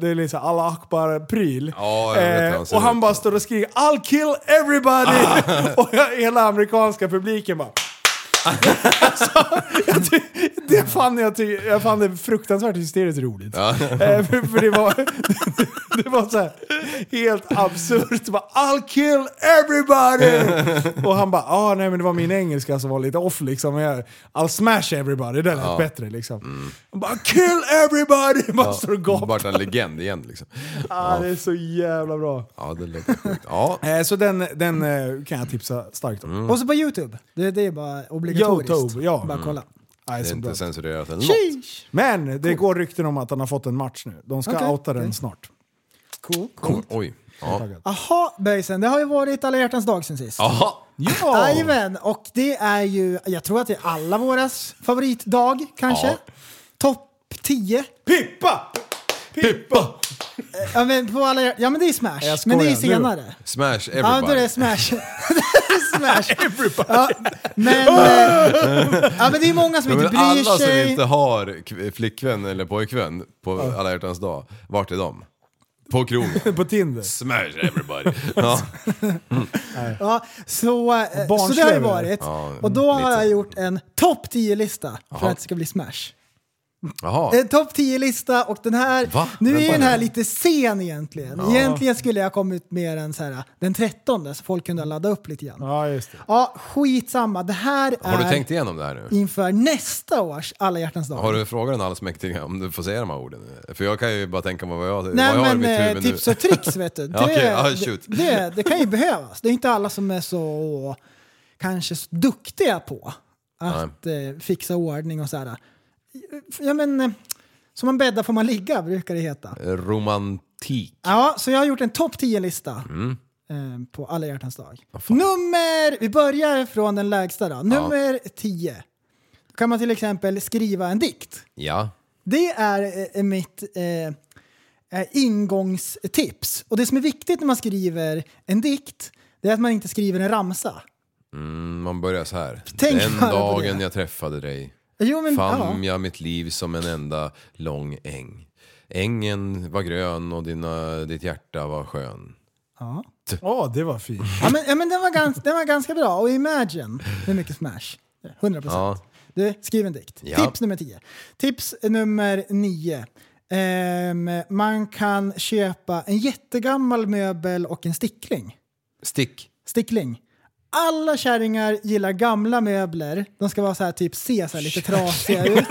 Speaker 6: det är liksom alla akbar-pryl.
Speaker 8: Ja, jag vet hur han ser
Speaker 6: Eh, och han
Speaker 8: ut.
Speaker 6: bara står och skriker I'll kill everybody! och hela amerikanska publiken bara jag ty- det fann jag, ty- jag fann det fruktansvärt hysteriskt roligt. Eh, för, för det var, det, var så här helt absurt. Bara, I'll kill everybody! Och han bara, ah, nej men det var min engelska som var lite off liksom. Men Jag, I'll smash everybody, det lät bättre liksom.
Speaker 8: Mm.
Speaker 6: Han bara, kill everybody! Bara står och gapar.
Speaker 8: Vart en legend igen liksom.
Speaker 6: Ah, det är så jävla bra.
Speaker 8: Ja, det låter sjukt. Ja.
Speaker 6: Eh, så den, den eh, kan jag tipsa starkt om.
Speaker 8: Mm.
Speaker 7: Och så på YouTube. Det, det är bara obligatoriskt.
Speaker 6: Youtube, ja.
Speaker 8: Mm.
Speaker 7: Bara kolla.
Speaker 6: Ah,
Speaker 8: Det är
Speaker 6: så bra.
Speaker 8: inte censurerat eller något.
Speaker 7: Sheesh.
Speaker 6: Men det går rykten om att han har fått en match nu. De ska
Speaker 7: Okej,
Speaker 6: outa den
Speaker 7: okej.
Speaker 6: snart.
Speaker 7: Cool.
Speaker 8: Cool. Oj. Ja.
Speaker 7: Jaha, Böjsen. Det har ju varit alla hjärtans dag sen sist.
Speaker 8: Aha.
Speaker 7: Jajamän, och det är ju, jag tror att det är alla våras favoritdag kanske.
Speaker 8: Ja.
Speaker 7: Topp 10.
Speaker 6: Pippa! Pippa!
Speaker 7: Ja men, på alla, hjär- ja men det är
Speaker 6: Jag
Speaker 7: Smash,
Speaker 6: skojar,
Speaker 7: men det är ju
Speaker 6: nu då.
Speaker 7: senare.
Speaker 8: Smash
Speaker 7: Ja, då är
Speaker 8: everybody.
Speaker 7: det Smash. det är Smash. Ja, men, eh, ja, men det är många som
Speaker 8: Ja,
Speaker 7: inte
Speaker 8: men
Speaker 7: bryr
Speaker 8: alla som
Speaker 7: sig.
Speaker 8: inte har kv- flickvän eller pojkvän på alla hjärtans dag, vart är de? På krogen.
Speaker 6: På Tinder.
Speaker 8: Smash everybody. Ja.
Speaker 7: Ja, så, eh, så det
Speaker 6: barnsliga
Speaker 7: har det
Speaker 6: är det.
Speaker 7: varit.
Speaker 8: Ja,
Speaker 7: och då har
Speaker 8: lite.
Speaker 7: jag gjort en topp 10-lista för
Speaker 8: Jaha.
Speaker 7: att det ska bli Smash.
Speaker 8: Jaha.
Speaker 7: En topp 10-lista och den här...
Speaker 8: Va?
Speaker 7: Nu
Speaker 8: Vänta
Speaker 7: är den
Speaker 8: nu.
Speaker 7: här lite sen egentligen.
Speaker 8: Ja.
Speaker 7: Egentligen skulle jag ha kommit med den, så här, eh, den 13 så folk kunde ladda upp lite grann.
Speaker 6: Ja, just det.
Speaker 7: Ja, skitsamma. Det här
Speaker 8: Har du
Speaker 7: är
Speaker 8: tänkt igenom det här nu?
Speaker 7: inför nästa års alla hjärtans dag.
Speaker 8: Har du frågat den allsmäktiga om du får säga de här orden? För jag kan ju bara tänka på vad jag,
Speaker 7: Nej
Speaker 8: vad jag har i
Speaker 7: men
Speaker 8: mitt
Speaker 7: eh,
Speaker 8: huvud nu.
Speaker 7: tips och tricks vet du.
Speaker 8: Ja, okej. Ja,
Speaker 7: det,
Speaker 8: shoot.
Speaker 7: det, det kan ju behövas. Det är inte alla som är så kanske så duktiga på att eh, fixa ordning och sådär. Ja men, eh, som man bäddar får man ligga brukar det heta.
Speaker 8: Romantik.
Speaker 7: Ja, så jag har gjort en topp 10-lista
Speaker 8: Mm.
Speaker 7: eh, på alla hjärtans dag. Nummer, vi börjar från den lägsta då. Nummer 10. Då kan man till exempel skriva en dikt.
Speaker 8: Ja.
Speaker 7: Det är eh, mitt eh, eh, ingångstips. Och det som är viktigt när man skriver en dikt, det är att man inte skriver en ramsa.
Speaker 8: Mm, man börjar så här.
Speaker 7: Tänk
Speaker 8: Den
Speaker 7: bara på
Speaker 8: dagen
Speaker 7: det.
Speaker 8: jag träffade dig
Speaker 7: Jo, men,
Speaker 8: fann
Speaker 7: ja.
Speaker 8: jag mitt liv som en enda lång äng. Ängen var grön och dina, ditt hjärta var skön.
Speaker 7: Ja.
Speaker 6: Ja, det var fint.
Speaker 7: Ja, men, ja, men den, var ganska, den var ganska bra. Och Imagine, det är mycket smash. 100 procent.
Speaker 8: Ja.
Speaker 7: Du, skriv en dikt.
Speaker 8: Ja.
Speaker 7: Tips nummer 10. Tips nummer 9. Ehm, man kan köpa en jättegammal möbel och en stickling.
Speaker 8: Stick.
Speaker 7: Stickling. Alla kärringar gillar gamla möbler. De ska vara så här typ se så här lite trasiga ut.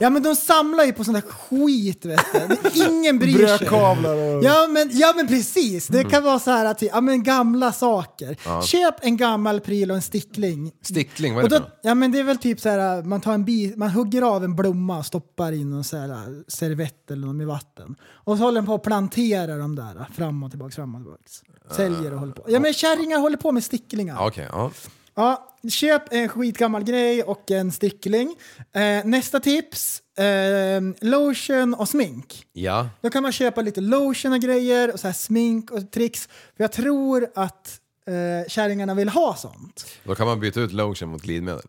Speaker 7: Ja men de samlar ju på sån där skit vet du. Ingen bryr sig.
Speaker 6: Brödkavlar och... Mm.
Speaker 7: Ja men, ja men precis, det kan vara så här att ja, men gamla saker. Köp en gammal pryl och en stickling.
Speaker 8: Stickling, vad är
Speaker 7: Och
Speaker 8: det
Speaker 7: då,
Speaker 8: för något?
Speaker 7: ja men det är väl typ så här, man, tar en bi, man hugger av en blomma och stoppar in en så här äh, servett eller något i vatten. Och så håller den på att plantera de där äh, fram och tillbaks, fram och tillbaks. Säljer och håller på. Ja men kärringar håller på med sticklingar.
Speaker 8: Ja, Okej, ja.
Speaker 7: Ja, köp en skitgammal grej och en stickling. Eh, nästa tips, eh, lotion och smink.
Speaker 8: Ja.
Speaker 7: Då kan man köpa lite lotion och grejer och så här smink och tricks. För jag tror att eh, kärringarna vill ha sånt.
Speaker 8: Då kan man byta ut lotion mot glidmedel.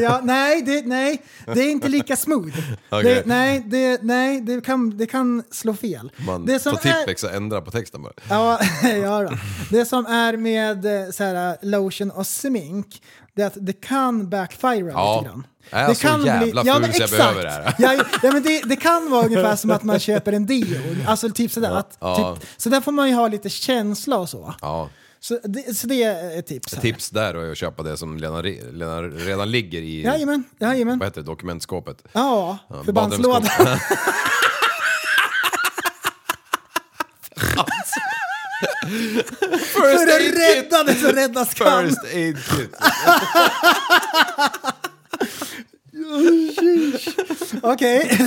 Speaker 7: ja, nej, det, nej, det är inte lika smooth.
Speaker 8: Okej.
Speaker 7: Det, nej, det, nej det, kan, det kan slå fel.
Speaker 8: Man liksom.
Speaker 7: det
Speaker 8: tar Tippex och ändrar på texten bara.
Speaker 7: Ja, ja då. Det som är med eh, så här, lotion och smink, det är att det kan backfira
Speaker 8: Ja.
Speaker 7: lite grann.
Speaker 8: Är jag
Speaker 7: det
Speaker 8: så jävla
Speaker 7: ja,
Speaker 8: ful
Speaker 7: men
Speaker 8: så jag
Speaker 7: exakt.
Speaker 8: behöver det här?
Speaker 7: Ja, ja, men det, det kan vara ungefär som att man köper en deo. Alltså typ sådär. Att,
Speaker 8: Ja.
Speaker 7: typ, så där får man ju ha lite känsla och så.
Speaker 8: Ja.
Speaker 7: Så det, så det är ett tips. Här.
Speaker 8: Tips där är att köpa det som redan, redan, redan ligger i
Speaker 7: Jajamän, jajamän.
Speaker 8: vad heter det, dokumentskåpet.
Speaker 7: Ja, förbandslådan.
Speaker 8: badrumsskåpet.
Speaker 7: För att rädda det så räddas kan.
Speaker 8: First aid kit.
Speaker 7: Okej,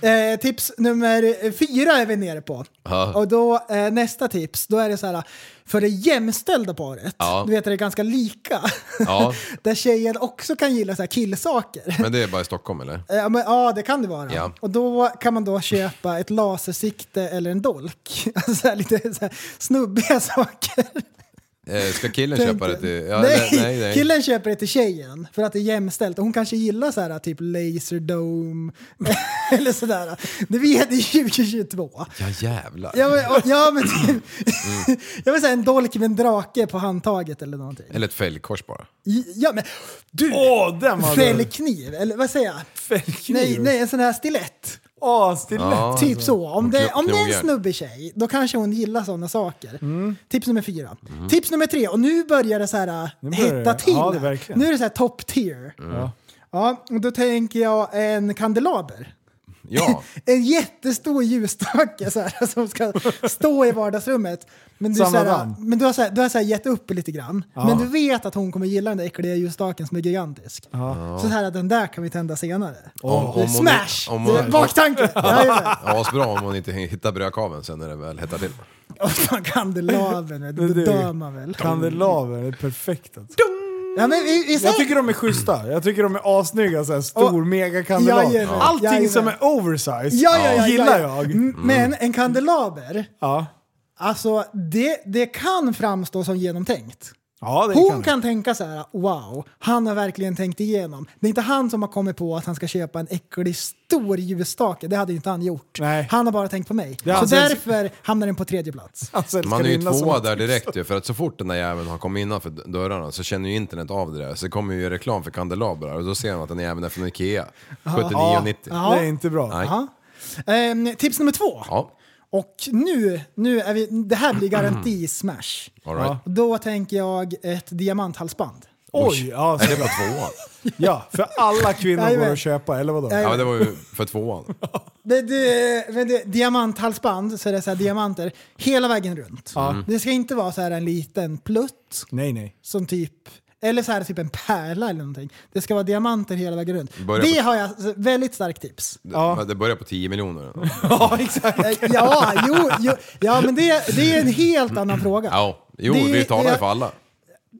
Speaker 7: eh, tips nummer fyra är vi nere på.
Speaker 8: Ja.
Speaker 7: Och då, eh, nästa tips, då är det så här, för det jämställda paret,
Speaker 8: Ja.
Speaker 7: du vet att det är ganska lika,
Speaker 8: Ja.
Speaker 7: där tjejen också kan gilla så här killsaker. Eh,
Speaker 8: Men det är bara i Stockholm eller?
Speaker 7: Ja, men, ja, det kan det vara.
Speaker 8: Ja.
Speaker 7: Och då kan man då köpa ett lasersikte eller en dolk. Alltså så här, lite så här, snubbiga saker.
Speaker 8: Eh, ska killen
Speaker 7: Tänk
Speaker 8: köpa det
Speaker 7: dig.
Speaker 8: till... Ja,
Speaker 7: nej,
Speaker 8: nej, nej, nej.
Speaker 7: killen köper det till tjejen för att det är jämställt. Och hon kanske gillar så här typ Laserdome eller sådär. Det vet det är 2022.
Speaker 8: Ja jävlar.
Speaker 7: Ja men, ja, men typ,
Speaker 8: Mm.
Speaker 7: jag vill säga en dolk med en drake på handtaget eller någonting.
Speaker 8: Eller ett fälgkors bara.
Speaker 7: Ja men du!
Speaker 6: Åh, den var
Speaker 7: Fällkniv, eller vad säger jag?
Speaker 6: Fällkniv.
Speaker 7: Nej, nej, en sån här stilett.
Speaker 6: Åh, stilett.
Speaker 8: Ja. alltså,
Speaker 7: Typ så. Om det, om det är en
Speaker 8: Knogjärn.
Speaker 7: snubbig tjej, då kanske hon gillar sådana saker.
Speaker 6: Mm.
Speaker 7: Tips nummer fyra.
Speaker 8: Mm.
Speaker 7: Tips nummer tre, och nu börjar det så här
Speaker 6: börjar
Speaker 7: hetta
Speaker 6: det.
Speaker 7: till.
Speaker 6: Ja, det är verkligen.
Speaker 7: nu är det så här top tier.
Speaker 8: Mm.
Speaker 6: Ja.
Speaker 7: Ja, och då tänker jag en kandelaber.
Speaker 8: Ja.
Speaker 7: En jättestor ljusstake så här, som ska stå i vardagsrummet. Men du, så
Speaker 6: Samma
Speaker 7: här,
Speaker 6: band.
Speaker 7: men du har, så här, du har så här gett upp lite grann. Men du vet att hon kommer gilla den där äckliga ljusstaken som är gigantisk. Så här, den där kan vi tända senare.
Speaker 8: Om- om hon-
Speaker 7: Smash!
Speaker 8: om hon-
Speaker 7: Baktanke! Jajamän.
Speaker 8: Ja, bra om hon inte hittar brödkaveln sen när det väl hettar till.
Speaker 7: Åh fan, kandelabern, vet du,
Speaker 6: Det-
Speaker 7: då
Speaker 6: det-
Speaker 7: dör man väl.
Speaker 6: Kandelaber, det är perfekt alltså.
Speaker 7: Ja, men vi, vi
Speaker 6: Jag
Speaker 7: säger,
Speaker 6: tycker de är schyssta. Jag tycker de är assnygga. Så här stor
Speaker 7: Och-
Speaker 6: megakandelaber.
Speaker 7: Jajamän,
Speaker 6: Allting
Speaker 7: jajamän.
Speaker 6: som är oversized
Speaker 7: ja, ja, Mm. ja,
Speaker 6: gillar
Speaker 7: ja, ja.
Speaker 6: jag. Mm.
Speaker 7: M- Men en kandelaber,
Speaker 6: Ja.
Speaker 7: alltså det, det kan framstå som genomtänkt.
Speaker 6: Ja, det
Speaker 7: Hon
Speaker 6: kan
Speaker 7: kan,
Speaker 6: det.
Speaker 7: tänka så här, wow, han har verkligen tänkt igenom. Det är inte han som har kommit på att han ska köpa en äcklig stor ljusstake, det hade ju inte han gjort. Han har bara tänkt på mig.
Speaker 6: Det är
Speaker 7: så
Speaker 6: hans-
Speaker 7: därför hamnar den på tredje plats.
Speaker 6: Alltså,
Speaker 8: Man är ju tvåa där direkt ju, för att så fort den där jäveln har kommit innanför dörrarna så känner ju internet av det där. Så kommer ju reklam för kandelabrar och då ser man att den jäveln är från IKEA. 79,90.
Speaker 7: Ja. Det är
Speaker 6: inte bra.
Speaker 8: Nej.
Speaker 7: Jaha. Ehm, tips nummer två. Och nu, nu är vi, det här blir garanti-smash.
Speaker 8: Mm. All right.
Speaker 7: Då tänker jag ett diamanthalsband.
Speaker 6: Oj! Ja,
Speaker 8: Är det bara tvåan?
Speaker 6: ja, för alla kvinnor går
Speaker 7: Jajamän.
Speaker 6: att köpa, eller vadå?
Speaker 8: Ja, men det var ju för tvåan.
Speaker 7: Det, det, men det, diamanthalsband, så är det så här diamanter hela vägen runt.
Speaker 8: Mm.
Speaker 6: Ja.
Speaker 7: Det ska inte vara så här en liten plutt
Speaker 6: Nej, nej.
Speaker 7: som typ eller så här typ en pärla eller någonting. Det ska vara diamanter hela vägen runt.
Speaker 8: Börja
Speaker 7: det
Speaker 8: på-
Speaker 7: har jag väldigt starkt tips. Eh,
Speaker 8: Ja. Det börjar på 10 miljoner.
Speaker 6: Ja, exakt.
Speaker 7: ja, jo, jo, ja, men det, det är en helt annan fråga.
Speaker 8: Ja, jo,
Speaker 7: Det-
Speaker 8: vi talar ju
Speaker 7: det-
Speaker 8: för alla.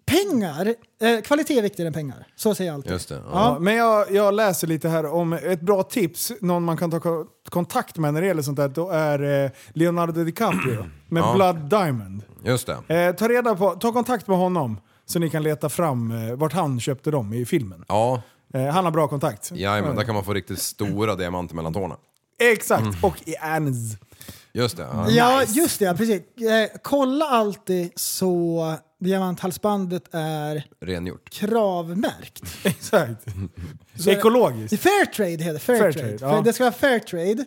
Speaker 7: Pengar, eh, kvalitet är viktigare än pengar. Så säger jag alltid.
Speaker 8: Just det.
Speaker 6: Ja,
Speaker 8: Ja.
Speaker 6: men jag, jag läser lite här om ett bra tips, någon man kan ta ko- kontakt med när det gäller sånt där, då är eh, Leonardo DiCaprio med
Speaker 8: Ja.
Speaker 6: Blood Diamond.
Speaker 8: Just det.
Speaker 6: Eh, ta, reda på, ta kontakt med honom så ni kan leta fram eh, vart han köpte dem i filmen.
Speaker 8: Ja,
Speaker 6: Eh, han har bra kontakt.
Speaker 8: men där kan man få riktigt stora diamanter mellan tårna.
Speaker 6: Exakt, och i Anz.
Speaker 8: Just det. Ja.
Speaker 7: Ja, just det. ja, Precis. Eh, kolla alltid så diamanthalsbandet är
Speaker 8: Rengjort.
Speaker 7: kravmärkt.
Speaker 6: Exakt. Så ekologiskt.
Speaker 7: Fairtrade heter det.
Speaker 6: Fair
Speaker 7: Fairtrade.
Speaker 6: trade,
Speaker 7: För
Speaker 6: ja.
Speaker 7: Det ska vara fairtrade.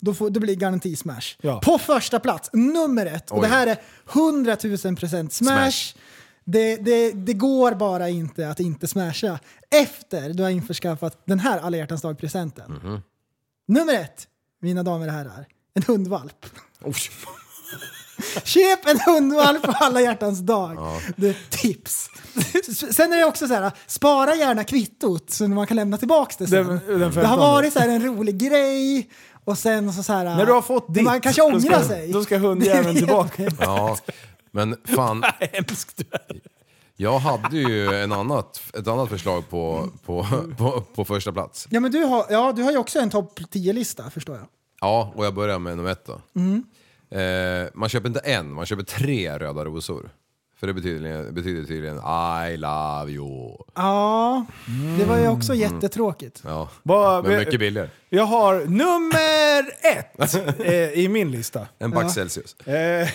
Speaker 7: Då, får, då blir det garanti smash.
Speaker 6: Ja.
Speaker 7: På första plats, nummer ett. Och
Speaker 8: Oj.
Speaker 7: det här är 100 000 procent smash.
Speaker 8: Smash.
Speaker 7: Det, det, det går bara inte att inte smasha efter du har införskaffat den här alla hjärtans dag-presenten. Nummer ett, mina damer och herrar, en hundvalp. Köp en hundvalp på alla hjärtans dag. Det är tips. Sen är det också så här, spara gärna kvittot så man kan lämna tillbaka det sen.
Speaker 6: Den- den
Speaker 7: det har
Speaker 6: 15.
Speaker 7: varit så här en rolig grej och sen så, så här...
Speaker 6: När du har fått ditt,
Speaker 7: Man kanske
Speaker 6: då ska,
Speaker 7: ångrar sig.
Speaker 6: då ska hundjäveln tillbaka.
Speaker 8: Ja, men fan. Jag hade ju en annat, ett annat förslag på, på, på, på första plats.
Speaker 7: Ja, men du har, ja, du har ju också en topp 10-lista förstår jag.
Speaker 8: Ja, och jag börjar med nummer ett då. Eh, man köper inte en, man köper tre röda rosor. För det betyder, betyder tydligen I love you.
Speaker 7: Ja, det var ju också
Speaker 6: Mm.
Speaker 7: jättetråkigt.
Speaker 8: Ja,
Speaker 6: Vad-
Speaker 8: men mycket billigare.
Speaker 6: Jag har nummer ett eh, i min lista.
Speaker 8: En back Celsius.
Speaker 6: Eh,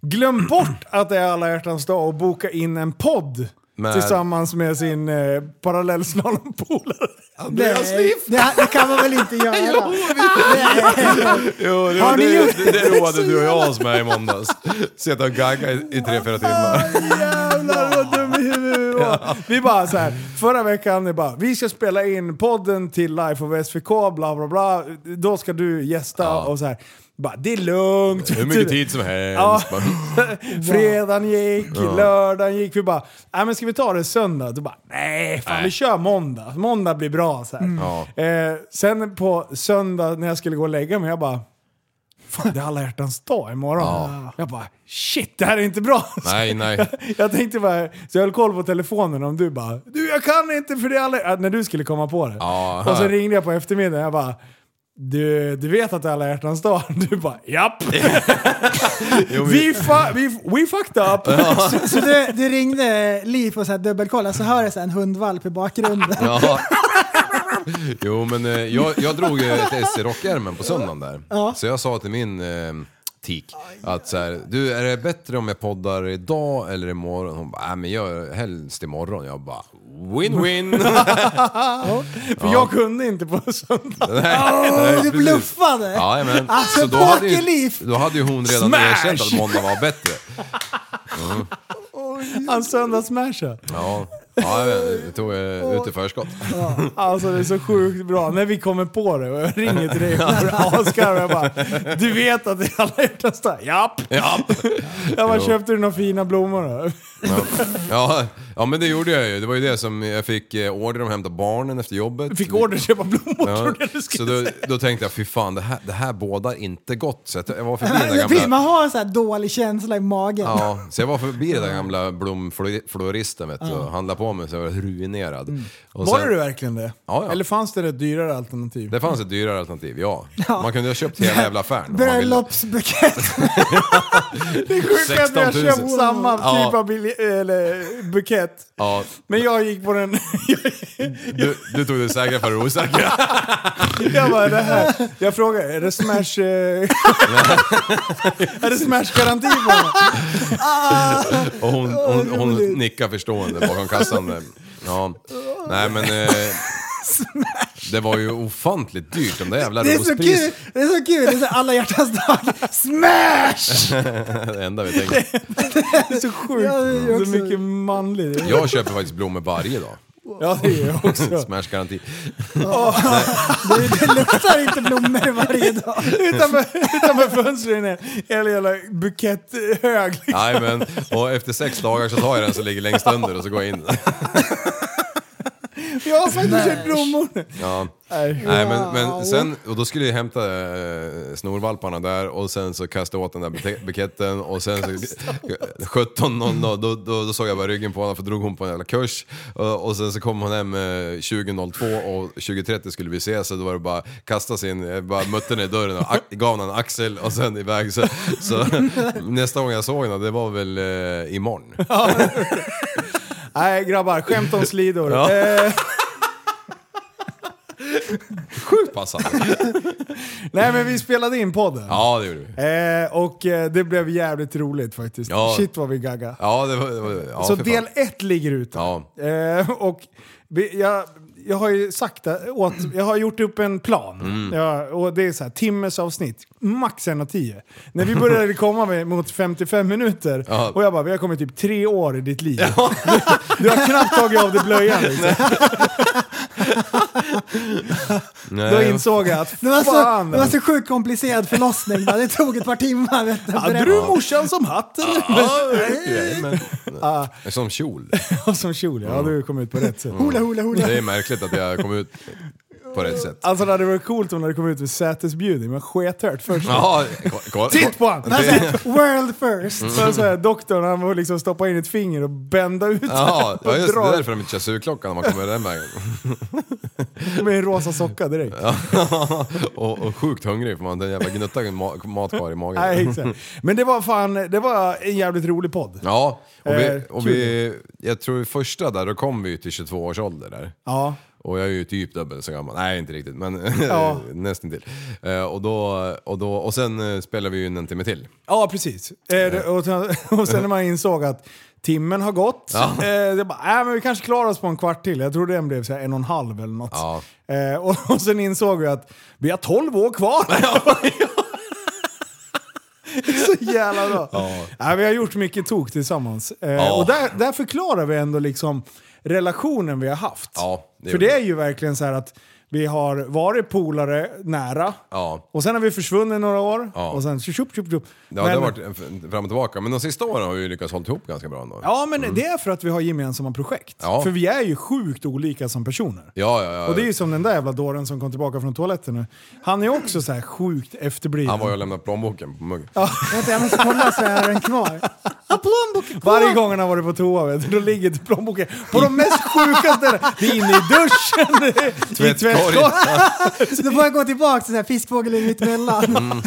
Speaker 6: glöm bort att det är alla hjärtans dag och boka in en podd
Speaker 8: Med-
Speaker 6: tillsammans med sin eh, parallellslalompolare. Andreas
Speaker 7: Nej,
Speaker 6: Liff.
Speaker 7: det, här- det kan man väl inte göra?
Speaker 8: Jo, det,
Speaker 7: Har ni
Speaker 8: det,
Speaker 7: gjort
Speaker 8: det, det roade du och jag oss med i måndags. Sitta och gagga i, i tre, fyra timmar.
Speaker 6: Jävlar vad dum i huvudet vi var. Vi bara så här, förra veckan det bara, vi ska spela in podden till Life of SVK, bla bla bla. Då ska du gästa och så här. Bara, det är lugnt.
Speaker 8: Hur mycket tid som
Speaker 6: Ja.
Speaker 8: helst. Bara,
Speaker 6: Fredagen gick, lördagen gick. Vi bara, nej men ska vi ta det söndag? Då bara, nej fan
Speaker 8: Nej. Mm.
Speaker 6: vi kör måndag. Måndag blir bra så här.
Speaker 8: Ja.
Speaker 6: Eh, sen på söndag när jag skulle gå och lägga mig, jag bara, fan det är alla hjärtans dag imorgon.
Speaker 8: Ja.
Speaker 6: Jag bara, shit det här är inte bra.
Speaker 8: Nej, nej.
Speaker 6: Jag tänkte bara, så jag höll koll på telefonen om du bara du jag kan inte för det är alla... ja, När du skulle komma på det.
Speaker 8: Ja.
Speaker 6: Och så ringde jag på eftermiddagen jag bara du, du vet att det är alla hjärtans dag? Du bara japp!
Speaker 8: Jo,
Speaker 6: vi, fa- vi, we fucked up!
Speaker 7: Så du, du ringde Liv och så här dubbelkollade så hör jag så här en hundvalp i bakgrunden.
Speaker 8: Ja. Jo, men eh, jag, jag drog ju ett S i rockärmen på söndagen där. Så jag sa till min eh, tik att så här, du är det bättre om jag poddar idag eller imorgon? Hon bara, nej men gör helst imorgon. Jag bara, win-win!
Speaker 6: För jag kunde inte på söndag.
Speaker 8: Nej,
Speaker 7: du
Speaker 8: precis.
Speaker 7: bluffade!
Speaker 8: Ja, men.
Speaker 7: Alltså,
Speaker 8: så då hade, ju,
Speaker 7: bakeliv.
Speaker 8: då hade ju hon redan
Speaker 6: Smash!
Speaker 8: erkänt att måndag var bättre.
Speaker 6: Han söndagssmashade.
Speaker 8: Ja, ja jag vet, det tog jag ut i förskott.
Speaker 6: Alltså det är så sjukt bra. När vi kommer på det och jag ringer till dig och blir asgarv. Jag bara du vet att det är alla hjärtans dag? Japp!
Speaker 8: Ja,
Speaker 6: Jag bara
Speaker 8: Jo.
Speaker 6: köpte du några fina blommor då?
Speaker 8: ja Ja men det gjorde jag ju. Det var ju det som jag fick eh, order om att hämta barnen efter jobbet.
Speaker 6: Fick order att köpa blommor
Speaker 8: Ja,
Speaker 6: trodde jag
Speaker 8: så
Speaker 6: du skulle
Speaker 8: då,
Speaker 6: säga.
Speaker 8: då tänkte jag, fy fan det här, det här bådar inte gott. Så jag t- jag var förbi den
Speaker 7: Det är
Speaker 8: där
Speaker 7: precis,
Speaker 8: gamla...
Speaker 7: man har en sån här dålig känsla i magen.
Speaker 8: Ja, så jag var förbi den där gamla blomfloristen vet du, och handlade på mig så jag var ruinerad. Och
Speaker 6: Mm. Var
Speaker 8: sen-
Speaker 6: det verkligen det?
Speaker 8: Ja, ja.
Speaker 6: Eller fanns det ett dyrare alternativ?
Speaker 8: Det fanns ett dyrare alternativ, ja. Man kunde ha köpt hela jävla affären. om man ville.
Speaker 7: Bröllopsbukett.
Speaker 6: Det är sjukt att
Speaker 8: 16
Speaker 6: jag
Speaker 8: 000.
Speaker 6: köpt samma
Speaker 8: Ja.
Speaker 6: typ av bilje- eller bukett.
Speaker 8: Ja,
Speaker 6: Men jag gick på den...
Speaker 8: du, du tog det säkra för det osäkra.
Speaker 6: jag bara det här. Jag frågar, är det smash... eh, är det smash-garanti på den?
Speaker 8: Och hon, hon, hon nickar förstående bakom kassan. Ja. Nej men... Eh, det var ju ofantligt dyrt de där jävla
Speaker 7: Det är så
Speaker 8: rospriserna.
Speaker 7: kul! Det är så kul! Det är så här alla hjärtans dag. Smash!
Speaker 8: det enda vi tänker.
Speaker 6: Det är så sjukt.
Speaker 7: Ja, det är ju
Speaker 6: så
Speaker 7: också-
Speaker 6: mycket manligt.
Speaker 8: Jag köper faktiskt blommor varje dag.
Speaker 6: Ja, det är jag också.
Speaker 8: Smashgaranti.
Speaker 7: Det, det luktar inte blommor varje dag.
Speaker 6: utanför, utanför fönstren är hela jävla buketthög.
Speaker 8: Nej men, och efter sex dagar så tar jag den som ligger längst under och så går jag in.
Speaker 6: Jag har faktiskt köpt blommor.
Speaker 8: Ja.
Speaker 6: Nej.
Speaker 8: Nej men, men sen, och då skulle jag hämta eh, snorvalparna där och sen så kastade jag åt den där bute- buketten och sen så 17.00 då, då, då såg jag bara ryggen på henne för drog hon på en jävla kurs och, och sen så kom hon hem eh, 20.02 och 20.30 skulle vi ses så då var det bara kasta sin, jag bara mötte henne i dörren och a- gav henne en axel och sen iväg så, så nästa gång jag såg henne det var väl eh, imorgon.
Speaker 6: Nej grabbar, skämt om slidor.
Speaker 8: Ja.
Speaker 6: Eh,
Speaker 8: Sjukt passande!
Speaker 6: nej men vi spelade in podden.
Speaker 8: Ja det gjorde vi.
Speaker 6: Eh, och eh, det blev jävligt roligt faktiskt.
Speaker 8: Ja.
Speaker 6: Shit vad vi gagga.
Speaker 8: Ja det var... Det var ja,
Speaker 6: Så
Speaker 8: för fan.
Speaker 6: del ett ligger ute.
Speaker 8: Ja.
Speaker 6: Eh, och vi- jag, jag har ju sagt det åt, jag har gjort upp en plan.
Speaker 7: Mm.
Speaker 6: Ja, och det är så här, timmes avsnitt, max en och tio. När vi började komma med, mot 55 minuter,
Speaker 8: Ja.
Speaker 6: och jag bara, vi har kommit typ tre år i ditt liv. Du, du har knappt tagit av dig blöjan liksom.
Speaker 8: Nej,
Speaker 6: Då
Speaker 8: vad
Speaker 6: insåg jag att
Speaker 7: Det var så,
Speaker 6: fan.
Speaker 7: det var så sjukt komplicerad förlossning. bara. Det tog ett par timmar. Vet du,
Speaker 6: Hade du morsan som hatten?
Speaker 8: Jajamän. Som kjol.
Speaker 6: Ja. Som kjol, ja. Du kom ut på rätt sätt.
Speaker 7: Hula, hula, hula.
Speaker 8: Det är märkligt att jag kom ut på rätt sätt.
Speaker 6: Alltså det hade varit coolt om det hade kommit ut med sätesbjudning, men skethört först.
Speaker 8: Jaha, ko- ko-
Speaker 6: Titt på han!
Speaker 7: Alltså, World first.
Speaker 8: Mm.
Speaker 6: Så här, så här, doktorn han får liksom stoppa in ett finger och bända ut
Speaker 8: Jaha,
Speaker 6: och
Speaker 8: ja, just det.
Speaker 6: dra
Speaker 8: Det är därför de inte kör surklockan när man kommer den vägen.
Speaker 6: med en rosa socka direkt.
Speaker 8: Och, och sjukt hungrig för man har en jävla gnutta ma- mat kvar i magen.
Speaker 6: Nej, exakt. Men det var fan, det var en jävligt rolig podd.
Speaker 8: Ja, och, vi,
Speaker 6: Eh,
Speaker 8: och vi, jag tror första där, då kom vi ju till 22 års ålder där.
Speaker 6: Ja.
Speaker 8: Och jag är ju typ dubbel så gammal. Nej, inte riktigt, men
Speaker 6: Ja.
Speaker 8: nästintill. Eh, Och, då, och, då, och sen eh, spelade vi ju in en timme till.
Speaker 6: Ja, precis. Eh, det- och, sen- och sen när man insåg att timmen har gått,
Speaker 8: Ja.
Speaker 6: eh, det bara, äh, men vi kanske klarar oss på en kvart till. Jag tror den blev så här en och en halv eller något.
Speaker 8: Ja.
Speaker 6: Eh, och, och sen insåg vi att vi har tolv år kvar. Det är så jävla bra. Nej, vi har gjort mycket tok tillsammans. Eh,
Speaker 8: Ja.
Speaker 6: Och där, där förklarar vi ändå liksom relationen vi har haft.
Speaker 8: Ja, det
Speaker 6: För
Speaker 8: gjorde
Speaker 6: det är
Speaker 8: vi.
Speaker 6: ju verkligen så här att vi har varit polare nära.
Speaker 8: Ja.
Speaker 6: Och sen har vi försvunnit några år.
Speaker 8: Ja.
Speaker 6: Och sen tjup, tjup, tjup.
Speaker 8: Ja, det har varit en- fram och tillbaka. Men de sista åren har vi ju lyckats hålla ihop ganska bra ändå.
Speaker 6: Ja, men det är för att vi har gemensamma projekt.
Speaker 8: Mm. Ja.
Speaker 6: För vi är ju sjukt olika som personer.
Speaker 8: Ja, ja, ja.
Speaker 6: Och det är ju som den där jävla dåren som kom tillbaka från toaletten nu. Han är också så här sjukt efterbliven.
Speaker 8: Han var ju och lämnade plånboken på muggen.
Speaker 7: Vänta, jag måste kolla så jag har den kvar. Ja, plånboken kvar.
Speaker 6: Varje gång han har varit på toa, vet du, då ligger plånboken på de mest sjuka ställena. Det är inne i duschen, det är i tvättkorgen.
Speaker 7: Så då får jag gå tillbaka till så här fiskfågeln mittemellan.
Speaker 8: Mm.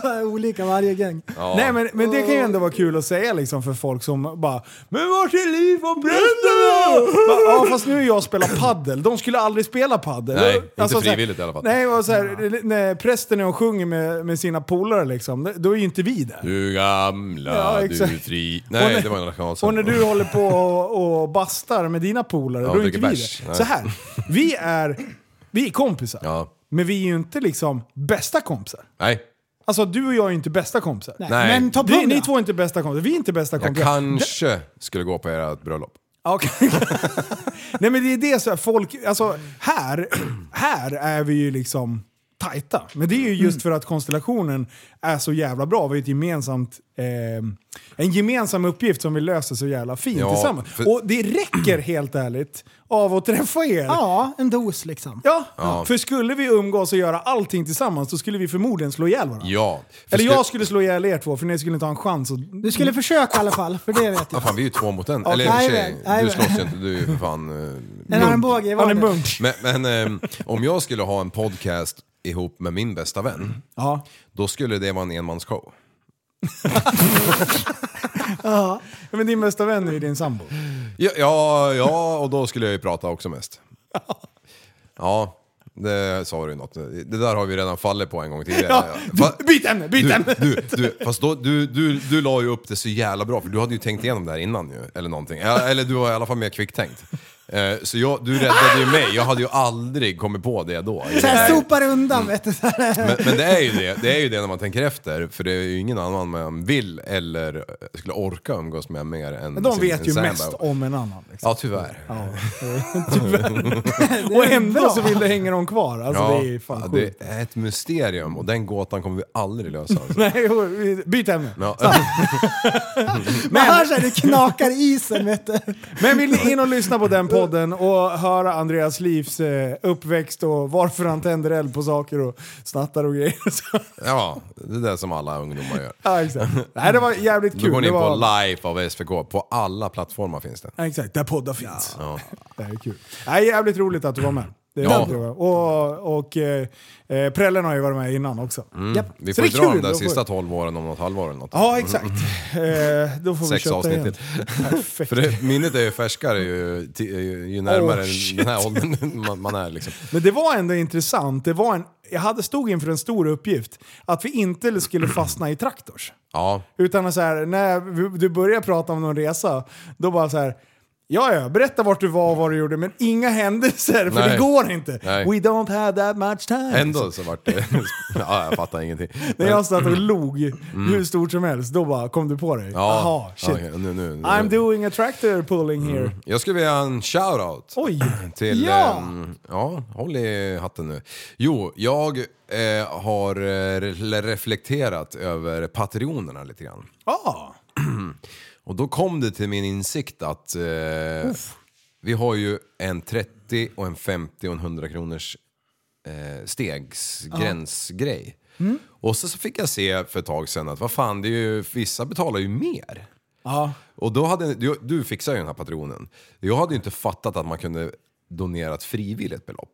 Speaker 7: Bara Olika varje gång.
Speaker 6: Nej men, men det kan ju ändå vara kul att säga liksom för folk som bara “Men vart är liv och bränderna?” Bara, Ja fast nu är jag och spelar paddel. de skulle aldrig spela paddel. Alltså,
Speaker 8: Nej, inte
Speaker 6: så här-
Speaker 8: frivilligt i alla fall.
Speaker 6: Nej, och så här, när prästen är och sjunger med, med sina polare liksom, då är ju inte vi där.
Speaker 8: Du gamla,
Speaker 6: Ja,
Speaker 8: du
Speaker 6: exakt.
Speaker 8: fri...
Speaker 6: Och
Speaker 8: Nej,
Speaker 6: när-
Speaker 8: det var en nationalsång.
Speaker 6: Och när du håller på och, och bastar med dina polare,
Speaker 8: Ja,
Speaker 6: då är
Speaker 8: dricker
Speaker 6: inte vi
Speaker 8: bärs.
Speaker 6: det.
Speaker 8: Nej.
Speaker 6: Så här, vi är, vi är kompisar.
Speaker 8: Ja.
Speaker 6: Men vi är ju inte liksom bästa kompisar.
Speaker 8: Nej.
Speaker 6: Alltså du och jag är ju inte bästa kompisar.
Speaker 8: Nej.
Speaker 7: Men topp
Speaker 6: Du, ni
Speaker 7: 100.
Speaker 6: två är inte bästa kompisar, vi är inte bästa
Speaker 8: Jag
Speaker 6: kompisar.
Speaker 8: kanske skulle gå på ert bröllop.
Speaker 6: Ja, okej. Nej men det är det så här, folk, alltså här, här är vi ju liksom tajta. Men det är ju just för att konstellationen är så jävla bra. Vi har ett gemensamt, eh, en gemensam uppgift som vi löser så jävla fint
Speaker 8: Ja,
Speaker 6: tillsammans.
Speaker 8: för-
Speaker 6: Och det räcker helt ärligt av att träffa er.
Speaker 7: Ja, en dos liksom.
Speaker 6: Ja,
Speaker 8: Ja.
Speaker 6: för skulle vi umgås och göra allting tillsammans då skulle vi förmodligen slå ihjäl varandra.
Speaker 8: Ja.
Speaker 6: Eller jag skulle slå ihjäl er två för ni skulle inte ha en chans att...
Speaker 7: Du skulle försöka i alla fall, för det vet
Speaker 8: Ja,
Speaker 7: jag.
Speaker 8: fan, vi är ju två mot en.
Speaker 7: Ja,
Speaker 8: Eller i och för
Speaker 7: nej,
Speaker 8: sig,
Speaker 7: nej,
Speaker 8: du
Speaker 7: nej.
Speaker 8: slåss ju inte. Du är ju för fan... eh,
Speaker 7: En armbåge i
Speaker 6: Han är
Speaker 7: vardagen.
Speaker 6: munk.
Speaker 8: Men, men ehm, om jag skulle ha en podcast ihop med min bästa vän,
Speaker 6: Ja.
Speaker 8: då skulle det vara en enmansshow.
Speaker 6: Ja, Men din bästa vän är ju din sambo.
Speaker 8: Ja, ja, ja, och då skulle jag ju prata också mest. Ja, det sa du något. Det där har vi redan fallit på en gång tidigare.
Speaker 6: Ja,
Speaker 8: Fa-
Speaker 6: du, byt ämne, byt
Speaker 8: du,
Speaker 6: ämne!
Speaker 8: Du, du, fast då, du, du, du la ju upp det så jävla bra, för du hade ju tänkt igenom det här innan ju, eller någonting. Ja, Eller du var i alla fall mer kvicktänkt. Eh, Så jag, du räddade ju mig, jag hade ju aldrig kommit på det då.
Speaker 7: Så här sopar undan
Speaker 6: Mm.
Speaker 7: vet du. Så här.
Speaker 8: Men, men det är ju det, det är ju det när man tänker efter, för det är ju ingen annan man vill eller skulle orka umgås med mer än
Speaker 6: Men de
Speaker 8: sin-
Speaker 6: vet
Speaker 8: sin
Speaker 6: ju
Speaker 8: sambo.
Speaker 6: mest om en annan. Liksom.
Speaker 8: Ja, tyvärr.
Speaker 6: och ändå så vill det hänga dem kvar. Alltså
Speaker 8: Ja,
Speaker 6: det är fan
Speaker 8: ja,
Speaker 6: sjukt.
Speaker 8: det är ett mysterium och den gåtan kommer vi aldrig lösa. Alltså.
Speaker 6: Nej, jo, vi- byt ämne.
Speaker 8: Ja,
Speaker 7: Man hör såhär, det knakar i isen vet du.
Speaker 6: Men vill ni in och lyssna på den podden och höra Andreas livs eh, uppväxt och varför han tänder eld på saker och snattar och grejer. Så,
Speaker 8: ja, det är det som alla ungdomar gör.
Speaker 6: ja, exakt. Nej, det var jävligt kul.
Speaker 8: Då går ni
Speaker 6: det
Speaker 8: in på
Speaker 6: var...
Speaker 8: Life av SVK, på alla plattformar finns det.
Speaker 6: Ja, exakt, där poddar finns.
Speaker 8: Ja.
Speaker 6: Det här är kul. Nej, jävligt roligt att du var med. Det
Speaker 8: Ja.
Speaker 6: var bra. Och, och eh, eh, Prellen har ju varit med innan också.
Speaker 7: Japp.
Speaker 8: Vi
Speaker 6: Så
Speaker 8: får
Speaker 6: det
Speaker 8: ju
Speaker 6: är
Speaker 8: dra de
Speaker 6: kul,
Speaker 8: där
Speaker 6: då får-
Speaker 8: sista 12 åren om något halvår eller något.
Speaker 6: Ja, exakt. Eh, då får vi
Speaker 8: Sex
Speaker 6: köta
Speaker 8: avsnitt
Speaker 6: igen.
Speaker 8: till.
Speaker 6: Perfekt.
Speaker 8: För det, minnet är ju färskare ju, ti- ju, ju närmare
Speaker 6: Oh, shit.
Speaker 8: den här åldern man, man är liksom.
Speaker 6: Men det var ändå intressant. Det var en, jag hade stod inför en stor uppgift. Att vi inte skulle fastna i traktors.
Speaker 8: Ja,
Speaker 6: Utan att så här, när vi- du börjar prata om någon resa, då bara så här. Ja, ja, berätta vart du var och vad du gjorde, men inga händelser, för
Speaker 8: Nej.
Speaker 6: det går inte.
Speaker 8: Nej.
Speaker 6: We don't have that much time.
Speaker 8: ändå så vart det... Ja, jag fattar ingenting.
Speaker 6: När jag satt och log hur stort som helst, då bara kom du på dig.
Speaker 8: Mm. Ja,
Speaker 6: Aha, shit.
Speaker 8: okej, nu, nu, nu.
Speaker 6: I'm doing a tractor pulling here.
Speaker 8: Jag skulle vilja ha en shout-out.
Speaker 6: Oj!
Speaker 8: Till, eh,
Speaker 6: Ja.
Speaker 8: ja. ja, håll i hatten nu. Jo, jag eh, har eh, re- reflekterat över patrionerna lite grann.
Speaker 6: Ah.
Speaker 8: Och då kom det till min insikt att eh, vi har ju en 30 och en 50 och en 100 kronors eh, stegsgränsgrej.
Speaker 7: Mm.
Speaker 8: Och så, så fick jag se för ett tag sedan att vad fan, det är ju, vissa betalar ju mer.
Speaker 6: Ja.
Speaker 8: Och då hade, du, du fixar ju den här patronen. Jag hade ju inte fattat att man kunde donera ett frivilligt belopp.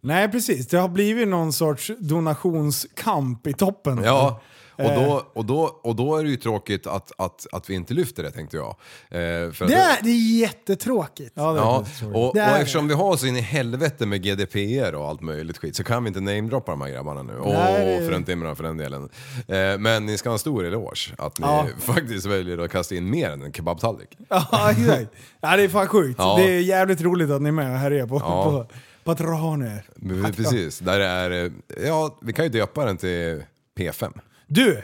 Speaker 6: Nej, precis. Det har blivit någon sorts donationskamp i toppen.
Speaker 7: Mm.
Speaker 8: Ja, och
Speaker 7: Eh.
Speaker 8: då, och då, och då är det ju tråkigt att, att, att vi inte lyfter det tänkte jag. Eh, för att-
Speaker 7: Det är, det är jättetråkigt.
Speaker 6: Ja, det är
Speaker 8: Ja,
Speaker 6: faktiskt
Speaker 8: och,
Speaker 6: sorgligt.
Speaker 8: och
Speaker 7: Det är
Speaker 8: eftersom vi har så in i helvete med GDPR och allt möjligt skit så kan vi inte namedroppa de här grabbarna nu. Åh,
Speaker 6: det-
Speaker 8: för en timme för den delen. Eh, men ni ska ha en stor eloge att ni
Speaker 6: Ja.
Speaker 8: faktiskt väljer att kasta in mer än en kebabtallrik.
Speaker 6: Ja, exakt. Ja, det är fan sjukt.
Speaker 8: Ja.
Speaker 6: Det är jävligt roligt att ni är med och härjar på,
Speaker 8: Ja.
Speaker 6: på patroner.
Speaker 8: Men Precis, där är... eh, Ja, vi kan ju döpa den till P5.
Speaker 6: Du,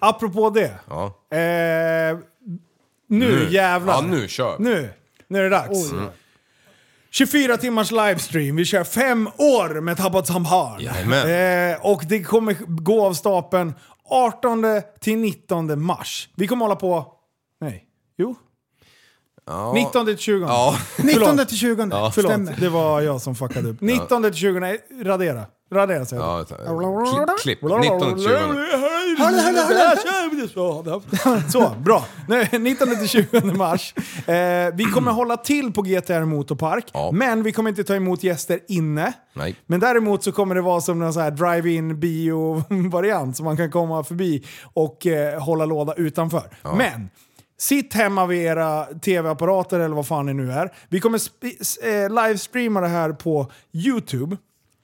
Speaker 6: apropå det.
Speaker 8: Ja.
Speaker 6: Eh, nu, jävlar.
Speaker 8: Ja, nu kör vi.
Speaker 6: Nu, nu är det dags. 24 timmars livestream, vi kör fem år med Tabbat Samhar.
Speaker 8: Jajamän.
Speaker 6: Eh, och det kommer gå av stapeln 18 till 19 mars. Vi kommer hålla på... Nej. Jo.
Speaker 8: Ja.
Speaker 6: 19 till 20.
Speaker 8: Ja.
Speaker 7: 19 till 20.
Speaker 6: Förlåt,
Speaker 7: Stämmer.
Speaker 6: det var jag som fuckade upp. 19 till 20, nej, radera. Radera säger jag.
Speaker 8: Ja, ta- kli- klipp. 19 till 20.
Speaker 6: Så, bra. Nu, 19 till 20 mars. Eh, vi kommer hålla till på GTR Motorpark,
Speaker 8: Ja.
Speaker 6: men vi kommer inte ta emot gäster inne.
Speaker 8: Nej.
Speaker 6: Men däremot så kommer det vara som någon så här drive-in bio-variant så man kan komma förbi och eh, hålla låda utanför. Men Sitt hemma vid era tv-apparater eller vad fan det nu är. Vi kommer sp- s- eh, livestreama det här på YouTube.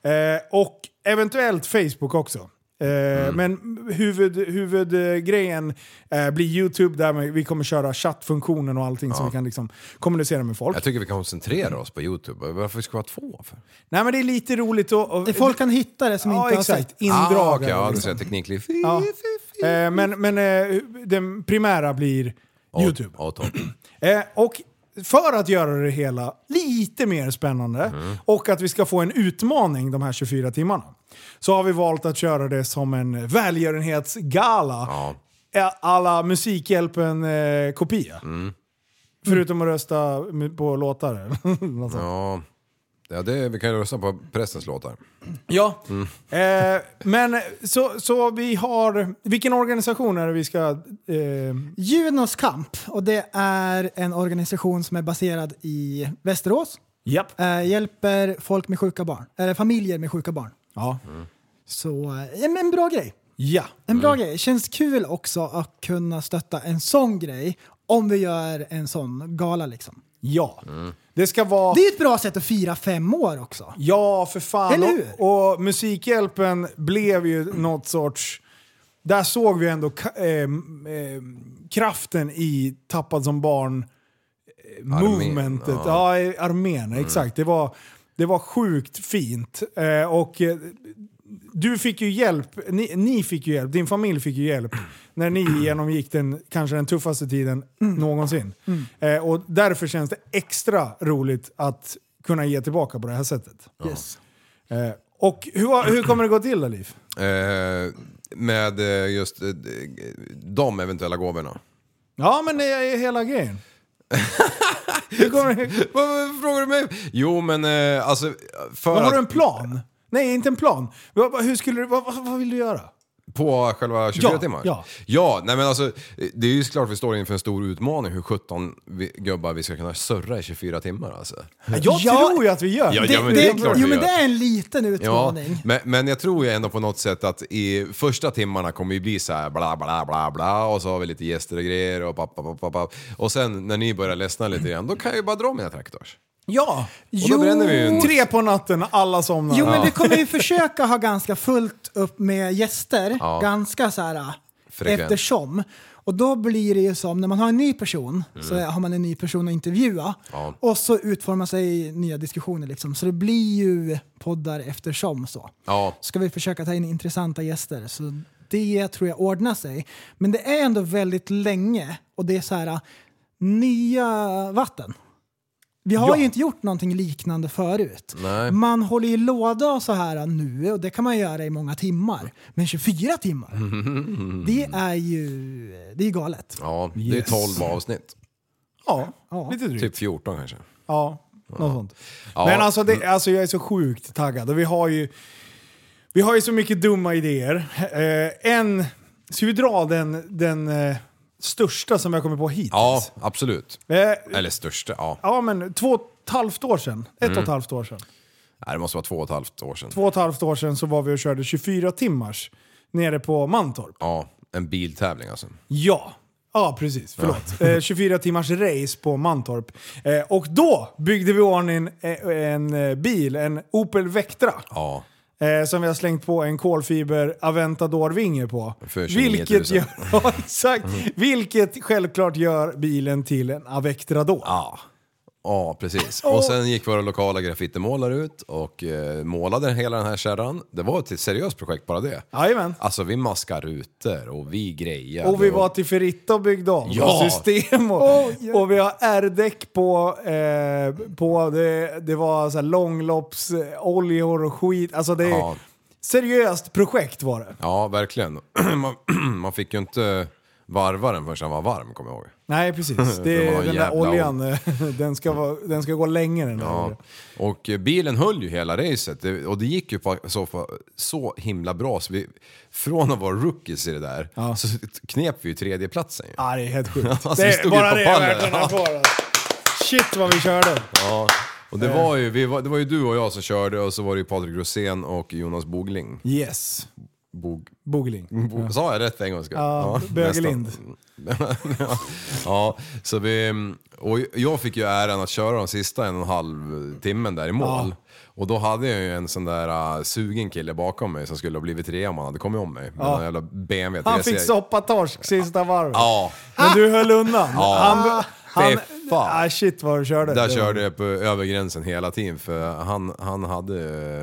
Speaker 6: Eh, och eventuellt Facebook också. Eh,
Speaker 8: Mm.
Speaker 6: Men huvudgrejen huvud, eh, grejen, eh, blir YouTube där vi kommer köra chattfunktionen och allting så vi kan liksom kommunicera med folk.
Speaker 8: Jag tycker vi kan koncentrera oss på Youtube. Varför ska vi ha två? För?
Speaker 6: Nej men det är lite roligt att... och-
Speaker 7: Det folk kan hitta det som
Speaker 6: ja,
Speaker 7: inte har
Speaker 6: exakt.
Speaker 7: sett.
Speaker 6: Indragare.
Speaker 8: Ah, okej, ja, du
Speaker 6: liksom.
Speaker 8: ser teknikliv.
Speaker 6: Ja. Eh, men men eh, den primära blir YouTube.
Speaker 8: Ja, toppen.
Speaker 6: Eh, och för att göra det Mm. hela lite mer spännande och att vi ska få en utmaning de här 24 timmarna så har vi valt att köra det som en välgörenhetsgala. Ja. Alla Musikhjälpen-kopia. Förutom att rösta på låtar. Något sånt.
Speaker 8: Ja. Ja, det, vi kan ju rösta på pressens låtar.
Speaker 6: Ja. Eh, men så, så vi har... Vilken organisation är det vi ska... Eh,
Speaker 7: Junos kamp, och det är en organisation som är baserad i Västerås.
Speaker 6: Japp.
Speaker 7: Eh, hjälper folk med sjuka barn, eller familjer med sjuka barn.
Speaker 6: ja.
Speaker 7: Så eh, ja, men en bra grej.
Speaker 6: ja.
Speaker 7: En
Speaker 8: Mm.
Speaker 7: bra grej. Känns kul också att kunna stötta en sån grej om vi gör en sån gala liksom.
Speaker 6: Ja. Det ska vara...
Speaker 7: Det är ett bra sätt att fira fem år också.
Speaker 6: Ja, för fan.
Speaker 7: Eller hur?
Speaker 6: Och, och Musikhjälpen blev ju något sorts... Där såg vi ändå ka- ehm, ehm, kraften i Tappad som barn eh, movementet. Ja, i armén. Exakt. Det var, det var sjukt fint. Eh, och eh, du fick ju hjälp, ni, ni fick ju hjälp, din familj fick ju hjälp när ni genomgick den kanske den tuffaste tiden någonsin. Eh, och därför känns det extra roligt att kunna ge tillbaka på det här sättet.
Speaker 7: Yes.
Speaker 6: Eh, och hur, hur kommer det gå till då, Liv?
Speaker 8: Eh, med eh, just eh, de eventuella gåvorna.
Speaker 6: Ja, men det är hela grejen. hur kommer det,
Speaker 8: Vad vad frågar du mig? Jo men eh, alltså... För
Speaker 6: har du en
Speaker 8: att-
Speaker 6: plan? Nej, inte en plan. Vad- vad- Hur skulle du, vad, vad vad vill du göra?
Speaker 8: På själva 24
Speaker 6: Ja,
Speaker 8: timmar?
Speaker 6: ja.
Speaker 8: ja, nej men alltså det är ju klart vi står inför en stor utmaning hur 17 vi, gubbar vi ska kunna surra i 24 timmar alltså.
Speaker 6: Jag
Speaker 7: Ja.
Speaker 6: tror ju att vi gör
Speaker 8: Ja,
Speaker 6: det.
Speaker 8: ja, men det är klart vi
Speaker 7: jo men
Speaker 8: gör.
Speaker 7: det är en liten
Speaker 8: Ja,
Speaker 7: utmaning.
Speaker 8: men, men jag tror ju ändå på något sätt att i första timmarna kommer ju bli så här bla bla bla bla och så har vi lite gäster och grejer och papp, papp, papp, papp. Och sen när ni börjar ledsna lite igen då kan jag ju bara dra mina traktors.
Speaker 6: Ja.
Speaker 8: Och då bränner vi ju en-
Speaker 6: Tre på natten, alla somnar.
Speaker 7: Jo, men vi kommer ju försöka ha ganska fullt upp med gäster.
Speaker 8: Ja.
Speaker 7: Ganska så här
Speaker 8: Frekvent.
Speaker 7: eftersom. Och då blir det ju som när man har en ny person så har man en ny person att intervjua.
Speaker 8: Mm. Ja.
Speaker 7: Och så utformar sig nya diskussioner liksom. Så det blir ju poddar eftersom så.
Speaker 8: Ja.
Speaker 7: Ska vi försöka ta in intressanta gäster. Så det tror jag ordnar sig. Men det är ändå väldigt länge och det är så här äh, nya vatten. Vi har
Speaker 6: Ja.
Speaker 7: ju inte gjort någonting liknande förut.
Speaker 8: Nej.
Speaker 7: Man håller i låda och så här äh, nu och det kan man göra i många timmar. Men 24 timmar, det är ju det är galet.
Speaker 8: Ja, det
Speaker 6: Yes.
Speaker 8: är 12 avsnitt.
Speaker 6: Ja,
Speaker 7: Ja.
Speaker 6: lite drygt.
Speaker 8: Typ 14 kanske.
Speaker 6: Ja, något sånt.
Speaker 8: Ja.
Speaker 6: Men alltså, det, alltså jag är så sjukt taggad och vi har ju, vi har ju så mycket dumma idéer. Eh, en, ska vi dra den, den eh, största som jag kommit på hittills?
Speaker 8: Ja, absolut.
Speaker 6: Eh,
Speaker 8: Eller största, ja.
Speaker 6: ja men två och ett halvt år sedan, ett och ett halvt år sedan.
Speaker 8: Nej, det måste vara två och ett halvt år sedan.
Speaker 6: Två och ett halvt år sedan så var vi och körde 24 timmars nere på Mantorp.
Speaker 8: Ja, en biltävling alltså.
Speaker 6: Ja. Ja, precis. Förlåt. Eh, 24 timmars race på Mantorp. Eh, och då byggde vi i ordning en, en eh, bil, en Opel Vectra.
Speaker 8: Ja.
Speaker 6: Eh, som vi har slängt på en kolfiber Aventador-vinge på.
Speaker 8: För 29 000.
Speaker 6: vilket, gör, ja, exakt, vilket självklart gör bilen till en Avectrador.
Speaker 8: Ja. Ja, precis. Och sen gick våra lokala graffitimålare ut och eh, målade hela den här kärran. Det var ett seriöst projekt bara det.
Speaker 6: Jajamän.
Speaker 8: Alltså vi maskar rutor och vi grejer.
Speaker 6: Och vi var till Ferritta och byggde om
Speaker 8: Ja.
Speaker 6: vårt system. Och, och vi har R-däck på, eh, på det, det var så här långloppsoljor och skit. Alltså det är
Speaker 8: Ja.
Speaker 6: seriöst projekt var det.
Speaker 8: Ja, verkligen. man, man fick ju inte varva den förrän den var varm, kommer jag ihåg.
Speaker 6: Nej precis,
Speaker 8: Det
Speaker 6: det,
Speaker 8: var en
Speaker 6: den där
Speaker 8: jävla
Speaker 6: oljan eh, den ska, vara, den ska gå länge den
Speaker 8: Ja.
Speaker 6: där.
Speaker 8: Och eh, bilen höll ju hela racet Det- och det gick ju på, så, på- så himla bra så vi, från att vara rookies i det där så knep vi ju tredjeplatsen ju.
Speaker 6: Ja, det är helt sjukt.
Speaker 8: Alltså,
Speaker 6: det
Speaker 8: vi
Speaker 6: är
Speaker 8: stod
Speaker 6: bara
Speaker 8: ju på
Speaker 6: det är
Speaker 8: pallen.
Speaker 6: värt en applåd. alltså. Shit vad vi körde.
Speaker 8: Och det
Speaker 6: Eh.
Speaker 8: var, ju, vi var, det var ju du och jag som körde och så var det ju Patrik Rosén och Jonas Bogling.
Speaker 6: Yes.
Speaker 8: Bog,
Speaker 6: Bogling.
Speaker 8: Bo- Sa jag rätt för en gångs skull?
Speaker 6: Ja, Bögelind.
Speaker 8: nästan. ja, så vi, och jag fick ju äran att köra de sista en och en halv timmen där i mål. Och då hade jag ju en sån där uh, sugen kille bakom mig som skulle ha blivit trea om han hade kommit om mig. Med någon jävla BMW.
Speaker 6: Han
Speaker 8: Jag ser-
Speaker 6: fick soppatorsk sista varvet.
Speaker 8: E. Ja,
Speaker 6: Men du höll undan.
Speaker 8: Ja.
Speaker 6: Han, han,
Speaker 8: Fy fan.
Speaker 6: ah, shit vad du körde.
Speaker 8: där
Speaker 6: Det
Speaker 8: körde jag på över gränsen hela tiden för han, han, hade,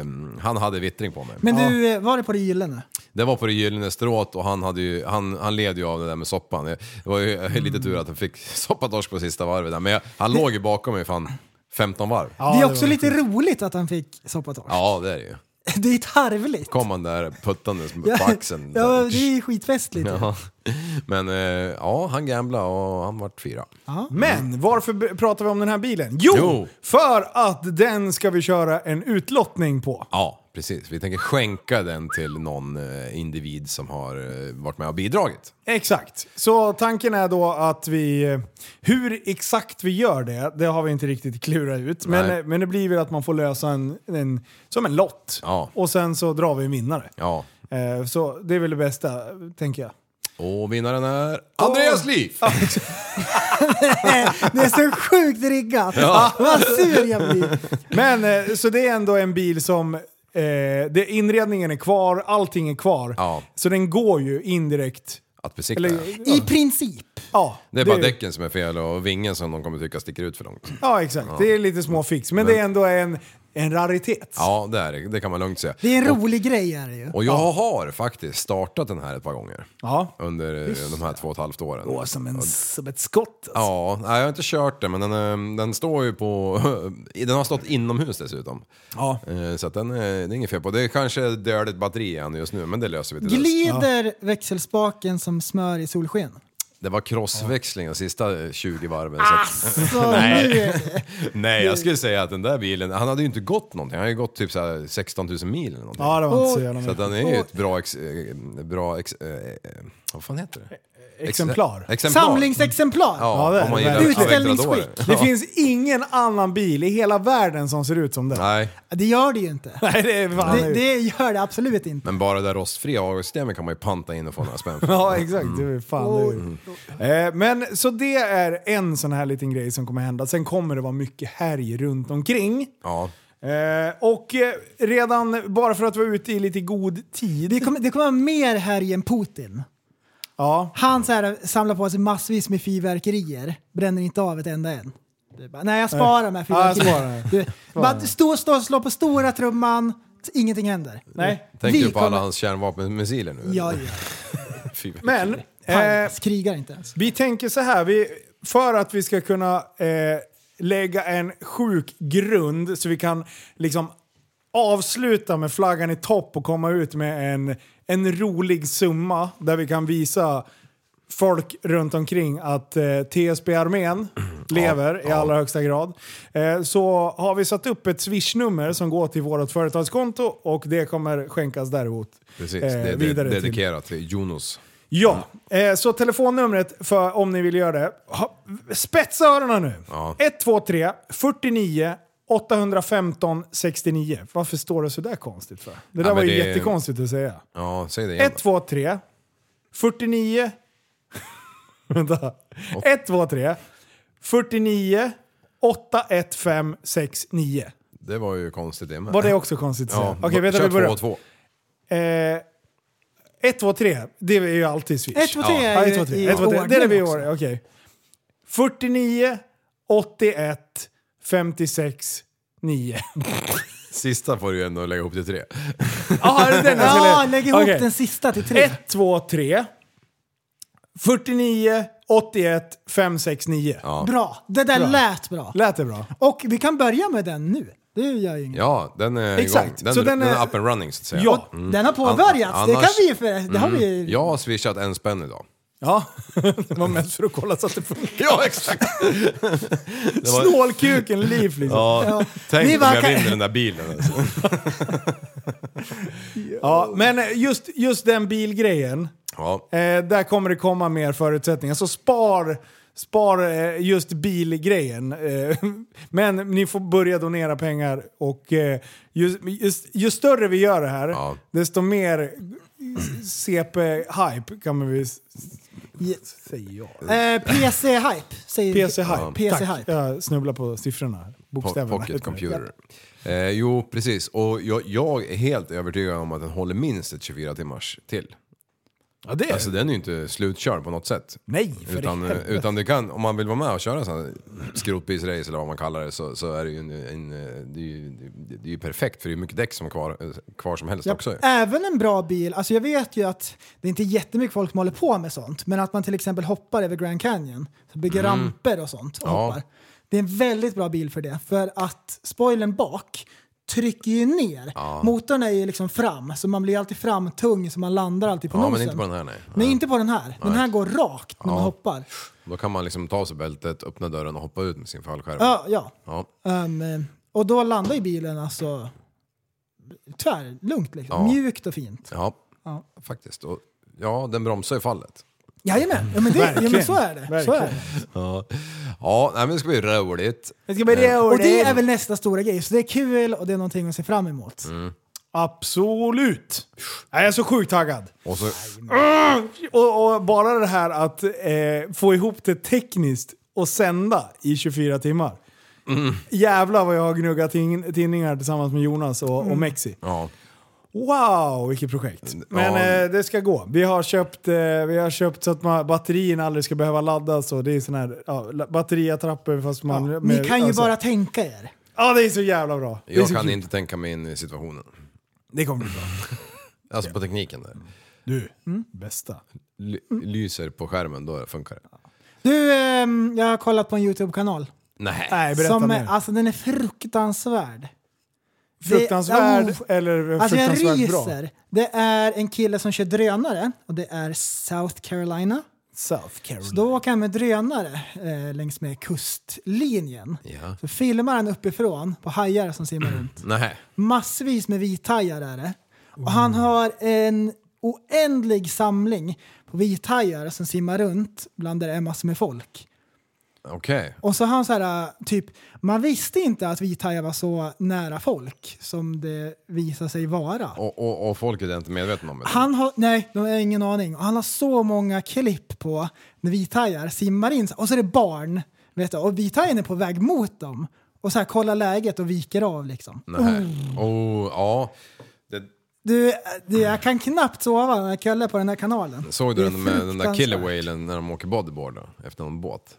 Speaker 8: um, han hade vittring på mig.
Speaker 7: Men du, eh, var det på det gyllene?
Speaker 8: Det var på det gyllene strået och han, hade ju, han, han led ju av det där med soppan. Det var ju lite tur att han fick soppatorsk på sista varvet där. Men jag, han låg ju bakom mig fan 15 varv. Ja,
Speaker 7: det är
Speaker 6: det
Speaker 7: också
Speaker 6: var
Speaker 7: lite roligt att han fick soppatorsk.
Speaker 8: det är det ju.
Speaker 7: Det är tarvligt.
Speaker 8: Kom han där puttandes på axeln.
Speaker 7: ja, det är skitfestligt.
Speaker 8: Ja. Men eh, ja, han gamblade och han vart fyra.
Speaker 6: Men varför b- pratar vi om den här bilen? Jo,
Speaker 8: Jo.
Speaker 6: för att den ska vi köra en utlottning på.
Speaker 8: Ja, precis. Vi tänker skänka den till någon eh, individ som har eh, varit med och bidragit.
Speaker 6: Exakt. Så tanken är då att vi... Hur exakt vi gör det, det har vi inte riktigt klurat ut.
Speaker 8: Nej.
Speaker 6: Men, men det blir väl att man får lösa en, en som en lott.
Speaker 8: Ja.
Speaker 6: Och sen så drar vi en vinnare.
Speaker 8: Ja.
Speaker 6: Eh, Så det är väl det bästa, tänker jag.
Speaker 8: Och vinnaren är Andreas Liv!
Speaker 7: Det är så sjukt riggat.
Speaker 8: Ja.
Speaker 7: Vad sur jag blir.
Speaker 6: Men eh, så det är ändå en bil som... Eh, det, inredningen är kvar, allting är kvar.
Speaker 8: Ja.
Speaker 6: Så den går ju indirekt.
Speaker 8: Att besikta.
Speaker 6: Eller,
Speaker 7: I princip.
Speaker 6: ja,
Speaker 8: det är bara däcken som är fel och vingen som de kommer tycka sticker ut för långt.
Speaker 6: Ja, exakt. Det är lite små fix. Men, det är ändå en, en raritet.
Speaker 8: Ja, det är det. Det kan man lugnt säga.
Speaker 7: Det är en rolig grej är det ju.
Speaker 8: Och jag har faktiskt startat den här ett par gånger.
Speaker 6: Ja.
Speaker 8: Under eh, de här två och ett halvt åren.
Speaker 6: Går som, en, som ett skott. alltså.
Speaker 8: Ja, nej, jag har inte kört den men den, eh, den står ju på... Den har stått inomhus dessutom.
Speaker 6: Ja.
Speaker 8: Eh, Så att den, eh, det är inget fel på. Det är kanske är dödligt batteri igen just nu men det löser vi till dess.
Speaker 7: Glider växelspaken som smör i solsken?
Speaker 8: Det var crossväxling de sista eh, 20 varven.
Speaker 7: Ah.
Speaker 8: Så att,
Speaker 7: Så nu är det.
Speaker 8: nej, jag skulle säga att den där bilen, han hade ju inte gått någonting. Han har ju gått typ så här 16 000 mil eller någonting.
Speaker 6: Ja, det var inte så
Speaker 7: Och-
Speaker 6: jävla
Speaker 8: Så att
Speaker 6: mycket.
Speaker 8: den är ju ett bra, ex, eh, bra ex, eh, eh, vad fan heter det?
Speaker 6: Exemplar.
Speaker 8: Ex- exemplar.
Speaker 7: Samlingsexemplar!
Speaker 8: Ja,
Speaker 6: det är
Speaker 8: om man
Speaker 6: det
Speaker 8: gillar
Speaker 6: verkligen.
Speaker 8: Aventador.
Speaker 7: Utställningsskick.
Speaker 6: Det finns ingen annan bil i hela världen som ser ut som den.
Speaker 8: Nej,
Speaker 7: Det gör det ju inte.
Speaker 6: Nej, det är fan
Speaker 7: Det, det gör det absolut inte.
Speaker 8: men bara det där rostfria avgassystemet kan man ju panta in och få några spänn för.
Speaker 6: Ja, exakt. Det är fan det. är- Eh, men så det är en sån här liten grej som kommer hända. Sen kommer det vara mycket härj runt omkring.
Speaker 8: Ja.
Speaker 6: Eh, och eh, redan, bara för att vara ute i lite god tid.
Speaker 7: Det kommer, det kommer vara mer härj än Putin.
Speaker 6: Ja.
Speaker 7: Han så här, samlar på sig massvis med fyrverkerier, bränner inte av ett enda än. Du bara, Nej, jag sparar med
Speaker 6: Ja, jag
Speaker 7: fyrverkerierna.
Speaker 6: sparar.
Speaker 7: Du, bara stå, stå, slå på stora trumman, t- ingenting händer.
Speaker 6: Nej.
Speaker 8: Tänker
Speaker 7: Vi
Speaker 8: du på alla
Speaker 7: kommer-
Speaker 8: hans kärnvapenmissiler nu?
Speaker 7: Ja, ja.
Speaker 8: Fy, vad-
Speaker 6: Men eh,
Speaker 7: Pangas krigar inte ens.
Speaker 6: vi tänker så här. Vi, för att vi ska kunna eh, lägga en sjuk grund så vi kan liksom avsluta med flaggan i topp och komma ut med en, en rolig summa där vi kan visa folk runt omkring att eh, TSB-armén lever i allra högsta grad. Eh, så har vi satt upp ett swishnummer som går till vårt företagskonto och det kommer skänkas däremot.
Speaker 8: Precis,
Speaker 6: eh,
Speaker 8: det är
Speaker 6: vidare till-
Speaker 8: dedikerat till Jonas.
Speaker 6: Ja, eh, så telefonnumret för, om ni vill göra det. Ha, spetsa öronen nu!
Speaker 8: Ja.
Speaker 6: 123 49 815 69. Varför står det sådär konstigt för? Det där
Speaker 8: men
Speaker 6: var ju
Speaker 8: det är-
Speaker 6: jättekonstigt att säga.
Speaker 8: Ja, säg det igen.
Speaker 6: 123 49... Vänta. 123 49 815 69.
Speaker 8: Det var ju konstigt det med.
Speaker 6: Var det också konstigt att säga?
Speaker 8: Ja,
Speaker 6: Okej, vänta vi
Speaker 8: Kör
Speaker 6: börjar.
Speaker 8: två och två.
Speaker 6: Eh, 123, det är ju alltid Swish.
Speaker 7: 1, 2, 3
Speaker 6: Ja,
Speaker 7: är
Speaker 6: ett, två,
Speaker 7: ju
Speaker 6: tre.
Speaker 7: i
Speaker 6: Ett, två, tre.
Speaker 7: ordning
Speaker 6: Det är det vi
Speaker 7: också.
Speaker 6: gör, okej. 49, 81, 56, 9.
Speaker 8: Sista får du ju ändå lägga ihop till tre.
Speaker 6: Jaha, är det den jag
Speaker 7: Ja,
Speaker 6: skulle-
Speaker 7: lägg ihop
Speaker 6: Okej.
Speaker 7: den sista till tre.
Speaker 6: 1, 2, 3. 49, 81, 56, 9.
Speaker 7: Bra. Det där
Speaker 6: Bra.
Speaker 7: lät bra.
Speaker 6: Lät det bra?
Speaker 7: Och vi kan börja med den nu. Det gör ju inget.
Speaker 8: Ja, den är igång.
Speaker 6: Exakt,
Speaker 8: Den,
Speaker 6: så den
Speaker 8: den, är...
Speaker 6: är-
Speaker 8: up and running så att säga.
Speaker 6: Ja. mm.
Speaker 7: Den har påbörjats.
Speaker 8: An-
Speaker 7: Det kan
Speaker 8: annars-
Speaker 7: vi ju för... Det har vi ju...
Speaker 8: Jag har swishat en spänn idag.
Speaker 6: Ja, det var mest för att kolla så att det funkar.
Speaker 8: Ja, exakt! det var...
Speaker 6: Snålkuken liv liksom. Ja.
Speaker 8: Ja, tänk
Speaker 7: Ni
Speaker 8: om
Speaker 7: bara
Speaker 8: jag
Speaker 7: kan-
Speaker 8: vinner den där bilen alltså.
Speaker 6: men eh, just, just den bilgrejen.
Speaker 8: Ja,
Speaker 6: Eh, där kommer det komma mer förutsättningar. Så spar, spar eh, just bilgrejen. Eh, men ni får börja donera pengar och eh, ju, just, ju större vi gör det här,
Speaker 8: Ja.
Speaker 6: desto mer CP-hype kan vi s- säga.
Speaker 7: Eh, PC-hype. säger vi.
Speaker 6: PC-hype.
Speaker 7: PC-hype.
Speaker 6: Tack. Jag snubblar på siffrorna.
Speaker 8: po-
Speaker 6: Bokstäverna.
Speaker 8: pocket computer. Eh, jo, precis. Och jag, jag är helt övertygad om att den håller minst ett 24 timmars till.
Speaker 6: Ja, det är
Speaker 8: Alltså den är ju inte slutkörd på något sätt.
Speaker 6: Nej, för
Speaker 8: Utan,
Speaker 6: utan,
Speaker 8: eh, utan du kan, om man vill vara med och köra sån här skrotbilsrace eller vad man kallar det så, så är det ju, en, en, eh, det är ju, det är ju perfekt för det är ju mycket däck som är kvar, eh, kvar som helst också. ju.
Speaker 7: Även en bra bil, alltså jag vet ju att det är inte jättemycket folk som håller på med sånt, men att man till exempel hoppar över Grand Canyon, så bygger ramper och sånt och
Speaker 8: Mm. Ja.
Speaker 7: hoppar. Det är en väldigt bra bil för det, för att spoilern bak trycker ju ner.
Speaker 8: Ja.
Speaker 7: Motorn är ju liksom fram, så man blir alltid framtung så man landar alltid på
Speaker 8: Ja, men
Speaker 7: nosen.
Speaker 8: inte på den här, nej.
Speaker 7: Nej, inte på den här. Den
Speaker 8: Nej.
Speaker 7: här går rakt när
Speaker 8: Ja.
Speaker 7: man hoppar.
Speaker 8: Då kan man liksom ta av sig bältet, öppna dörren och hoppa ut med sin fallskärm.
Speaker 7: Ja, ja.
Speaker 8: Ja.
Speaker 7: Ehm, eh, och då landar ju bilen alltså tvärlugnt liksom.
Speaker 8: Ja.
Speaker 7: Mjukt och fint.
Speaker 8: Ja,
Speaker 7: Ja.
Speaker 8: faktiskt. Och, ja, den bromsar ju fallet.
Speaker 7: Jajamän, ja, men, det, ja, men så är det. Så är det.
Speaker 8: Ja, ja nej, men det ska bli roligt.
Speaker 6: Det ska bli
Speaker 8: Mm.
Speaker 6: roligt.
Speaker 7: Och det är väl nästa stora grej, så det är kul och det är någonting att se fram emot.
Speaker 8: Mm.
Speaker 6: Absolut! Jag är så sjukt taggad.
Speaker 8: Och så,
Speaker 6: Mm. Och, och bara det här att eh, få ihop det tekniskt och sända i 24 timmar.
Speaker 7: Mm.
Speaker 6: Jävlar vad jag har gnuggat tin- tinningar tillsammans med Jonas och,
Speaker 7: Mm.
Speaker 6: och Mexi.
Speaker 8: ja.
Speaker 6: Wow, vilket projekt! Men eh, det ska gå. Vi har, köpt, eh, vi har köpt så att man, batterin aldrig ska behöva laddas och det är sån här ja, la- batteriattrapper fast man...
Speaker 7: Ni
Speaker 6: med-
Speaker 7: kan ju
Speaker 6: alltså-
Speaker 7: bara tänka er.
Speaker 6: Ja, det är så jävla bra. Det är
Speaker 8: Jag
Speaker 6: så
Speaker 8: kan
Speaker 6: kul.
Speaker 8: inte tänka mig in i situationen.
Speaker 6: Det kommer bli bra.
Speaker 8: Alltså på tekniken där.
Speaker 6: Du,
Speaker 7: Mm.
Speaker 6: bästa.
Speaker 8: Ly- lyser på skärmen, då funkar det.
Speaker 7: Du, ehm, jag har kollat på en YouTube-kanal.
Speaker 8: Nej.
Speaker 6: Nej, berätta
Speaker 7: som,
Speaker 6: mer.
Speaker 7: Alltså den är fruktansvärd.
Speaker 6: Fruktansvärd
Speaker 7: Det-
Speaker 6: eller
Speaker 7: Alltså jag
Speaker 6: fruktansvärt
Speaker 7: ryser.
Speaker 6: bra?
Speaker 7: Det är en kille som kör drönare och det är South Carolina.
Speaker 6: South Carolina.
Speaker 7: Så då åker han med drönare eh, längs med kustlinjen.
Speaker 8: Ja.
Speaker 7: Så filmar han uppifrån på hajar som simmar runt.
Speaker 8: Nej.
Speaker 7: Massvis med vithajar är det. Och han har en oändlig samling på vithajar som simmar runt bland där det är massor med folk.
Speaker 8: Okej.
Speaker 7: Och så har han så här, äh, typ, man visste inte att vithajar var så nära folk som det visar sig vara.
Speaker 8: Och, och, och folket är inte medvetna om det?
Speaker 7: Han har, nej, de har ingen aning. Och han har så många klipp på när vithajar simmar in. Och så är det barn, vet du. Och vithajen är på väg mot dem. Och så här kollar läget och viker av liksom.
Speaker 8: Nej. Oh, ja. Det,
Speaker 7: Du, du, jag kan knappt sova när jag kollar på den här kanalen.
Speaker 8: såg du
Speaker 7: Det är
Speaker 8: den med den där
Speaker 7: fruktansvärt.
Speaker 8: killer whalen när de åker bodyboard då, efter någon båt?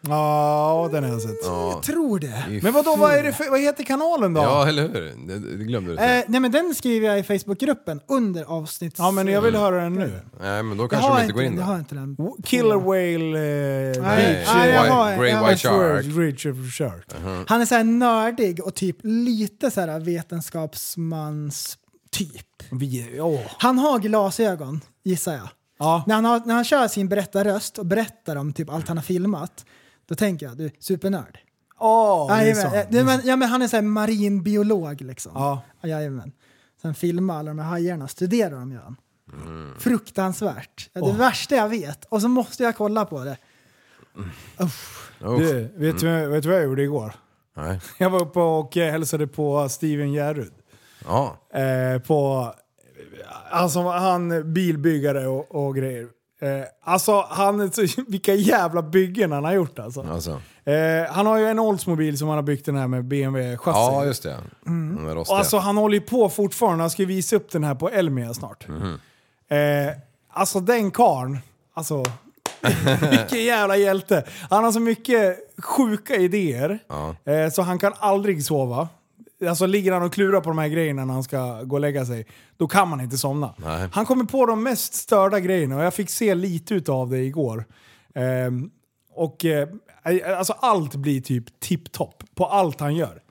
Speaker 6: Ja, den har jag sett.
Speaker 8: Ja.
Speaker 7: Tror det.
Speaker 8: I
Speaker 6: Men vadå, vad, är det för, vad heter kanalen då?
Speaker 8: Ja, eller hur? Det, det glömde du säga.
Speaker 7: Eh, nej men den skriver jag i Facebookgruppen under avsnitts...
Speaker 6: Ja, men jag
Speaker 8: mm.
Speaker 6: vill höra den nu.
Speaker 8: Nej, men då
Speaker 7: Jag
Speaker 8: kanske
Speaker 7: har
Speaker 8: de
Speaker 7: inte,
Speaker 8: inte går in
Speaker 7: jag
Speaker 8: där.
Speaker 7: har inte den.
Speaker 6: Killer Whale eh,
Speaker 7: Nej.
Speaker 6: Beach.
Speaker 7: Nej, jag har-
Speaker 8: Mm. White- Grey
Speaker 7: jag har-
Speaker 8: White Shark. Uh-huh.
Speaker 6: Richard Shirt.
Speaker 7: Han är så här nördig och typ lite så här vetenskapsmans typ.
Speaker 6: Vi, åh.
Speaker 7: Han har glasögon, gissar jag.
Speaker 6: Ja.
Speaker 7: När han, har, när han kör sin berättarröst och berättar om typ allt han har filmat, då tänker jag du, supernörd.
Speaker 6: Åh, det är
Speaker 7: Jajamän.
Speaker 6: sant.
Speaker 7: Eh, det- men, ja, men han är så här marinbiolog liksom.
Speaker 6: Ja.
Speaker 7: Jajamän. Sen filmar alla de här hajarna, studerar dem ju. han. Fruktansvärt. Det är det värsta jag vet. Och så måste jag kolla på det.
Speaker 8: Oh.
Speaker 6: Du, vet, du, vet du vad jag gjorde igår?
Speaker 8: Nej.
Speaker 6: Jag var uppe och eh, hälsade på Steven Gerrard.
Speaker 8: Ja.
Speaker 6: eh, på... Alltså han bilbyggare och, och grejer. Eh, alltså han, är så- vilka jävla byggen han har gjort alltså.
Speaker 8: Alltså.
Speaker 6: Eh, han har ju en Oldsmobil som han har byggt den här med BMW-chassi.
Speaker 8: Ja, just det.
Speaker 7: Mm.
Speaker 8: De där rostiga.
Speaker 6: Och alltså han håller ju på fortfarande, han ska ju visa upp den här på Elmia snart. Eh, alltså den karn, alltså vilken jävla hjälte. Han har så mycket sjuka idéer eh, så han kan aldrig sova. Alltså ligger han och klurar på de här grejerna när han ska gå och lägga sig, då kan man inte somna.
Speaker 8: Nej.
Speaker 6: Han kommer på de mest störda grejerna och jag fick se lite utav det igår. Ehm, och eh, alltså allt blir typ tipptopp på allt han gör.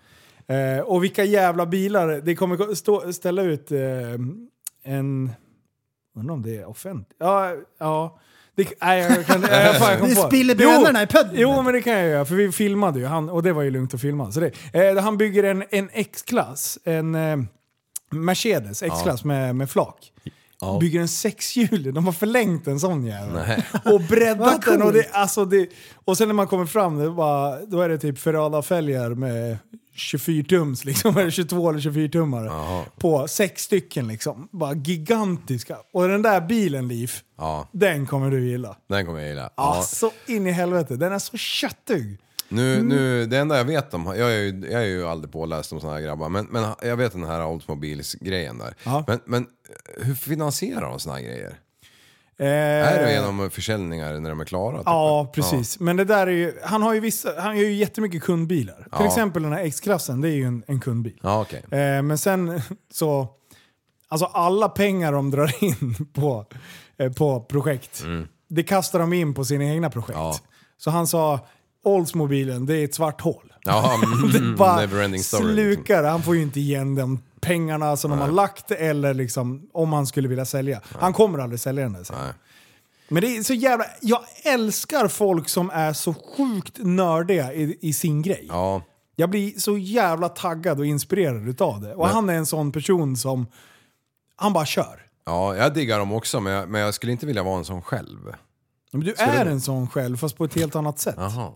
Speaker 6: Eh, och vilka jävla bilar. Det kommer stå, ställa ut eh, en... Undrar om det är offentligt? Ja, ja. Det, nej, jag kan, jag, fan, jag kom
Speaker 7: Vi
Speaker 6: på det.
Speaker 7: spiller
Speaker 6: Jo,
Speaker 7: bönorna i pudden.
Speaker 6: Jo, men det kan jag göra. För vi filmade ju. Han, och det var ju lugnt att filma. Så det, eh, han bygger en, en X-klass. En eh, Mercedes X-klass med, med flak.
Speaker 8: Ja.
Speaker 6: Bygger en sexhjulig. De har förlängt en sån jävel.
Speaker 8: Nej.
Speaker 6: Och breddat
Speaker 7: Vad
Speaker 6: den. Och, det,
Speaker 7: coolt.
Speaker 6: alltså det, och sen när man kommer fram, det bara, då är det typ Ferrada-fälgar med 24-tums, liksom, eller 22 eller 24-tummare. På sex stycken liksom. Bara gigantiska. Och den där bilen, Liv,
Speaker 8: Ja,
Speaker 6: den kommer du gilla.
Speaker 8: den kommer jag gilla.
Speaker 6: Ja.
Speaker 8: Ja.
Speaker 6: Så in i helvete. Den är så köttig.
Speaker 8: Nu,
Speaker 6: Mm.
Speaker 8: nu, det enda jag vet om, jag är ju, jag är ju aldrig påläst om såna här grabbar, men, men jag vet den här Oldsmobiles-grejen där.
Speaker 6: Ja.
Speaker 8: Men, men eh, hur finansierar de såna här grejer?
Speaker 6: Eh,
Speaker 8: Är det genom försäljningar när de är klara? typ?
Speaker 6: Ja, precis. Men det där är ju, han har ju, vissa, han har ju jättemycket kundbilar.
Speaker 8: Ja.
Speaker 6: Till exempel den här X-klassen, det är ju en, en kundbil.
Speaker 8: Ja, okej.
Speaker 6: Eh, men sen så... Alltså alla pengar de drar in på, eh, på projekt, det kastar de in på sina egna projekt.
Speaker 8: Mm. Ja.
Speaker 6: Så han sa, okej Oldsmobilen, det är ett svart hål.
Speaker 8: Ja, mm,
Speaker 6: det bara
Speaker 8: neverending story, liksom.
Speaker 6: slukar. Han får ju inte igen de pengarna som de har lagt eller liksom om han skulle vilja sälja. Han kommer aldrig sälja den där sen. Men det är så jävla... Jag älskar folk som är så sjukt nördiga i, i sin grej.
Speaker 8: Ja.
Speaker 6: Jag blir så jävla taggad och inspirerad utav det. Och han är en sån person som... Han bara kör.
Speaker 8: Ja, jag diggar dem också men jag, men jag skulle inte vilja vara en sån själv.
Speaker 6: Men du är en sån själv, fast på ett helt annat sätt.
Speaker 8: Jaha.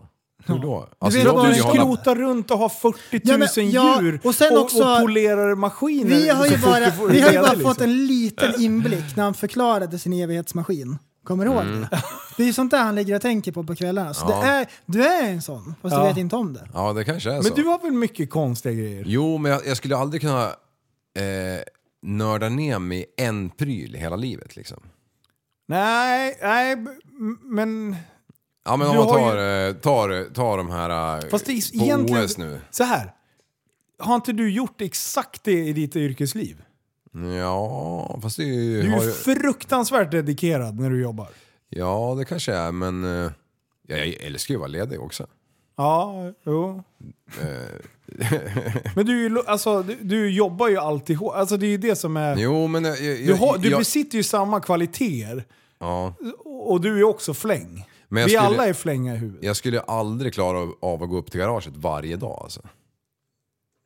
Speaker 8: Hur då?
Speaker 6: Du
Speaker 8: Alltså,
Speaker 6: vet,
Speaker 8: jag
Speaker 6: bara
Speaker 8: vill ju hålla...
Speaker 6: skrotar runt och har 40 000
Speaker 7: Ja, men- ja,
Speaker 6: djur
Speaker 7: och sen
Speaker 6: och,
Speaker 7: också-
Speaker 6: och polerar maskiner.
Speaker 7: Vi har
Speaker 6: så
Speaker 7: ju
Speaker 6: fort
Speaker 7: bara,
Speaker 6: du får
Speaker 7: vi har ju
Speaker 6: reda,
Speaker 7: bara
Speaker 6: liksom.
Speaker 7: fått en liten inblick när han förklarade sin evighetsmaskin. Kommer du ihåg det? Det är ju sånt där han ligger och tänker på på kvällarna. Så
Speaker 8: Mm. Ja.
Speaker 7: det är, du är en sån, fast
Speaker 6: Ja.
Speaker 7: du vet inte om det.
Speaker 8: Ja, det kanske är så.
Speaker 6: Men du har väl mycket konstiga grejer?
Speaker 8: Jo, men jag, jag skulle aldrig kunna eh, nörda ner mig i en pryl hela livet liksom.
Speaker 6: Nej, nej, b- m- men...
Speaker 8: Ja men om
Speaker 6: Du
Speaker 8: man
Speaker 6: har
Speaker 8: tar, eh, tar, tar de här eh,
Speaker 6: Fast det är
Speaker 8: på
Speaker 6: egentligen...
Speaker 8: OS nu.
Speaker 6: Så här. Har inte du gjort exakt det i ditt yrkesliv?
Speaker 8: Ja, fast det är ju...
Speaker 6: Du
Speaker 8: har
Speaker 6: är ju
Speaker 8: ju-
Speaker 6: fruktansvärt dedikerad när du jobbar.
Speaker 8: Ja, det kanske är, men eh, jag jag älskar ju att vara ledig också.
Speaker 6: Ja, jo.
Speaker 8: Eh.
Speaker 6: Men du, är ju lo- alltså, du, du jobbar ju alltid hårt. Alltså, det är ju det som är...
Speaker 8: Jo, men... Jag, jag,
Speaker 6: Du, har, du
Speaker 8: jag,
Speaker 6: besitter ju samma kvaliteter
Speaker 8: ja,
Speaker 6: och du är också fläng.
Speaker 8: Men jag
Speaker 6: Vi
Speaker 8: skulle-
Speaker 6: alla är flänga i huvudet.
Speaker 8: jag skulle aldrig klara av- av att gå upp till garaget varje dag alltså.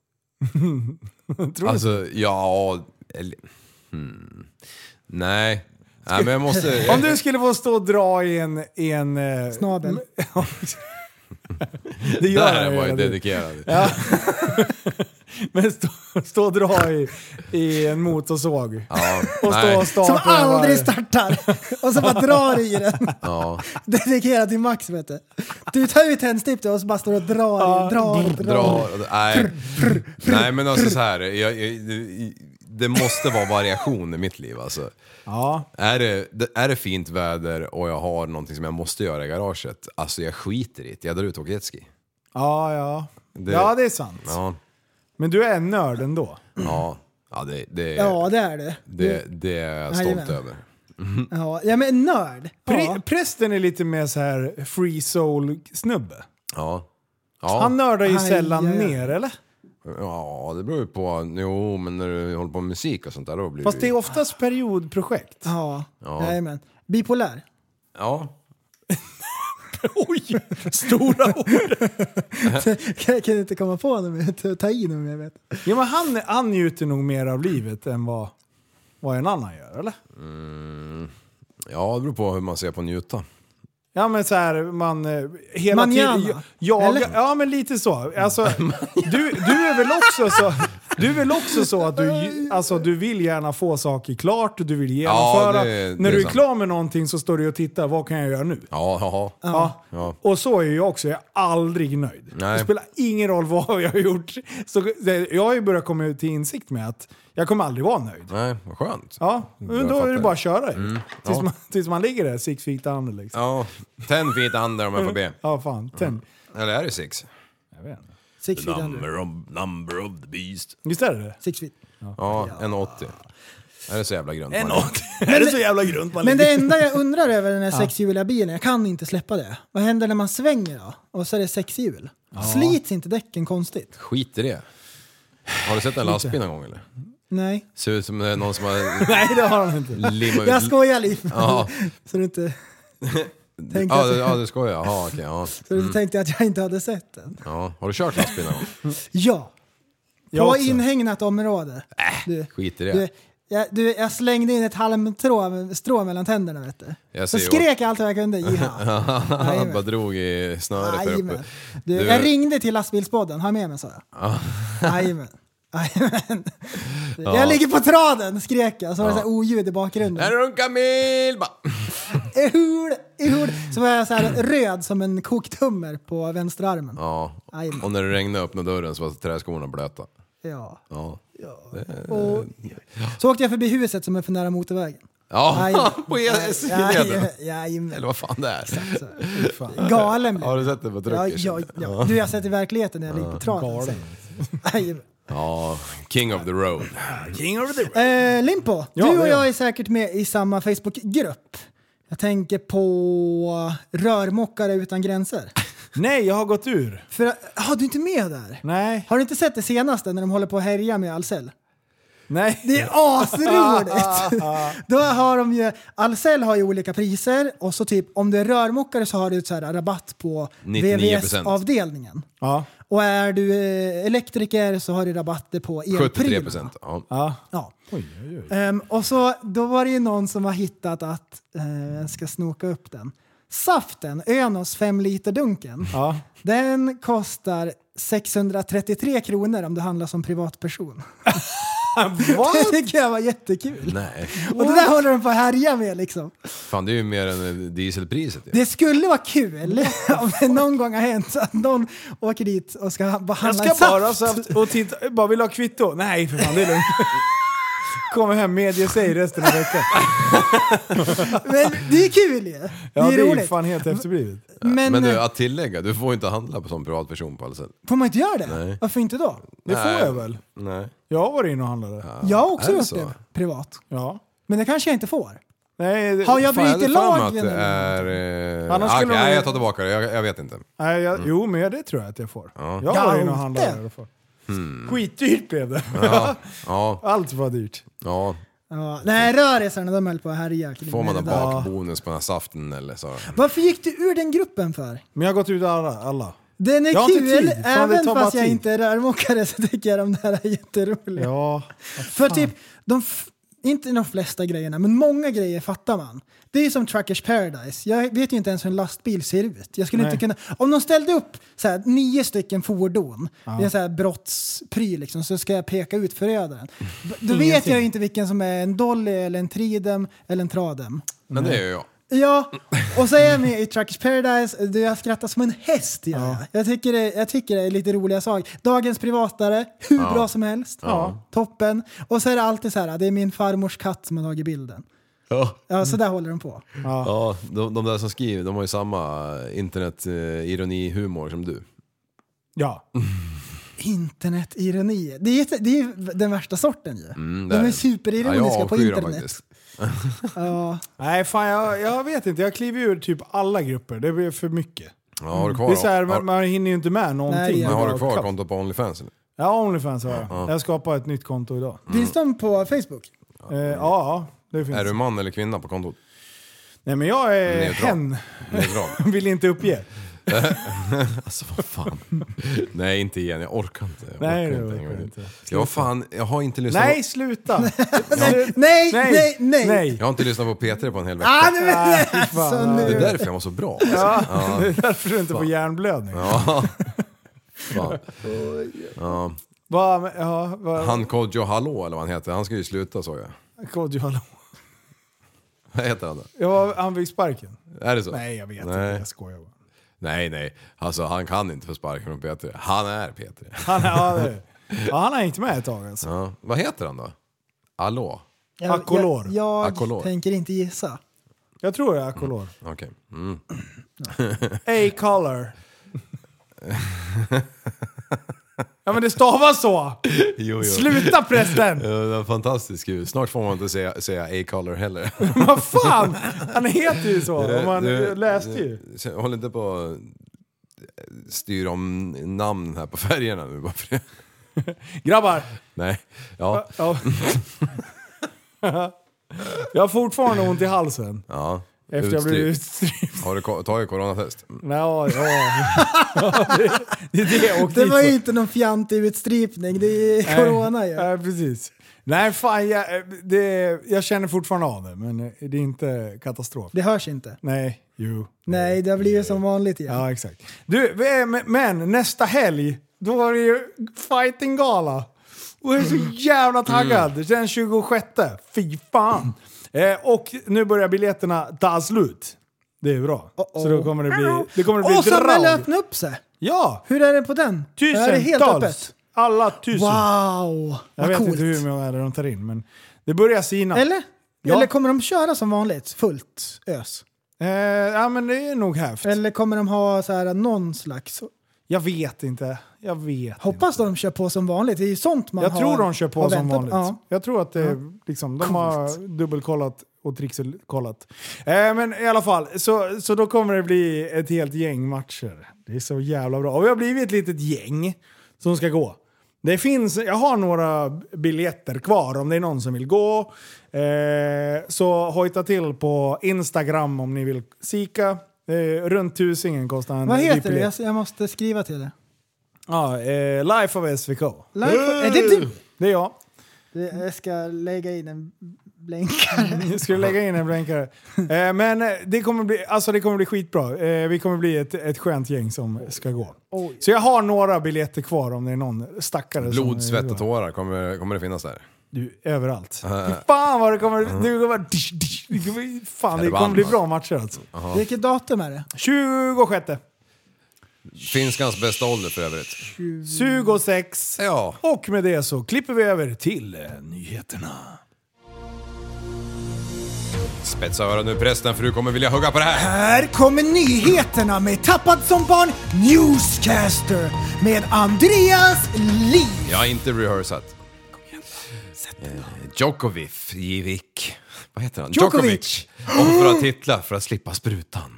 Speaker 6: Tror du?
Speaker 8: Alltså, ja... Eller, hmm. Nej. Nej, men jag måste...
Speaker 6: Om du skulle få stå och dra i en... I en eh,
Speaker 7: Snabel.
Speaker 6: det gör
Speaker 8: Där var
Speaker 6: jag hela
Speaker 8: jag
Speaker 6: tiden.
Speaker 8: dedikerad.
Speaker 6: Men stå, stå och dra i, i en motorsåg.
Speaker 8: Ja,
Speaker 6: Och stå
Speaker 8: nej.
Speaker 6: och starta.
Speaker 7: Som aldrig
Speaker 6: varje-
Speaker 7: startar. Och så bara drar i den.
Speaker 8: Ja,
Speaker 7: Dedikerad till Max vet du. Du tar ut tändstift och så bara står och drar,
Speaker 6: Ja,
Speaker 7: i, drar, drar.
Speaker 8: dra, nej. nej, men alltså så här. Jag, jag, det- det måste vara variation i mitt liv alltså.
Speaker 6: Ja.
Speaker 8: Är det, det- är det fint väder och jag har någonting som jag måste göra i garaget, alltså jag skiter i det. Jag drar ut och åker jetski.
Speaker 6: Ja, ja.
Speaker 8: Det-
Speaker 6: ja, det är sant.
Speaker 8: Ja,
Speaker 6: Men du är en nörd ändå.
Speaker 8: ja, ja det, det,
Speaker 7: Ja, det är det.
Speaker 8: det, det är jag
Speaker 7: Jajamän.
Speaker 8: stolt över.
Speaker 7: Ja, ja men nörd.
Speaker 6: Pre-
Speaker 7: Ja.
Speaker 6: Prästen är lite mer så här free soul-snubbe.
Speaker 8: Ja. Ja.
Speaker 6: Han nördar ju
Speaker 7: Aj,
Speaker 6: sällan
Speaker 7: aj, aj.
Speaker 6: ner, eller?
Speaker 8: ja, det beror ju på. Jo, men när du håller på med musik och sånt där då blir
Speaker 6: Fast
Speaker 8: du
Speaker 6: det
Speaker 8: ju-
Speaker 6: är oftast periodprojekt.
Speaker 7: Ja,
Speaker 8: Ja.
Speaker 7: jajamän. Bipolär.
Speaker 8: Ja.
Speaker 6: Oj! Stora ord!
Speaker 7: Jag kan inte komma på något, ta i något mer vet.
Speaker 6: Ja, men han, han njuter nog mer av livet än vad, vad en annan gör, eller?
Speaker 8: ja, det beror på hur man ser på njuta.
Speaker 6: Ja men så här, man... eh, Hela
Speaker 7: Manana,
Speaker 6: tiden... Jag,
Speaker 7: eller?
Speaker 6: ja men lite så. Alltså, du, du är väl också så... Du är väl också så att du, ju- alltså, du vill gärna få saker klart och du vill genomföra.
Speaker 8: det- det
Speaker 6: När
Speaker 8: är
Speaker 6: du är
Speaker 8: sant.
Speaker 6: klar med någonting så står du och tittar, vad kan jag göra nu?
Speaker 8: Ja, ja.
Speaker 6: Ja.
Speaker 8: Ja.
Speaker 6: Och så är jag också, jag är aldrig nöjd.
Speaker 8: Nej.
Speaker 6: Det spelar ingen roll vad jag har gjort. Så det- jag har ju börjat komma till insikt med att jag kommer aldrig vara nöjd.
Speaker 8: Nej, vad skönt.
Speaker 6: Ja, men
Speaker 8: Mm, Jag
Speaker 6: då är det
Speaker 8: fattar. Mm,
Speaker 6: bara att köra ju. Tills,
Speaker 8: ja.
Speaker 6: man, tills man ligger där six feet under liksom.
Speaker 8: Ja, Mm. ten feet under om jag får be.
Speaker 6: Ja, fan. Ten.
Speaker 8: Eller är det six?
Speaker 7: Six feet under.
Speaker 8: of, number of the beast.
Speaker 6: Visst är det det?
Speaker 7: Six feet.
Speaker 8: Ja, 1,80. Är det så jävla grönt? En
Speaker 6: är det så jävla grunt man
Speaker 7: Men det enda jag undrar över den här sexhjuliga bilen, jag kan inte släppa det. Vad händer när man svänger då? Och så är det sexhjul. Slits inte däcken konstigt?
Speaker 8: Skit i det. Har du sett en lastbil någon gång eller?
Speaker 7: Nej,
Speaker 8: Ser ut som det är någon som har
Speaker 6: Nej, det har han inte.
Speaker 8: limmat
Speaker 7: jag
Speaker 8: ut...
Speaker 7: skojar lite.
Speaker 8: Ja.
Speaker 7: Så du inte, tänkte
Speaker 8: Ja,
Speaker 7: att
Speaker 8: du-
Speaker 7: jag,
Speaker 8: ja, Mm. du skojar. Jaha, okej. Ja.
Speaker 7: så du inte tänkte att jag inte hade sett den.
Speaker 8: Ja. Har du kört lastbil någon gång?
Speaker 7: Ja,
Speaker 6: Jag
Speaker 7: på
Speaker 6: också.
Speaker 7: inhägnat område.
Speaker 8: Äh.
Speaker 7: Du,
Speaker 8: Skit i
Speaker 7: du,
Speaker 8: det.
Speaker 7: jag, du, jag slängde in ett halmstrå strå mellan tänderna vet du.
Speaker 8: Jag
Speaker 7: Så
Speaker 8: ser ju-
Speaker 7: skrek jag allt vad jag kunde. Jiha.
Speaker 8: Han bara drog i snöret där
Speaker 7: Jajamän.
Speaker 8: uppe.
Speaker 7: Du,
Speaker 8: Du-
Speaker 7: Jag ringde till lastbilspodden, ha med mig sa jag. Jajamän. Jajamän. Jag ligger på traden, skrek jag. Så var det så här oljud i
Speaker 8: Där
Speaker 7: bakgrunden.
Speaker 8: runkar Mil! Bara-
Speaker 7: Ehul, ehul. Så var jag så här röd som en kokt hummer på vänstra armen.
Speaker 8: Ja.
Speaker 7: Jajamän.
Speaker 8: Och när det regnade öppna dörren så var träskorna blöta.
Speaker 7: Ja.
Speaker 8: Ja. Eh,
Speaker 7: Och, så åkte jag förbi huset som är för nära motorvägen.
Speaker 8: Ja,
Speaker 7: Jajamän.
Speaker 8: på
Speaker 7: Jajamän,
Speaker 8: E-sidan.
Speaker 7: Jajamän.
Speaker 8: Eller vad fan det är.
Speaker 7: Så här, fan. Galen blev
Speaker 8: Har du sett det på
Speaker 7: Ja,
Speaker 8: Truckers?
Speaker 7: ja, ja. Du, jag har sett i verkligheten när jag ligger på traden. sen. Jajamän.
Speaker 8: Ja, King of the Road.
Speaker 6: King of the Road.
Speaker 7: Eh, Limpo,
Speaker 6: Ja,
Speaker 7: du
Speaker 6: det
Speaker 7: och
Speaker 6: är
Speaker 7: jag
Speaker 6: jag.
Speaker 7: är säkert med i samma Facebookgrupp. Jag tänker på rörmokare utan gränser.
Speaker 6: Nej, jag har gått ur.
Speaker 7: För, har du inte med där?
Speaker 6: Nej.
Speaker 7: Har du inte sett det senaste när de håller på att härja med Ahlsell?
Speaker 6: Nej.
Speaker 7: Det är asroligt! Då har de ju, Ahlsell har ju olika priser och så typ om du är rörmokare så har du ett så här rabatt på
Speaker 8: 99%.
Speaker 7: VVS-avdelningen.
Speaker 6: Ja.
Speaker 7: Och är du eh, elektriker så har du rabatter på elprylarna.
Speaker 8: 73 procent. Ja.
Speaker 7: Ja. Ehm, och så, då var det ju någon som har hittat att, eh, jag ska snoka upp den. Saften, Önos 5 liter dunken,
Speaker 6: Ja.
Speaker 7: den kostar 633 kronor om du handlar som privatperson. Det tycker jag var jättekul.
Speaker 8: Nej,
Speaker 7: Och det där håller de på att härja med liksom.
Speaker 8: fan det är ju mer än dieselpriset. Ja.
Speaker 7: Det skulle vara kul om det någon gång har hänt att någon åker dit och ska ha- bara handla
Speaker 6: Jag ska
Speaker 7: saft.
Speaker 6: bara saft och titta. Bara vill ha kvitto. Nej, för fan det är lugnt. Kommer hem, medge sig resten av veckan.
Speaker 7: Men det är kul ju.
Speaker 6: Ja,
Speaker 7: det är roligt.
Speaker 6: fan helt efterblivet.
Speaker 7: Men,
Speaker 8: Men du,
Speaker 7: eh,
Speaker 8: att tillägga, du får inte handla på som privatperson på alla sätt.
Speaker 7: får man inte göra det?
Speaker 8: Nej.
Speaker 7: Varför inte då?
Speaker 6: Det får
Speaker 8: Nej.
Speaker 6: jag väl?
Speaker 8: Nej.
Speaker 6: Jag har varit inne och handlat
Speaker 7: Jag har också
Speaker 8: Är det
Speaker 7: gjort
Speaker 8: så?
Speaker 7: det privat.
Speaker 6: Ja.
Speaker 7: Men det kanske jag inte får.
Speaker 6: Nej, det,
Speaker 7: Har jag
Speaker 8: Fan, jag hade
Speaker 7: brutit
Speaker 8: för mig att
Speaker 7: lagen?
Speaker 8: det
Speaker 7: eller?
Speaker 8: är... Eh...
Speaker 6: Annars
Speaker 8: ah,
Speaker 6: skulle
Speaker 8: okej,
Speaker 6: de-
Speaker 8: nej, jag tar tillbaka det. Jag, jag vet inte.
Speaker 6: nej jag, jo, men det tror jag att jag får. Jag
Speaker 7: Ja,
Speaker 6: har varit inne och handlat
Speaker 7: inte.
Speaker 6: i alla fall. Hmm. Skitdyrt blev det.
Speaker 8: Ja,
Speaker 6: Allt var dyrt.
Speaker 8: ja.
Speaker 7: Ja, nej, rörisarna de höll på att härja kring
Speaker 8: Får man
Speaker 7: det
Speaker 8: någon
Speaker 7: där.
Speaker 8: bakbonus på den här saften eller så?
Speaker 7: Varför gick du ur den gruppen för?
Speaker 6: Men jag har gått ut alla. alla.
Speaker 7: Den är
Speaker 6: Jag har inte
Speaker 7: kul,
Speaker 6: tid. Fan, det
Speaker 7: även
Speaker 6: tar bara
Speaker 7: fast jag
Speaker 6: tid.
Speaker 7: inte är rörmokare så tycker jag de där är jätteroliga.
Speaker 6: Ja.
Speaker 7: För typ, de f- inte de flesta grejerna, men många grejer fattar man. Det är ju som Truckers Paradise. Jag vet ju inte ens hur en lastbil ser ut. Jag skulle
Speaker 6: Nej.
Speaker 7: inte kunna, om de ställde upp så här, nio stycken fordon i en så här brottspry, liksom, så ska jag peka ut förövaren. B- Då vet
Speaker 6: Ingenting.
Speaker 7: jag ju inte vilken som är en Dolly, eller en Tridem eller en Tradem.
Speaker 8: Men det är ju jag.
Speaker 7: Ja, och så är jag med i Truckers Paradise. Du, Jag skrattar som en häst. gör Jag, jag, tycker det, jag tycker det är lite roliga saker. Dagens privatare, hur bra som helst. Toppen. Och så är det alltid så här, det är min farmors katt som har tagit bilden.
Speaker 8: Ja.
Speaker 7: Ja, så där håller de på.
Speaker 8: Mm. Ja, de, de där som skriver, de har ju samma internet-ironi-humor som du.
Speaker 6: Ja.
Speaker 7: Internetironi. Det är, jätte- det är ju den värsta sorten ju.
Speaker 8: Mm, det
Speaker 7: de
Speaker 8: är
Speaker 7: är
Speaker 8: det.
Speaker 7: superironiska på
Speaker 8: avskyr dem
Speaker 7: internet.
Speaker 8: Mm.
Speaker 7: Ja.
Speaker 6: Nej, fan jag, jag vet inte. Jag kliver ur typ alla grupper. Det blir för mycket.
Speaker 8: Ja, har du kvar,
Speaker 6: Det är så här,
Speaker 8: har,
Speaker 6: man, Mm. man hinner ju inte med någonting.
Speaker 7: Nej, det är-
Speaker 8: men har du kvar
Speaker 6: Kapp-
Speaker 8: konto på Onlyfans? eller?
Speaker 6: Ja, Onlyfans har jag. Jag skapade ett nytt konto idag.
Speaker 7: Finns de på Facebook?
Speaker 6: Eh, ja, ja, det finns.
Speaker 8: Mm. Är du man eller kvinna på kontot?
Speaker 6: Nej, men jag är
Speaker 8: Neutral.
Speaker 6: hen.
Speaker 8: Neutral.
Speaker 6: Vill inte uppge.
Speaker 8: Alltså vad fan. Nej inte igen, jag orkar inte. Jag orkar
Speaker 6: Nej, det
Speaker 8: en
Speaker 6: orkar
Speaker 8: gång
Speaker 6: jag
Speaker 8: till.
Speaker 6: inte.
Speaker 8: Jag, fan, jag har inte lyssnat
Speaker 6: Nej,
Speaker 8: på...
Speaker 6: sluta!
Speaker 7: Nej, nej, nej, nej.
Speaker 8: Jag har inte lyssnat på P3 på en hel vecka.
Speaker 7: Ah, nej, men,
Speaker 6: Ah, fy fan.
Speaker 7: alltså,
Speaker 8: det är
Speaker 7: nu.
Speaker 8: därför jag mår så bra. Ja.
Speaker 6: Det är därför du inte får hjärnblödning.
Speaker 8: Fan.
Speaker 6: Va, men, ja, va,
Speaker 8: Han Kodjo Hallå eller vad han heter, han ska ju sluta såg jag.
Speaker 6: Kodjo, hallå.
Speaker 8: Vad heter han då?
Speaker 6: Ja, han fick sparken.
Speaker 8: Är det så?
Speaker 6: Nej, jag vet inte.
Speaker 8: Nej.
Speaker 6: Jag skojar bara.
Speaker 8: Nej nej, alltså han kan inte få sparken från P3. Han är P3.
Speaker 6: Han, ja, det, ja, han har hängt med ett tag alltså.
Speaker 8: Ja. Vad heter han då? Hallå?
Speaker 7: Jag,
Speaker 6: Akolor.
Speaker 7: jag, jag
Speaker 8: Akolor.
Speaker 7: tänker inte gissa.
Speaker 6: Jag tror det är Akolor.
Speaker 8: Okej. Mm.
Speaker 6: A-color. ja men det stavas så!
Speaker 8: Jo, jo.
Speaker 6: Sluta prästen!
Speaker 8: Ja, det var fantastiskt kul. Snart får man inte säga, säga A-color heller.
Speaker 6: Vad fan! Han heter ju så. Och man
Speaker 8: Du-
Speaker 6: läste ju.
Speaker 8: Så Håll inte på och styr om namn här på färgerna nu bara för det.
Speaker 6: Grabbar!
Speaker 8: Nej. Ja.
Speaker 6: Ja. jag har fortfarande ont i halsen.
Speaker 8: ja.
Speaker 6: Efter jag blev
Speaker 8: Utskriv.
Speaker 6: utstript.
Speaker 8: Har du ko- tagit coronatest?
Speaker 6: Ja, ja. det, det är det jag åkte
Speaker 7: Det var
Speaker 6: dit
Speaker 7: ju
Speaker 6: för.
Speaker 7: inte någon fjantig utstripning, det är corona ju.
Speaker 6: Nej, nej, precis. Nej, fan jag, det, jag känner fortfarande av det, men det är inte katastrof.
Speaker 7: Det hörs inte.
Speaker 6: Nej, jo.
Speaker 7: Nej, det har blivit som vanligt igen.
Speaker 6: Ja, exakt. Du, vi- men- men nästa helg, då är det ju fighting-gala. Och jag är
Speaker 7: Mm.
Speaker 6: så jävla taggad. Den 26. Fy fan.
Speaker 7: Mm.
Speaker 6: Eh, och nu börjar biljetterna ta slut. Det är bra. Så då kommer det bli, det kommer det bli
Speaker 7: Och så väl
Speaker 6: drag.
Speaker 7: öppna upp sig!
Speaker 6: Ja!
Speaker 7: Hur är det på den? Är det helt
Speaker 6: Tusentals.
Speaker 7: öppet?
Speaker 6: Alla tusen.
Speaker 7: Wow,
Speaker 6: Jag
Speaker 7: vad
Speaker 6: vet
Speaker 7: coolt.
Speaker 6: inte hur många de tar in, men det börjar sina.
Speaker 7: Eller?
Speaker 6: Ja.
Speaker 7: Eller kommer de köra som vanligt, fullt ös?
Speaker 6: Eh, ja, men det är nog häft.
Speaker 7: Eller kommer de ha så här någon slags...
Speaker 6: Jag vet inte. Jag vet inte.
Speaker 7: Hoppas de kör på som vanligt, det är ju sånt man
Speaker 6: Jag
Speaker 7: har
Speaker 6: tror de kör på
Speaker 7: har
Speaker 6: som
Speaker 7: väntat
Speaker 6: vanligt.
Speaker 7: Ja.
Speaker 6: Jag tror att det, liksom, de har dubbelkollat och trixelkollat. Eh, men i alla fall, så, så då kommer det bli ett helt gäng matcher. Det är så jävla bra. Och vi har blivit ett litet gäng som ska gå. Det finns, jag har några biljetter kvar om det är någon som vill gå. Eh, så hojta till på Instagram om ni vill sika. Eh, runt tusingen kostar en
Speaker 7: Vad heter det?
Speaker 6: biljett.
Speaker 7: Jag, jag måste skriva till det.
Speaker 6: Ja, eh, Life of SVK.
Speaker 7: Life of- är det du?
Speaker 6: Det är jag.
Speaker 7: Det- Jag ska lägga in en blänkare.
Speaker 6: Jag skulle lägga in en blänkare. Eh, men eh, det kommer bli, alltså det kommer bli skitbra. Eh, vi kommer bli ett, ett skönt gäng som ska gå.
Speaker 7: Oj.
Speaker 6: Så jag har några biljetter kvar om det är någon stackare som...
Speaker 8: Blod, svett och Eh. tårar kommer, kommer det finnas där.
Speaker 6: Du, överallt. Fan vad
Speaker 8: Mm.
Speaker 6: det kommer... Du kommer bara, dish, dish, det kommer, fan, det kommer bli bra matcher alltså.
Speaker 8: Jaha.
Speaker 7: Vilket datum är det?
Speaker 6: 26.
Speaker 8: Finskans bästa ålder för övrigt.
Speaker 6: 26.
Speaker 8: Ja.
Speaker 6: Och med det så klipper vi över till eh, nyheterna.
Speaker 8: Spetsa öronen nu prästen för du kommer vilja hugga på det här.
Speaker 7: Här kommer nyheterna med Tappad som barn Newscaster med Andreas Li.
Speaker 8: Jag har inte rehearsat. Eh, Djokovic, Jivik. Vad heter han?
Speaker 7: Djokovic.
Speaker 8: Offrar titlar för att slippa sprutan.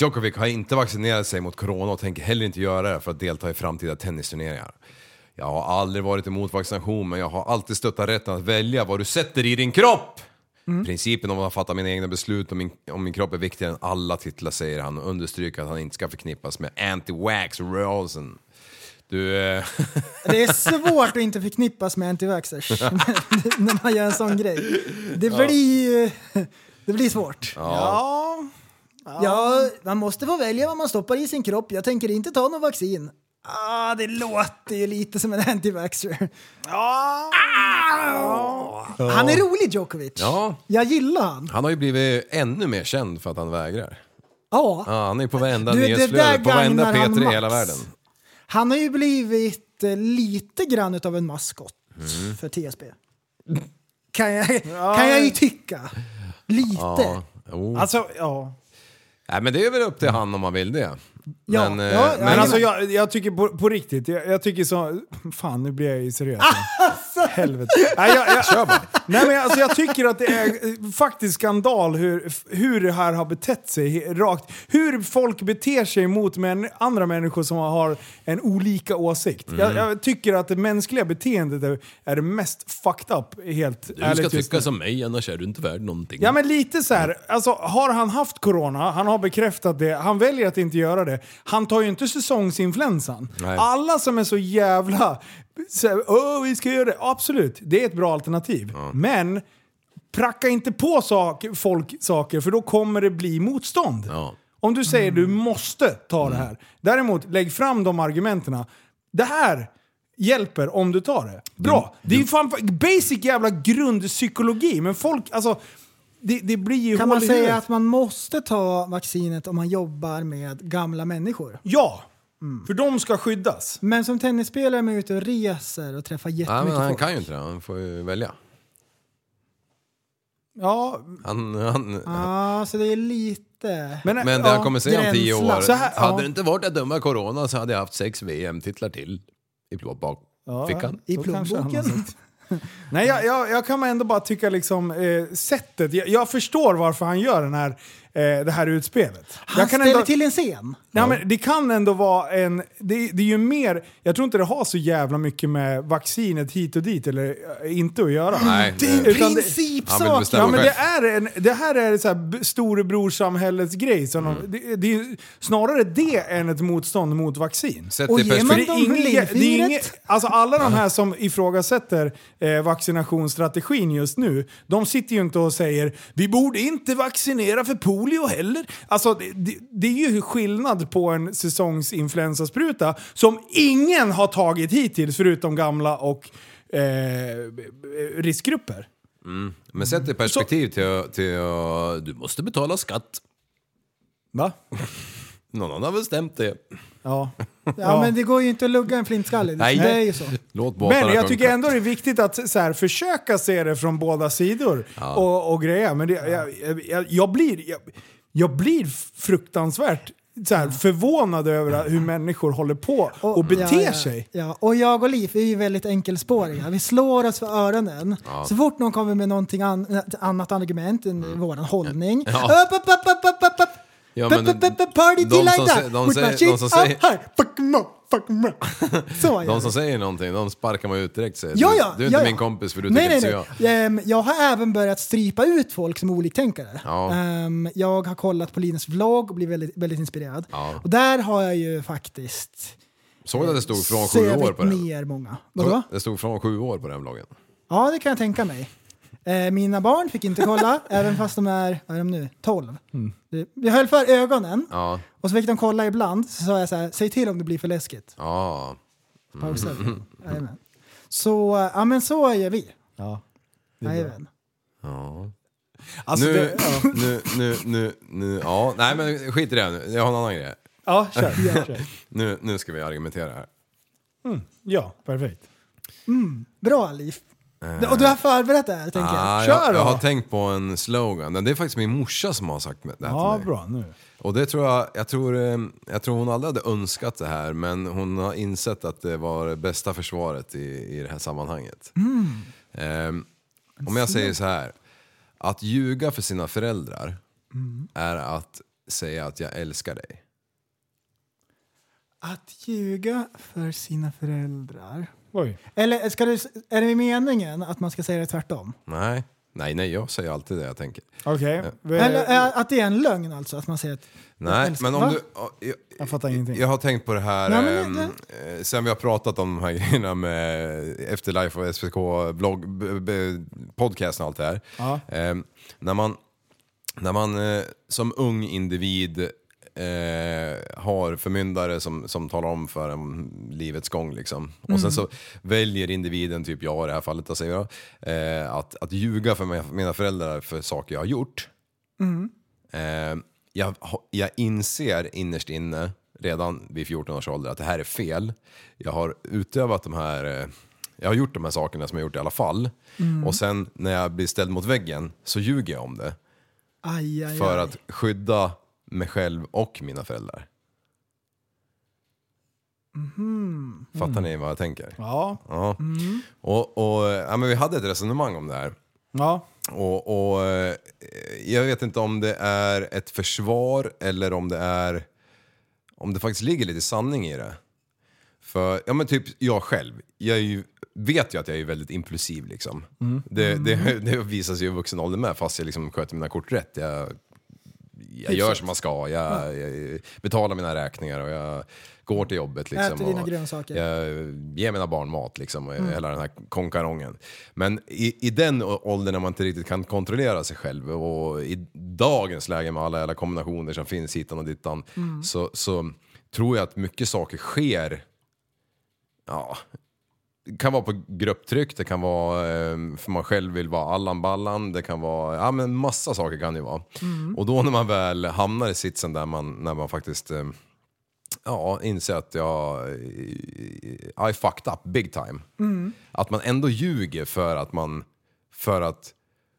Speaker 8: Djokovic har inte vaccinerat sig mot corona och tänker heller inte göra det för att delta i framtida tennisturneringar. Jag har aldrig varit emot vaccination men jag har alltid stöttat rätten att välja vad du sätter i din kropp. Principen om att fatta mina egna beslut om min, om min kropp är viktigare än alla titlar säger han och understryker att han inte ska förknippas med anti-wax-rörelsen. Du... Eh...
Speaker 7: Det är svårt att inte förknippas med antivaxxers när man gör en sån grej. Det
Speaker 8: Ja.
Speaker 7: blir, ju- det blir svårt.
Speaker 8: Ja.
Speaker 7: ja, man måste få välja vad man stoppar i sin kropp. Jag tänker inte ta något vaccin. Ah, det låter ju lite som en antivaxxer. Ah! Han är rolig Djokovic.
Speaker 8: Ja.
Speaker 7: Jag gillar han.
Speaker 8: Han har ju blivit ännu mer känd för att han vägrar.
Speaker 7: Ja.
Speaker 8: Ja, han är på varenda
Speaker 7: Du, det där
Speaker 8: nyhetsflöde, på varenda
Speaker 7: gagnar han
Speaker 8: P3 i
Speaker 7: max.
Speaker 8: hela världen.
Speaker 7: Han har ju blivit eh, lite grann av en maskot
Speaker 8: Mm.
Speaker 7: för TSB. Kan jag, kan jag ju tycka. Lite.
Speaker 8: Ja. Oh.
Speaker 6: Alltså, ja.
Speaker 8: Nej, men det är väl upp till han om han vill det.
Speaker 6: Ja,
Speaker 8: men, eh,
Speaker 6: ja, men,
Speaker 8: men-
Speaker 6: alltså jag, jag tycker på, på riktigt, jag, jag tycker så... Fan, nu blir jag ju seriös.
Speaker 7: Alltså!
Speaker 6: Helvete. Nej, jag, jag,
Speaker 8: Kör bara.
Speaker 6: Nej, men alltså, jag tycker att det är eh, faktiskt skandal hur, f- hur det här har betett sig he- rakt. Hur folk beter sig mot män, andra människor som har en olika åsikt.
Speaker 8: Mm.
Speaker 6: Jag, jag tycker att det mänskliga beteendet är, är det mest fucked up, helt
Speaker 8: Du
Speaker 6: ärligt
Speaker 8: ska
Speaker 6: just
Speaker 8: tycka
Speaker 6: nu.
Speaker 8: som mig, annars är du inte värd någonting.
Speaker 6: Ja men lite så här. alltså har han haft corona, han har bekräftat det, han väljer att inte göra det. Han tar ju inte säsongsinfluensan.
Speaker 8: Nej.
Speaker 6: Alla som är så jävla, så här, Åh, vi ska göra det, absolut, det är ett bra alternativ. Men pracka inte på sak, folk saker för då kommer det bli motstånd. Om du säger
Speaker 7: Mm.
Speaker 6: du måste ta
Speaker 8: Mm.
Speaker 6: det här. Däremot, lägg fram de argumenten. Det här hjälper om du tar det.
Speaker 8: Mm.
Speaker 6: Bra! Det är ju fan basic jävla grundpsykologi, men folk, alltså... Det, det blir ju
Speaker 7: Kan
Speaker 6: hål
Speaker 7: man
Speaker 6: i
Speaker 7: säga
Speaker 6: huvudet.
Speaker 7: att man måste ta vaccinet om man jobbar med gamla människor?
Speaker 6: Ja!
Speaker 7: Mm.
Speaker 6: För de ska skyddas.
Speaker 7: Men som tennisspelare är man ute och reser och träffar
Speaker 8: Nej, men
Speaker 7: jättemycket
Speaker 8: han
Speaker 7: folk.
Speaker 8: kan ju inte det, han får ju välja.
Speaker 6: Ja,
Speaker 8: Han, han,
Speaker 7: ah, så det är lite...
Speaker 8: men det han kommer säga om tio år,
Speaker 7: Så här-
Speaker 8: hade
Speaker 7: ja.
Speaker 8: det inte varit det dumma corona så hade jag haft sex VM-titlar till i bakfickan.
Speaker 6: Ja, då kanske han har sagt. Nej, jag, jag, jag kan ändå bara tycka liksom eh, sättet. Jag, jag förstår varför han gör den här, eh, det här utspelet.
Speaker 7: Han
Speaker 6: jag kan
Speaker 7: ställer
Speaker 6: ändå,
Speaker 7: till en scen.
Speaker 6: Nej, men det kan ändå vara en... Det, det är ju mer... Jag tror inte det har så jävla mycket med vaccinet hit och dit eller eh, inte att göra.
Speaker 8: Nej, Det är en
Speaker 6: Utan det-
Speaker 8: principsak! Han vill bestämma
Speaker 6: Ja, men det,
Speaker 8: själv.
Speaker 6: är en, det här är så här b- storebrorssamhällets grej. Som
Speaker 8: Mm.
Speaker 6: de, det, det är ju snarare det än ett motstånd mot vaccin.
Speaker 8: Sätt Och i ger perspektiv- man
Speaker 6: För det är
Speaker 8: dem
Speaker 6: inget- det är
Speaker 8: lillfingret?
Speaker 6: inget- Alltså alla de här som ifrågasätter eh, vaccinationsstrategin just nu, de sitter ju inte och säger vi borde inte vaccinera för polio heller. Alltså det, det, det är ju skillnad på en säsongsinfluensaspruta som ingen har tagit hittills förutom gamla och eh, b- b- riskgrupper.
Speaker 8: Mm. Men sätt i perspektiv till, till uh, du måste betala skatt.
Speaker 6: Va?
Speaker 8: Någon annan har bestämt det.
Speaker 6: Ja.
Speaker 7: Ja, men det går ju inte att lugga en flintskallig.
Speaker 8: Nej.
Speaker 7: Det är ju så.
Speaker 8: Låt båtarna
Speaker 6: Men jag
Speaker 8: sjunka.
Speaker 6: tycker ändå det är viktigt att så här, försöka se det från båda sidor
Speaker 8: Ja.
Speaker 6: och, och grejer. Men det, jag, jag, jag, blir, jag, jag blir fruktansvärt så här, förvånad över hur människor håller på och, beter
Speaker 7: ja, ja,
Speaker 6: sig.
Speaker 7: Ja, och jag och Liv är ju väldigt enkelspåriga. Vi slår oss för öronen.
Speaker 6: Ja.
Speaker 7: Så fort någon kommer med någonting an, ett annat argument än våran hållning.
Speaker 8: Mm. Ja.
Speaker 7: Upp, upp, upp, upp, upp, upp, upp.
Speaker 8: Ja,
Speaker 7: P-
Speaker 8: men
Speaker 7: p- p- Party
Speaker 8: de
Speaker 7: till
Speaker 8: som
Speaker 7: like
Speaker 8: sä-
Speaker 7: that!
Speaker 8: de
Speaker 7: With
Speaker 8: säger-
Speaker 7: my shit
Speaker 8: de som säger-
Speaker 7: up high! Fuck me, fuck me! Så gör
Speaker 8: De
Speaker 7: jag.
Speaker 8: som säger någonting, de sparkar man ut direkt säger
Speaker 7: Ja,
Speaker 8: du,
Speaker 7: ja,
Speaker 8: du är inte
Speaker 7: ja, ja.
Speaker 8: min kompis för du
Speaker 7: Nej,
Speaker 8: tycker
Speaker 7: nej,
Speaker 8: inte så
Speaker 7: nej. Ehm, jag har även börjat strypa ut folk som oliktänkare.
Speaker 8: Ja.
Speaker 7: Ehm, jag har kollat på Linus vlogg och blivit väldigt, väldigt inspirerad.
Speaker 8: Ja.
Speaker 7: Och där har jag ju faktiskt
Speaker 8: jag. Såg du att det stod från sju
Speaker 7: sövit
Speaker 8: år på den?
Speaker 7: ner många. Vadå?
Speaker 8: Det stod från sju år på den bloggen.
Speaker 7: Ja, det kan jag tänka mig. Eh, mina barn fick inte kolla, även fast de är, vad är de nu, 12.
Speaker 8: Mm.
Speaker 7: Det- Jag höll för ögonen
Speaker 8: Ja.
Speaker 7: och så fick de kolla ibland. Så sa jag så här, säg till om det blir för läskigt.
Speaker 8: Ja.
Speaker 7: Pausar vi.
Speaker 8: Mm.
Speaker 7: Jajamän. Så, eh, ja men så gör vi.
Speaker 6: Ja.
Speaker 8: det är bra.
Speaker 7: Jajamän.
Speaker 8: Ja.
Speaker 6: Alltså,
Speaker 8: nu,
Speaker 6: det- ja.
Speaker 8: nu, nu, nu, nu, ja. Nej men skit i det nu. Jag har en annan grej.
Speaker 6: Ja, kör. Ja, kör.
Speaker 8: nu, nu ska vi argumentera här.
Speaker 6: Mm, ja perfekt.
Speaker 7: Mm, bra Liv.
Speaker 8: Eh.
Speaker 7: Och du har förberett det här tänker
Speaker 8: Ah,
Speaker 7: jag.
Speaker 8: jag, jag har tänkt på en slogan. Det är faktiskt min morsa som har sagt det här
Speaker 6: Ja,
Speaker 8: till mig.
Speaker 6: bra nu.
Speaker 8: Och det tror jag, jag tror, eh, jag tror hon aldrig hade önskat det här men hon har insett att det var det bästa försvaret i, i det här sammanhanget.
Speaker 12: Mm.
Speaker 8: Ehm, om jag säger så här. Att ljuga för sina föräldrar
Speaker 7: Mm.
Speaker 8: är att säga att jag älskar dig.
Speaker 7: Att ljuga för sina föräldrar.
Speaker 6: Oj.
Speaker 7: Eller ska du, är det meningen att man ska säga det tvärtom?
Speaker 8: Nej, nej, nej jag säger alltid det jag tänker.
Speaker 6: Okej. Vi-
Speaker 7: Eller eh, att det är en lögn alltså? Att man säger att jag
Speaker 8: Nej,
Speaker 7: älskar-
Speaker 8: men
Speaker 7: Va?
Speaker 8: om du... ja, Jag,
Speaker 6: jag fattar ingenting.
Speaker 8: Jag har tänkt på det här
Speaker 7: Ja,
Speaker 8: ehm,
Speaker 7: men
Speaker 8: eh, sen vi har pratat om de här grejerna med Efterlife och SVK blogg, b, b, podcasten och allt det här.
Speaker 6: Ja.
Speaker 8: Ehm, när man, när man eh, som ung individ eh, har förmyndare som, som talar om för en livets gång liksom. Och sen
Speaker 12: Mm.
Speaker 8: så väljer individen, typ jag i det här fallet, då säger jag, eh, att, att ljuga för mina- mina föräldrar för saker jag har gjort.
Speaker 12: Mm.
Speaker 8: Eh, jag, ha- jag inser innerst inne redan vid 14 års ålder att det här är fel. Jag har utövat de här, eh, jag har gjort de här sakerna som jag gjort i alla fall.
Speaker 7: Mm.
Speaker 8: Och sen när jag blir ställd mot väggen så ljuger jag om det.
Speaker 7: Aj, aj,
Speaker 8: För
Speaker 7: aj.
Speaker 8: att skydda mig själv och mina föräldrar.
Speaker 7: Mhm. Mm.
Speaker 8: Fattar ni vad jag tänker?
Speaker 6: Ja.
Speaker 8: ja. Och, och, eh, ja, men vi hade ett resonemang om det här.
Speaker 6: Ja.
Speaker 8: Och, och eh, jag vet inte om det är ett försvar eller om det är om det faktiskt ligger lite sanning i det. För, ja men typ jag själv, jag är ju, vet ju att jag är väldigt impulsiv liksom.
Speaker 12: Mm.
Speaker 8: Det, det, det visar sig ju i vuxen ålder med fast jag liksom sköter mina kort rätt. Jag, jag gör
Speaker 12: Hyfsat.
Speaker 8: som man ska, jag, jag betalar mina räkningar och jag går till jobbet. Liksom,
Speaker 7: Äter dina
Speaker 8: och
Speaker 7: grönsaker.
Speaker 8: Jag ger mina barn mat liksom, och
Speaker 7: Mm.
Speaker 8: hela den här konkarongen. Men i, i den å- åldern när man inte riktigt kan kontrollera sig själv och i dagens läge med alla jävla kombinationer som finns hitan och dittan
Speaker 12: Mm.
Speaker 8: så, så tror jag att mycket saker sker ja, det kan vara på grupptryck, det kan vara eh, för man själv vill vara Allan Ballan, det kan vara, ja men massa saker kan det ju vara.
Speaker 6: Mm.
Speaker 8: Och då när man väl hamnar i sitsen där man, när man faktiskt eh, ja, inser att jag, eh, I fucked up big time.
Speaker 12: Mm.
Speaker 8: Att man ändå ljuger för att man, för att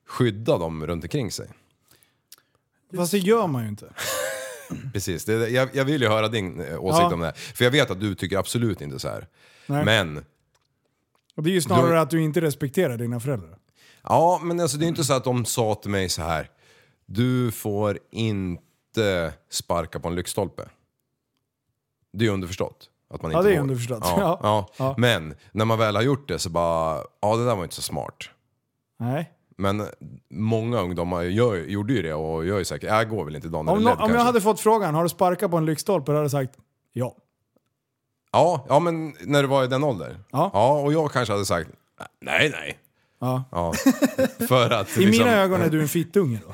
Speaker 8: skydda dem runt omkring sig.
Speaker 6: Fast det gör man ju inte.
Speaker 8: Precis, det, jag, jag vill ju höra din eh, åsikt
Speaker 6: Ja.
Speaker 8: om det här. För jag vet att du tycker absolut inte så här.
Speaker 6: Nej.
Speaker 8: Men
Speaker 6: Och det är ju snarare
Speaker 8: Du-
Speaker 6: att du inte respekterar dina föräldrar.
Speaker 8: Ja, men alltså, det är inte så att de sa till mig så här. Du får inte sparka på en lyktstolpe. Det är underförstått. Att man
Speaker 6: Ja,
Speaker 8: inte
Speaker 6: det är
Speaker 8: får.
Speaker 6: underförstått.
Speaker 8: Ja,
Speaker 6: Ja.
Speaker 8: ja.
Speaker 6: Ja.
Speaker 8: Men när man väl har gjort det så bara, ja det där var inte så smart.
Speaker 6: Nej.
Speaker 8: Men många ungdomar gör, gjorde ju det och gör ju säkert, jag går väl inte dagen
Speaker 6: Om,
Speaker 8: eller
Speaker 6: nå-
Speaker 8: led
Speaker 6: om jag
Speaker 8: kanske."
Speaker 6: hade fått frågan, har du sparkat på en lyktstolpe? Då hade jag sagt ja.
Speaker 8: ja, ja, men när du var i den åldern. Ja. och jag kanske hade sagt, nej nej.
Speaker 6: Ja.
Speaker 8: För att
Speaker 6: I
Speaker 8: liksom-
Speaker 6: mina ögon är du en fittunge då.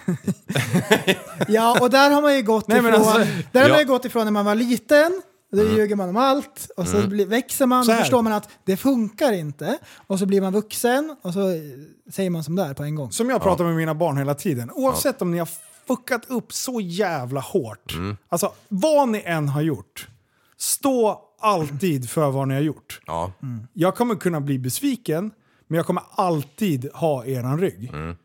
Speaker 7: Ja, och där har man ju gått
Speaker 6: Nej, men
Speaker 7: ifrån,
Speaker 6: alltså-
Speaker 7: där har man ju
Speaker 6: Ja.
Speaker 7: gått ifrån när man var liten. Då
Speaker 6: Mm.
Speaker 7: ljuger man om allt och så
Speaker 6: Mm.
Speaker 7: blir, växer man
Speaker 6: Så
Speaker 7: och
Speaker 6: här.
Speaker 7: förstår man att det funkar inte. Och så blir man vuxen och så eh, säger man som det är på en gång.
Speaker 6: Som jag pratar med mina barn hela tiden. Oavsett om ni har fuckat upp så jävla hårt.
Speaker 8: Mm.
Speaker 6: Alltså vad ni än har gjort. Stå alltid för vad ni har gjort.
Speaker 8: Ja.
Speaker 6: Jag kommer kunna bli besviken, men jag kommer alltid ha eran rygg. Det-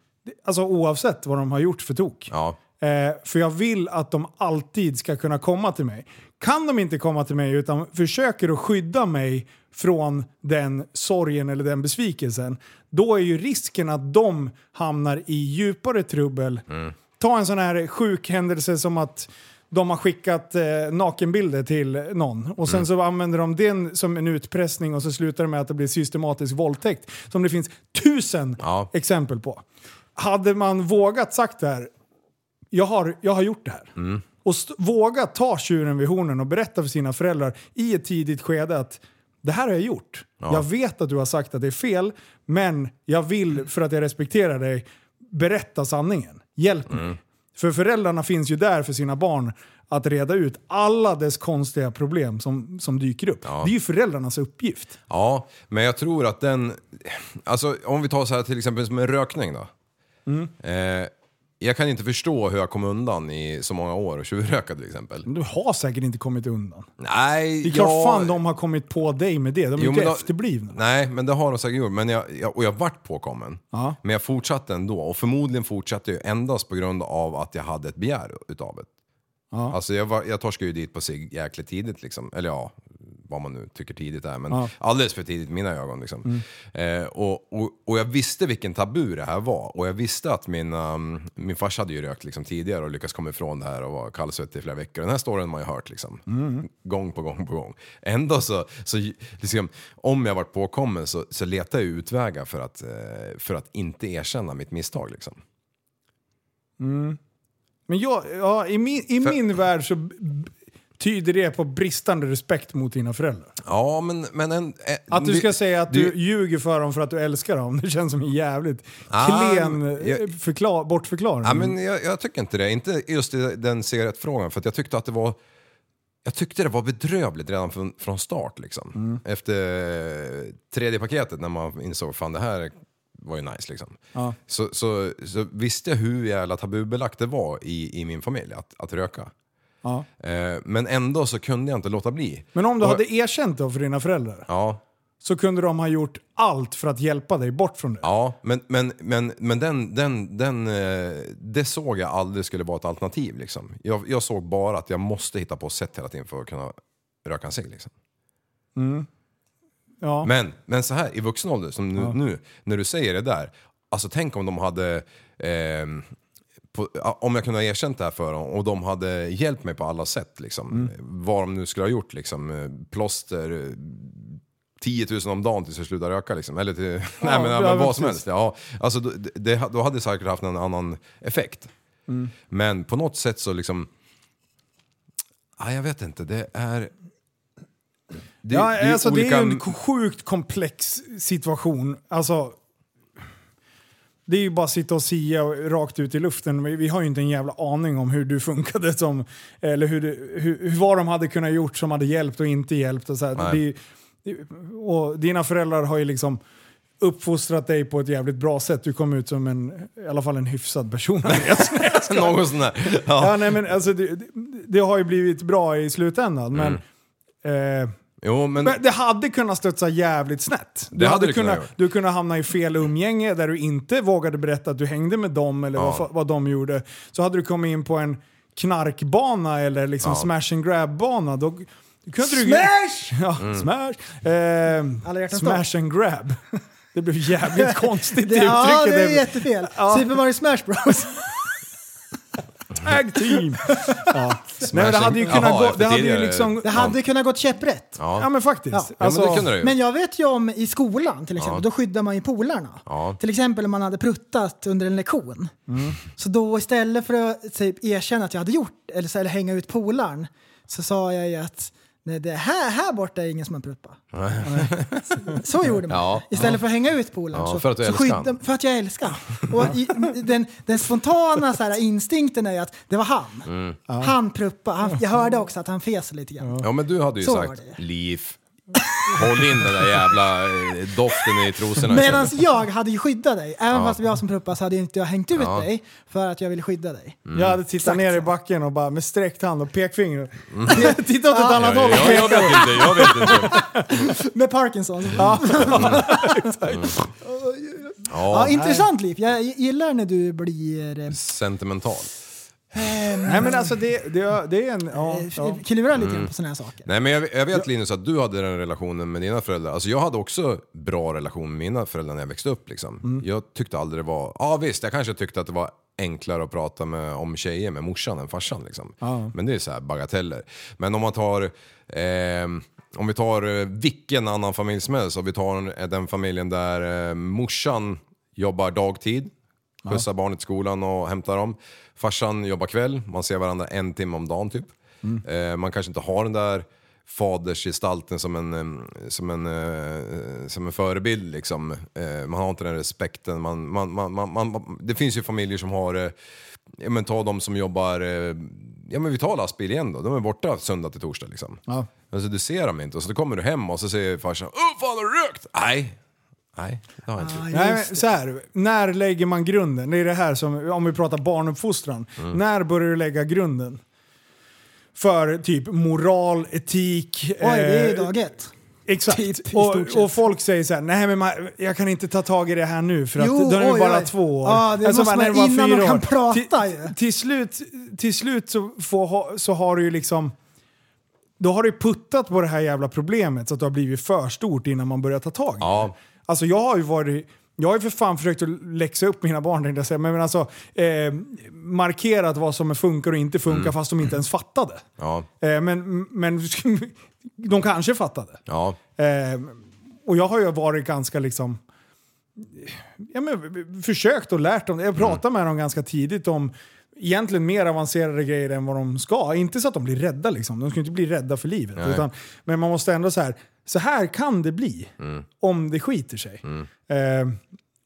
Speaker 6: Alltså oavsett vad de har gjort för tok.
Speaker 8: Mm. Ja.
Speaker 6: Eh, för jag vill att de alltid ska kunna komma till mig. Kan de inte komma till mig utan försöker att skydda mig från den sorgen eller den besvikelsen, då är ju risken att de hamnar i djupare trubbel. Ta en sån här sjuk händelse som att de har skickat eh, nakenbilder till någon och sen så använder de den som en utpressning och så slutar det med att det blir systematisk våldtäkt. Som det finns tusen exempel på. Hade man vågat sagt det här, jag har, jag har gjort det här.
Speaker 8: Mm.
Speaker 6: Och st- våga ta tjuren vid hornen och berätta för sina föräldrar i ett tidigt skede att det här har jag gjort. Jag vet att du har sagt att det är fel, men jag vill för att jag respekterar dig berätta sanningen. Hjälp
Speaker 8: Mm.
Speaker 6: mig. För föräldrarna finns ju där för sina barn att reda ut alla dess konstiga problem som, som dyker upp. Det är ju föräldrarnas uppgift.
Speaker 8: Ja, men jag tror att den... Alltså om vi tar så här till exempel som en rökning då. Eh, jag kan inte förstå hur jag kom undan i så många år och tjuvröka till exempel.
Speaker 6: Du har säkert inte kommit undan.
Speaker 8: Nej,
Speaker 6: Det är klart
Speaker 8: jag-
Speaker 6: fan de har kommit på dig med det. De är
Speaker 8: Jo,
Speaker 6: inte
Speaker 8: men då-
Speaker 6: efterblivna.
Speaker 8: Nej, men det har de säkert gjort. Men jag, jag, och jag vart påkommen. Men jag fortsatte ändå. Och förmodligen fortsatte jag endast på grund av att jag hade ett begär utav det. Alltså jag, var, jag torskade ju dit på sig jäkligt tidigt liksom. Eller ja, vad man nu tycker tidigt är. Men
Speaker 6: Ja. Mm.
Speaker 8: alldeles för tidigt i mina ögon liksom. Eh, och, och, och jag visste vilken tabu det här var. Och jag visste att min, um, min farsa hade ju rökt liksom, tidigare och lyckats komma ifrån det här och var kallsvettig i flera veckor. Den här storyn har man ju hört liksom.
Speaker 6: Mm.
Speaker 8: Gång på gång på gång. Ändå så, så liksom, om jag varit påkommen så, så letade jag utvägar för att, eh, för att inte erkänna mitt misstag liksom.
Speaker 6: Men jag, ja, i min, i
Speaker 8: För-
Speaker 6: min värld så b- b- tyder det på bristande respekt mot dina föräldrar.
Speaker 8: Ja, men... men en, eh,
Speaker 6: Att du
Speaker 8: det-
Speaker 6: ska säga att
Speaker 8: det-
Speaker 6: du ljuger för dem för att du älskar dem, det känns som en jävligt
Speaker 8: Ah,
Speaker 6: klen
Speaker 8: men jag-
Speaker 6: eh, förklar, bortförklaring.
Speaker 8: Ja, men jag, jag tycker inte det. Inte just i den cigarettfrågan. För att jag tyckte att det var... Jag tyckte det var bedrövligt redan från, från start liksom.
Speaker 6: Mm.
Speaker 8: Efter eh, tredje paketet när man insåg fan det här var ju nice liksom.
Speaker 6: Ja.
Speaker 8: Så, så, så visste jag hur jävla tabubelagt det var i, i min familj att, att röka.
Speaker 6: Ja.
Speaker 8: Eh, men ändå så kunde jag inte låta bli.
Speaker 6: Men om du
Speaker 8: Och-
Speaker 6: hade erkänt det för dina föräldrar
Speaker 8: Ja,
Speaker 6: så kunde de ha gjort allt för att hjälpa dig bort från det.
Speaker 8: Ja, men, men, men, men den, den, den, eh, det såg jag aldrig skulle vara ett alternativ. Liksom. Jag, jag såg bara att jag måste hitta på sätt hela tiden för att kunna röka en cigg. Liksom.
Speaker 6: Ja.
Speaker 8: Men, men så här i vuxen ålder, som nu, nu, när du säger det där. Alltså tänk om de hade... ehm, på, ja, om jag kunde ha erkänt det här för dem och de hade hjälpt mig på alla sätt. Liksom.
Speaker 6: Mm.
Speaker 8: Vad de nu skulle ha gjort. Liksom, eh, plåster, eh, 10 000 om dagen tills jag slutar röka. Liksom. Eller till, nej, men,
Speaker 6: ja,
Speaker 8: men
Speaker 6: men
Speaker 8: vad som
Speaker 6: precis.
Speaker 8: helst. Ja, alltså, då, det, då hade det säkert haft en annan effekt.
Speaker 6: Mm.
Speaker 8: Men på något sätt så liksom... Ah, jag vet inte, det är... Det,
Speaker 6: ja,
Speaker 8: det är
Speaker 6: alltså, det är ju
Speaker 8: olika-
Speaker 6: en ko- sjukt komplex situation. Alltså, det är ju bara att sitta och sia och- rakt ut i luften. Vi, vi har ju inte en jävla aning om hur du funkade som... Eller hur, du- hur, hur, vad de hade kunnat gjort som hade hjälpt och inte hjälpt. Och, så här.
Speaker 8: Nej.
Speaker 6: Det, är ju- det- och dina föräldrar har ju liksom uppfostrat dig på ett jävligt bra sätt. Du kom ut som en, i alla fall en hyfsad person.
Speaker 8: Någon sån där. Ja.
Speaker 6: ja, nej, men alltså, det, det, det har ju blivit bra i slutändan, men...
Speaker 8: Mm.
Speaker 6: Eh,
Speaker 8: Jo, men,
Speaker 6: men det hade kunnat studsa jävligt snett. Du
Speaker 8: Det hade det kunnat göra.
Speaker 6: du kunde hamna i fel umgänge där du inte vågade berätta att du hängde med dem eller vad, fa- vad de gjorde. Så hade du kommit in på en knarkbana eller liksom smash and grab-bana. Då då kunde du,
Speaker 7: Smash!
Speaker 6: Ja,
Speaker 8: Mm.
Speaker 6: smash! Eh,
Speaker 7: Alla hjärtans dag.
Speaker 6: smash and grab. Det blev jävligt konstigt
Speaker 7: Det,
Speaker 6: uttryck.
Speaker 7: ja, det är jättefel. Super Mario Smash Bros.
Speaker 6: Tag team! Ja. Nej, men det
Speaker 8: and-
Speaker 6: hade ju kunnat
Speaker 8: Jaha,
Speaker 6: gå...
Speaker 8: efter
Speaker 6: Det hade ju
Speaker 8: tidigare-
Speaker 6: liksom...
Speaker 7: Det hade kunnat gått käpprätt.
Speaker 8: ja.
Speaker 6: Ja men faktiskt. Alltså,
Speaker 7: Ja.
Speaker 8: Ja, men det kunde det ju.
Speaker 7: Men jag vet ju om i skolan till exempel,
Speaker 8: Ja.
Speaker 7: då skyddar man ju polarna.
Speaker 8: Ja. Mm.
Speaker 7: Till exempel om man hade pruttat under en lektion. Så då istället för att typ, erkänna att jag hade gjort, eller, så- eller hänga ut polaren, så sa jag ju att Nej, det här, här borta är ingen som har pruttat. Så gjorde man.
Speaker 8: Ja.
Speaker 7: Istället för att hänga ut polaren.
Speaker 8: Ja,
Speaker 7: så,
Speaker 8: för att du
Speaker 7: så
Speaker 8: älskar
Speaker 7: skydda-
Speaker 8: han.
Speaker 7: För att jag älskar han. Och i, den, den spontana så här, instinkten är ju att det var han.
Speaker 8: Mm.
Speaker 7: Han pruppade. Han, jag hörde också att han fes lite grann.
Speaker 8: Ja men du hade ju
Speaker 7: Så var
Speaker 8: sagt
Speaker 7: det.
Speaker 8: Liv, håll in den där jävla eh, doften i trosorna
Speaker 7: Medan
Speaker 8: istället."
Speaker 7: jag hade ju skyddat dig. Även fast det var jag som pruppade så hade ju inte jag hängt ut dig för att jag ville skydda dig.
Speaker 8: Mm.
Speaker 6: Jag hade tittat ner i backen och bara med sträckt hand och pekfinger.
Speaker 7: Mm.
Speaker 6: Titta åt ett annat
Speaker 8: Ja, Mm.
Speaker 6: håll och
Speaker 8: jag, jag vet inte, jag vet inte.
Speaker 7: Med Parkinson. Ja.
Speaker 8: Ja, Mm.
Speaker 7: intressant Liv. Jag gillar när du blir... eh,
Speaker 8: sentimental.
Speaker 6: Nej men alltså det, det, det är en... Ja,
Speaker 7: Eh,
Speaker 6: ja.
Speaker 7: Klurar lite grann
Speaker 8: Mm.
Speaker 7: på sådana här saker.
Speaker 8: Nej men jag, jag vet Linus att du hade den relationen med dina föräldrar. Alltså jag hade också bra relation med mina föräldrar när jag växte upp liksom.
Speaker 6: Mm.
Speaker 8: Jag tyckte aldrig det var... Ja visst, jag kanske tyckte att det var enklare att prata med, om tjejer med morsan än farsan liksom.
Speaker 6: Ja.
Speaker 8: Men det är så här bagateller. Men om man tar... Eh, om vi tar eh, vilken annan familj som helst. Om vi tar en- den familjen där eh, morsan jobbar dagtid.
Speaker 12: Ja.
Speaker 8: Skjutsar barnet till skolan och hämtar dem. Farsan jobbar kväll. Man ser varandra en timme om dagen typ. Eh, man kanske inte har den där fadersgestalten som en, eh, som en, eh, som en förebild. Liksom. Eh, man har inte den respekten. Man, man, man, man, man, det finns ju familjer som har, eh, ja, men ta de som jobbar, eh, ja men vi tar lastbil igen då, de är borta söndag till torsdag liksom.
Speaker 6: Ja.
Speaker 8: Alltså du ser dem inte och så då kommer du hem och så säger farsan Åh fan har du rökt? Nej. Nej, det har jag inte gjort."
Speaker 6: Mm. Nej, men så här, när lägger man grunden? Det är det här som, om vi pratar barnuppfostran.
Speaker 8: Mm.
Speaker 6: När börjar du lägga grunden? För typ moral, etik. eh,
Speaker 7: Oj, det är ju dag ett.
Speaker 6: Exakt.
Speaker 7: Typ, i stort
Speaker 6: och,
Speaker 7: sett.
Speaker 6: och folk säger så här, nej men man, jag kan inte ta tag i det här nu för att
Speaker 7: Jo,
Speaker 6: då är det
Speaker 7: oj,
Speaker 6: bara
Speaker 7: oj.
Speaker 6: två år. Alltså,
Speaker 7: Ja, det måste
Speaker 6: bara,
Speaker 7: man
Speaker 6: när var
Speaker 7: innan de
Speaker 6: fyra
Speaker 7: kan
Speaker 6: år.
Speaker 7: prata
Speaker 6: till, till slut, till slut så, får, ha- så har du ju liksom då har du puttat på det här jävla problemet så att det har blivit för stort innan man börjar ta tag i det. Alltså jag har ju varit... Jag har ju för fan försökt att läxa upp mina barn tänkte jag säga, men men alltså eh, markerat vad som funkar och inte funkar
Speaker 8: Mm.
Speaker 6: fast de inte ens fattade.
Speaker 8: Ja,
Speaker 6: Eh, men, men de kanske fattade.
Speaker 8: ja.
Speaker 6: Eh, och jag har ju varit ganska liksom... Ja, men, försökt och lärt dem. Jag
Speaker 8: Mm.
Speaker 6: pratar med dem ganska tidigt om egentligen mer avancerade grejer än vad de ska. Inte så att de blir rädda liksom. De ska ju inte bli rädda för livet.
Speaker 8: Nej.
Speaker 6: Utan, men man måste ändå så här, så här kan det bli
Speaker 8: Mm.
Speaker 6: om det skiter sig.
Speaker 8: Mm.
Speaker 6: Eh,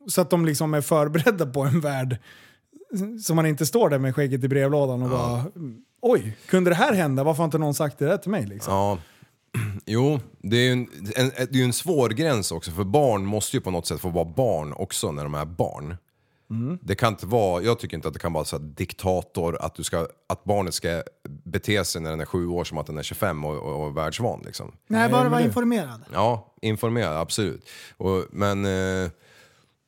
Speaker 6: så att de liksom är förberedda på en värld så man inte står där med skägget i brevlådan och bara oj, kunde det här hända? Varför har inte någon sagt det där till mig? Liksom?
Speaker 8: Ja. Jo, det är ju en, en, det är ju en svår gräns också för barn måste ju på något sätt få vara barn också när de är barn.
Speaker 6: Mm.
Speaker 8: Det kan inte vara, jag tycker inte att det kan vara så här diktator att, du ska, att barnet ska bete sig när den är sju år som att den är 25 och, och, och världsvan liksom.
Speaker 7: Nej, bara vara informerad.
Speaker 8: Ja, informera, absolut. Och, men... Eh,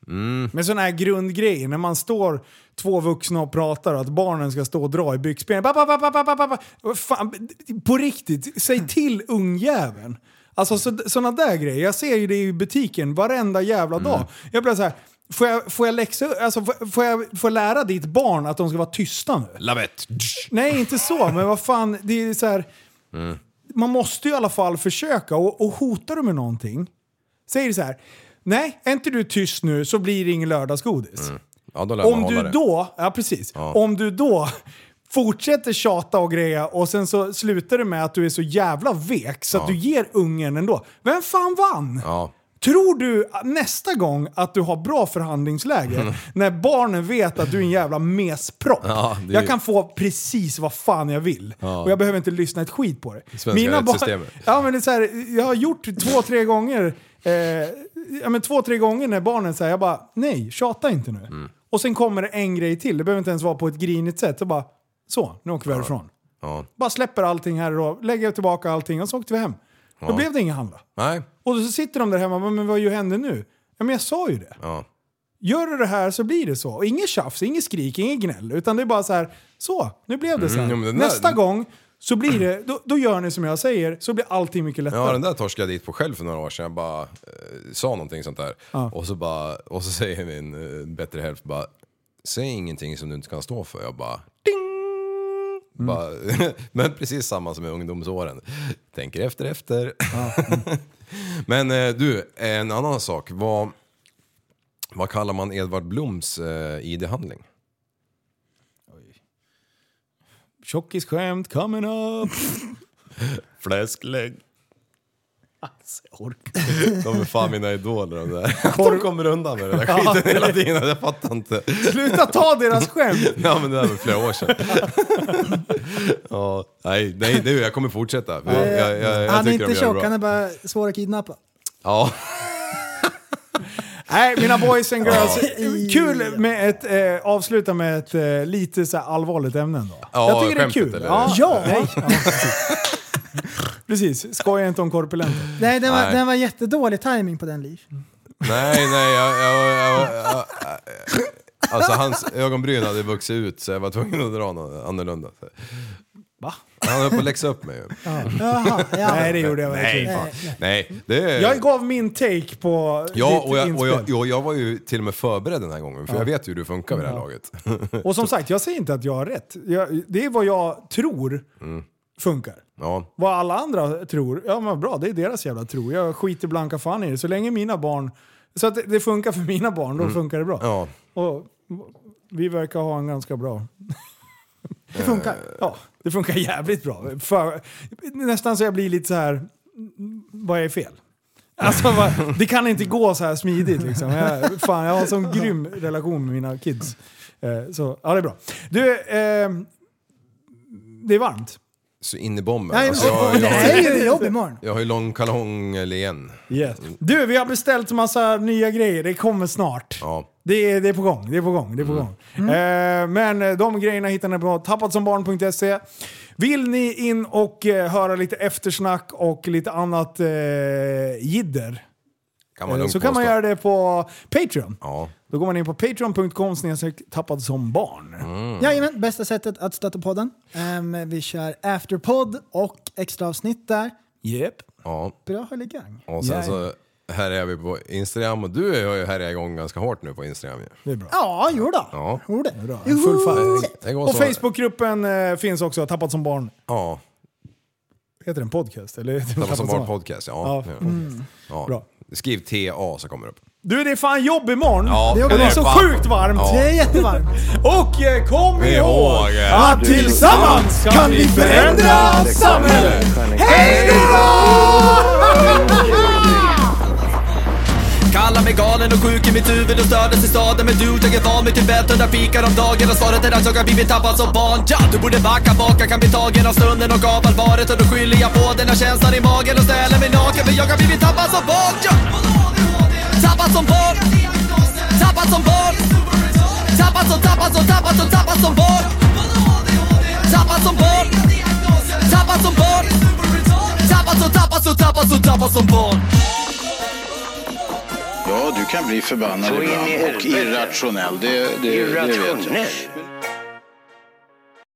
Speaker 8: mm,
Speaker 6: Men sådana här grundgrejer, när man står två vuxna och pratar och att barnen ska stå och dra i byxbenen. Pappa, pappa, pappa, pappa. Vad Fan, på riktigt,
Speaker 8: Mm.
Speaker 6: säg till ungjäveln. Alltså sådana där grejer. Jag ser ju det i butiken varenda jävla dag.
Speaker 8: Mm.
Speaker 6: Jag blir så här, får jag, får jag, läxa, alltså, får, får jag, får jag lära ditt barn att de ska vara tysta nu?
Speaker 8: Lavett!
Speaker 6: Nej, inte så, men vad fan, det är så här,
Speaker 8: Mm.
Speaker 6: man måste ju i alla fall försöka. Och, och hotar du med någonting, säger du så här. Nej, är inte du tyst nu så blir det ingen lördagsgodis.
Speaker 8: Ja, då lär man
Speaker 6: Om
Speaker 8: hålla
Speaker 6: du
Speaker 8: det.
Speaker 6: då, ja precis.
Speaker 8: Ja.
Speaker 6: Om du då fortsätter tjata och greja och sen så slutar det med att du är så jävla vek så att
Speaker 8: Ja.
Speaker 6: du ger ungen ändå. Vem fan vann?
Speaker 8: Ja.
Speaker 6: Tror du att nästa gång att du har bra
Speaker 8: Mm.
Speaker 6: förhandlingsläge när barnen vet att du är en jävla mespropp?
Speaker 8: Ja, det är-
Speaker 6: Jag kan få precis vad fan jag vill
Speaker 8: Ja.
Speaker 6: och jag behöver inte lyssna ett skit på det.
Speaker 8: Svenska
Speaker 6: barn-
Speaker 8: rättssystemet.
Speaker 6: Ja, men det är så här, jag har gjort två, tre gånger eh, ja, men två, tre gånger när barnen säger jag bara nej, tjata inte nu.
Speaker 8: Mm.
Speaker 6: Och sen kommer det en grej till, det behöver inte ens vara på ett grinigt sätt. Så bara så, nu åker vi härifrån.
Speaker 8: Ja.
Speaker 6: Bara släpper allting här och då, lägger tillbaka allting och så åkte vi hem. Då
Speaker 8: Ja.
Speaker 6: blev det ingen handla.
Speaker 8: Nej.
Speaker 6: Och så sitter de där hemma och bara, men vad ju hände nu? Ja, men jag sa ju det.
Speaker 8: Ja.
Speaker 6: Gör du det här så blir det så. Och inget tjafs, inget skrik, inget gnäll. Utan det är bara så här, så, nu blev det så här.
Speaker 8: Mm, jo, men den där-
Speaker 6: Nästa gång så blir det, då, då gör ni som jag säger, så blir allting mycket lättare.
Speaker 8: Ja, den där torskade jag dit på själv för några år sedan. Jag bara eh, sa någonting sånt där.
Speaker 6: Ja.
Speaker 8: Och, så bara, och så säger min eh, bättre hälft bara, säg ingenting som du inte kan stå för. Jag bara, ding!
Speaker 6: Mm.
Speaker 8: Bara, men precis samma som i ungdomsåren. Tänker efter, efter.
Speaker 6: mm.
Speaker 8: men eh, du, en annan sak. Vad, vad kallar man Edvard Bloms eh, ID-handling?
Speaker 6: Tjockisskämt coming up.
Speaker 8: Fläsklägg.
Speaker 6: Alltså, jag orkar
Speaker 8: De är fan mina idoler de där.
Speaker 6: Korv-
Speaker 8: De kommer undan med den där
Speaker 6: Ja,
Speaker 8: skiten
Speaker 6: det-
Speaker 8: hela tiden, jag fattar inte.
Speaker 6: Sluta ta deras skämt!
Speaker 8: Ja men det där var flera år sedan. ja, nej, nej du, jag kommer fortsätta. Jag, jag, jag, jag
Speaker 7: han
Speaker 8: tycker
Speaker 7: är inte
Speaker 8: de gör
Speaker 7: tjock,
Speaker 8: det
Speaker 7: han är
Speaker 8: bra.
Speaker 7: bara svår att kidnappa.
Speaker 8: Ja,
Speaker 6: Nej, mina boys and girls. Kul med ett, eh, avsluta med ett eh, lite så här allvarligt ämne ändå.
Speaker 8: Ja,
Speaker 6: jag tycker det är
Speaker 8: skämtet
Speaker 6: kul.
Speaker 8: eller?
Speaker 6: Ja,
Speaker 8: Ja.
Speaker 6: Nej, ja, precis. precis, skoja inte om korpulenter.
Speaker 7: Nej, den var,
Speaker 8: Nej.
Speaker 7: Den var jättedålig timing på den Liv.
Speaker 8: nej, nej, jag... jag, jag, jag, jag Alltså hans ögonbryn hade vuxit ut så jag var tvungen att dra något annorlunda.
Speaker 6: Va?
Speaker 8: Han höll på att läxa upp mig ju.
Speaker 6: Jaha, ja. Nej, det gjorde jag
Speaker 8: Nej,
Speaker 6: verkligen
Speaker 8: fan.
Speaker 6: inte.
Speaker 8: Nej, det...
Speaker 6: Jag gav min take på
Speaker 8: Ja,
Speaker 6: ditt
Speaker 8: och jag, och,
Speaker 6: inspel.
Speaker 8: jag, och jag var ju till och med förberedd den här gången, för jag vet ju hur du funkar vid det här laget.
Speaker 6: Och som sagt, jag säger inte att jag har rätt. Jag, det är vad jag tror
Speaker 8: Mm.
Speaker 6: funkar.
Speaker 8: Ja,
Speaker 6: Vad alla andra tror, ja men vad bra, det är deras jävla tro. Jag skiter blanka fan i det. Så länge mina barn... Så att det- det funkar för mina barn, då funkar det bra.
Speaker 8: Mm. ja.
Speaker 6: Och vi verkar ha en ganska bra... Eh,
Speaker 7: Det funkar.
Speaker 6: Ja, det funkar jävligt bra. För, nästan så jag blir lite så här... Vad är fel? Alltså, vad, det kan inte gå så här smidigt liksom. Jag, fan, jag har en sån grym relation med mina kids. Eh, så, ja det är bra. Du, ehm, det är varmt.
Speaker 8: Så in i bomben.
Speaker 7: Nej,
Speaker 8: Alltså, jag,
Speaker 7: det
Speaker 8: jag,
Speaker 7: är ju jobb imorgon.
Speaker 8: jag har ju lång kalong eh, igen.
Speaker 6: Yes. Du, vi har beställt massa nya grejer. Det kommer snart.
Speaker 8: Ja.
Speaker 6: Det är, det är på gång, det är på gång, det är på
Speaker 8: Mm.
Speaker 6: gång. Eh, men eh, de grejerna hittar ni på tappatsombarn.se. Vill ni in och eh, höra lite eftersnack och lite annat eh, jidder
Speaker 8: Kan man
Speaker 6: eh,
Speaker 8: lugnt
Speaker 6: så kan man
Speaker 8: påstå.
Speaker 6: göra det på Patreon.
Speaker 8: Ja.
Speaker 6: Då går man in på patreon.com snedstreck tappad som barn.
Speaker 8: Mm.
Speaker 7: Jajamän, bästa sättet att stötta podden. Ehm, vi kör afterpod och extra avsnitt där.
Speaker 6: Yep.
Speaker 8: ja.
Speaker 7: Bra hörlurar.
Speaker 8: Och sen så här är vi på Instagram och du har ju här är igång ganska hårt nu på Instagram ju.
Speaker 6: Det är bra.
Speaker 7: Ja, jo då.
Speaker 8: Ja.
Speaker 7: Jo det.
Speaker 6: Full fart.
Speaker 8: Det går
Speaker 6: Och
Speaker 8: så-
Speaker 6: Facebookgruppen eh, finns också, Tappat som barn.
Speaker 8: Ja.
Speaker 6: Heter den podcast? Eller heter den
Speaker 8: Tappat som barn
Speaker 6: barn?
Speaker 8: podcast, ja.
Speaker 6: Ja,
Speaker 8: ja.
Speaker 6: podcast.
Speaker 8: ja.
Speaker 6: Bra.
Speaker 8: Skriv TA så kommer det upp.
Speaker 6: Du, det är fan jobb imorgon.
Speaker 8: Ja,
Speaker 6: det,
Speaker 8: det
Speaker 6: är
Speaker 8: är
Speaker 6: så
Speaker 8: fan-
Speaker 6: sjukt varmt.
Speaker 8: Ja.
Speaker 7: Det är jättevarmt.
Speaker 6: Och eh, kom
Speaker 8: Kom
Speaker 6: ihåg
Speaker 8: ihåg, eh,
Speaker 6: att tillsammans kan vi förändra samhället. Hej
Speaker 1: Kallar mig galen och sjuk i mitt huvud och stördes i staden Men du, jag är van vid Tibet och där fikar om dagen Och svaret är att jag har blivit tappad som barn ja, Du borde backa bak, jag kan bli tagen av stunden och av allvaret Och då skyller jag på den här känslan i magen och ställer mig naken För jag har blivit tappad som barn ja. Tappad som barn Tappad som barn Tappad som, tappad som, tappad som, tappad som barn Tappad som barn Tappad som barn Tappad som, tappad som, tappad som, tappad som barn
Speaker 2: Ja, du kan bli förbannad
Speaker 3: Så in i
Speaker 2: ibland och
Speaker 3: helvete.
Speaker 2: irrationell. Det, det, det vet jag.
Speaker 3: Irrationell.